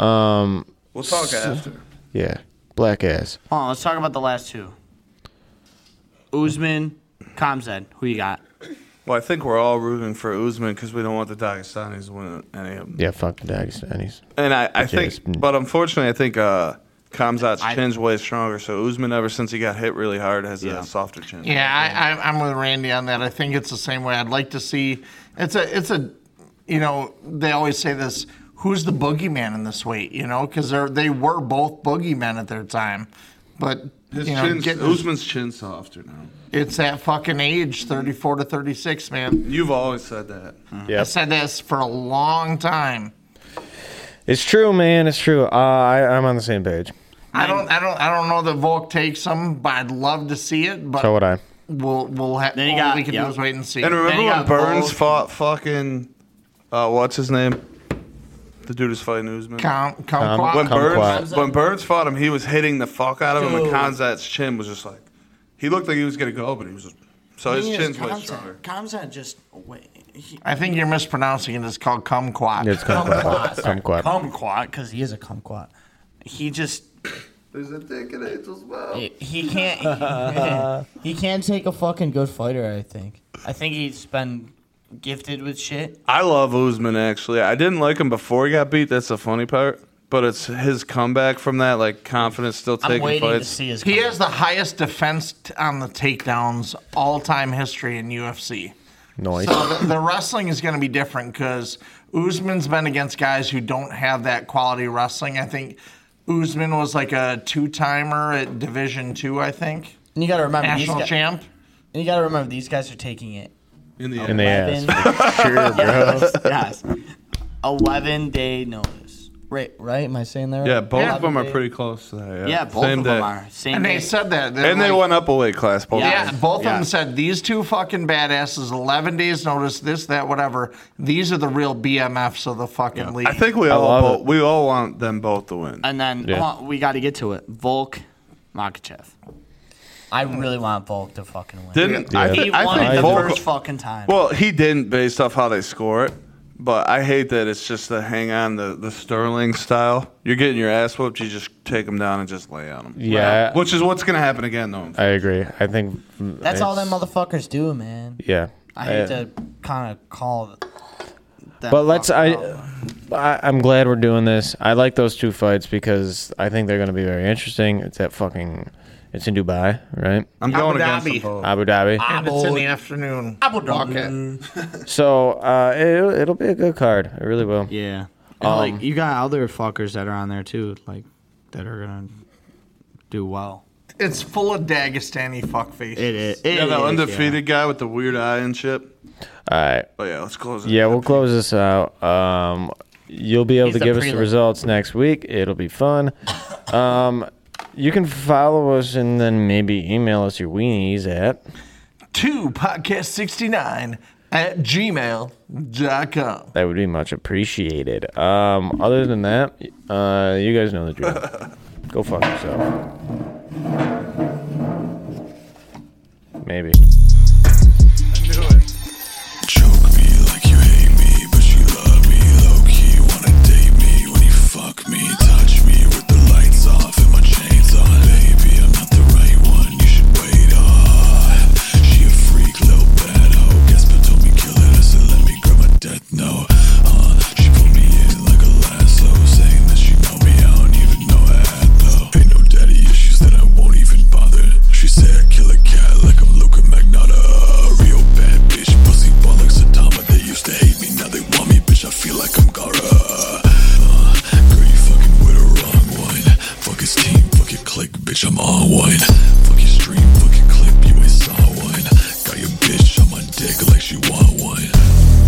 Speaker 3: Um.
Speaker 2: We'll talk after.
Speaker 3: Yeah. Black ass.
Speaker 4: Hold on, let's talk about the last two. Usman, Kamzad, who you got?
Speaker 2: Well, I think we're all rooting for Usman because we don't want the Dagestanis to win any of them.
Speaker 3: Yeah. Fuck the Dagestanis.
Speaker 2: And I, I
Speaker 3: Yes.
Speaker 2: think, but unfortunately, I think uh, Kamzat's
Speaker 4: I-
Speaker 2: chin's way stronger. So Usman, ever since he got hit really hard, has
Speaker 4: Yeah.
Speaker 2: a softer chin.
Speaker 1: Yeah, I, I, I'm with Randy on that. I think it's the same way. I'd like to see. It's a. It's a. you know, they always say this: who's the boogeyman in this weight? You know, because they they were both boogeymen at their time, but
Speaker 2: His
Speaker 1: you know,
Speaker 2: chin's,
Speaker 1: getting-
Speaker 2: Usman's chin's softer now.
Speaker 1: it's that fucking age, thirty-four to thirty-six, man.
Speaker 2: You've always said that.
Speaker 1: I said this for a long time.
Speaker 3: It's true, man. It's true. Uh, I, I'm on the same page.
Speaker 1: I don't, I don't, I don't know that Volk takes him, but I'd love to see it. But
Speaker 3: So would I.
Speaker 1: We'll, we'll have. All we can do is wait and see.
Speaker 2: And
Speaker 1: Then
Speaker 2: remember
Speaker 1: he
Speaker 2: when
Speaker 1: got
Speaker 2: Burns
Speaker 1: Volk,
Speaker 2: fought fucking uh, what's his name? The dude who's fighting Usman.
Speaker 1: Com- Kumquat.
Speaker 2: When Burns
Speaker 1: Kumquat.
Speaker 2: when Burns fought him, he was hitting the fuck out of him,
Speaker 1: Dude.
Speaker 2: and Kanzat's chin was just like he looked like he was gonna go, but he was just so his
Speaker 4: He is
Speaker 2: chin's way
Speaker 4: Kamzat.
Speaker 2: stronger.
Speaker 4: Kamzat just wait. He,
Speaker 1: I think you're mispronouncing it. It's called kumquat.
Speaker 3: It's kumquat.
Speaker 4: sorry,
Speaker 3: Kumquat.
Speaker 4: Kumquat, because he is a kumquat. He just
Speaker 2: There's a dick in Angel's mouth.
Speaker 1: <laughs>
Speaker 4: he can't. he can't take a fucking good fighter. I think. I think he's been gifted with shit.
Speaker 2: I love Usman actually. I didn't like him before he got beat. That's the funny part. But it's his comeback from that, like confidence, still taking fights.
Speaker 1: He has the highest defense t- on the takedowns all time history in UFC.
Speaker 3: Nice.
Speaker 1: So the, the wrestling is going to be different because Usman's been against guys who don't have that quality wrestling. I think Usman was like a two timer at Division Two. I think
Speaker 4: And you gotta remember these
Speaker 1: national
Speaker 4: guy-
Speaker 1: champ.
Speaker 4: And you gotta remember these guys are taking it.
Speaker 2: In the
Speaker 3: In the ass.
Speaker 4: <laughs> yes,
Speaker 3: sure, bro.
Speaker 4: yes. Eleven day notice. Right, right? Am I saying that? Right?
Speaker 2: Yeah, both of them are
Speaker 4: 11 day-
Speaker 2: pretty close to that. Yeah,
Speaker 4: Yeah, both
Speaker 2: Same
Speaker 4: of them
Speaker 2: day.
Speaker 4: are. Same
Speaker 1: And they
Speaker 4: day.
Speaker 1: said that. They're
Speaker 2: and they
Speaker 1: like-
Speaker 2: went up a weight class. Both
Speaker 1: Yeah,
Speaker 2: of them.
Speaker 1: both of them said these two fucking badasses, 11 days notice, this, that, whatever. These are the real BMFs of the fucking league.
Speaker 2: I think we all both, we all want them both to win.
Speaker 4: And then
Speaker 2: Yeah.
Speaker 4: uh, we got to get to it. Volk, Makachev. I really want Volk to fucking win.
Speaker 2: Didn't I,
Speaker 4: He
Speaker 2: thi- I
Speaker 4: won
Speaker 2: think
Speaker 4: the
Speaker 2: Volk-
Speaker 4: first fucking time.
Speaker 2: Well, he didn't based off how they score it, but I hate that it's just the hang on the the Sterling style. You're getting your ass whooped. You just take them down and just lay on them.
Speaker 3: Yeah.
Speaker 2: which is what's gonna happen again though.
Speaker 3: I agree. I think
Speaker 4: That's all
Speaker 3: it's-
Speaker 4: them motherfuckers do, man.
Speaker 3: Yeah.
Speaker 4: I hate
Speaker 3: I-
Speaker 4: to kind of call. That
Speaker 3: But let's. I, I I'm glad we're doing this. I like those two fights because I think they're going to be very interesting. It's at fucking. It's in Dubai, right?
Speaker 2: I'm
Speaker 1: Abu going against Dhabi. them both.
Speaker 3: Abu Dhabi.
Speaker 1: and it's in the afternoon.
Speaker 4: Abu
Speaker 3: So uh, it, it'll be a good card. It really will.
Speaker 4: Yeah. And,
Speaker 2: Um,
Speaker 4: like you got other fuckers that are on there too, like that are gonna do well.
Speaker 1: It's full of Dagestani fuckfaces.
Speaker 4: It is.
Speaker 2: yeah, the undefeated guy with the weird eye and shit.
Speaker 3: All right.
Speaker 2: But yeah, let's close it.
Speaker 3: Yeah, we'll close this out. Um, you'll be able
Speaker 2: He's
Speaker 3: to
Speaker 2: the
Speaker 3: give us the
Speaker 2: prelim.
Speaker 3: results next week. It'll be
Speaker 2: <laughs>
Speaker 3: fun. Um, you can follow us and then maybe email us your weenies at.
Speaker 1: Two podcast69 at gmail.com.
Speaker 3: That would be much appreciated. Um, other than that, uh, you guys know
Speaker 2: <laughs>
Speaker 3: the drill. Go fuck yourself. Maybe.
Speaker 11: Uh, She said I kill a cat like I'm Luca Magnotta. Real bad bitch, pussy bollocks Adama. They used to hate me, now they want me, bitch. I feel like I'm Gara. Uh, girl, you fucking with the wrong one. Fuck his team, fuck your clique, bitch. I'm on one. Fuck your stream, fuck your clip, you ain't saw one. Got your bitch on my dick like she want one.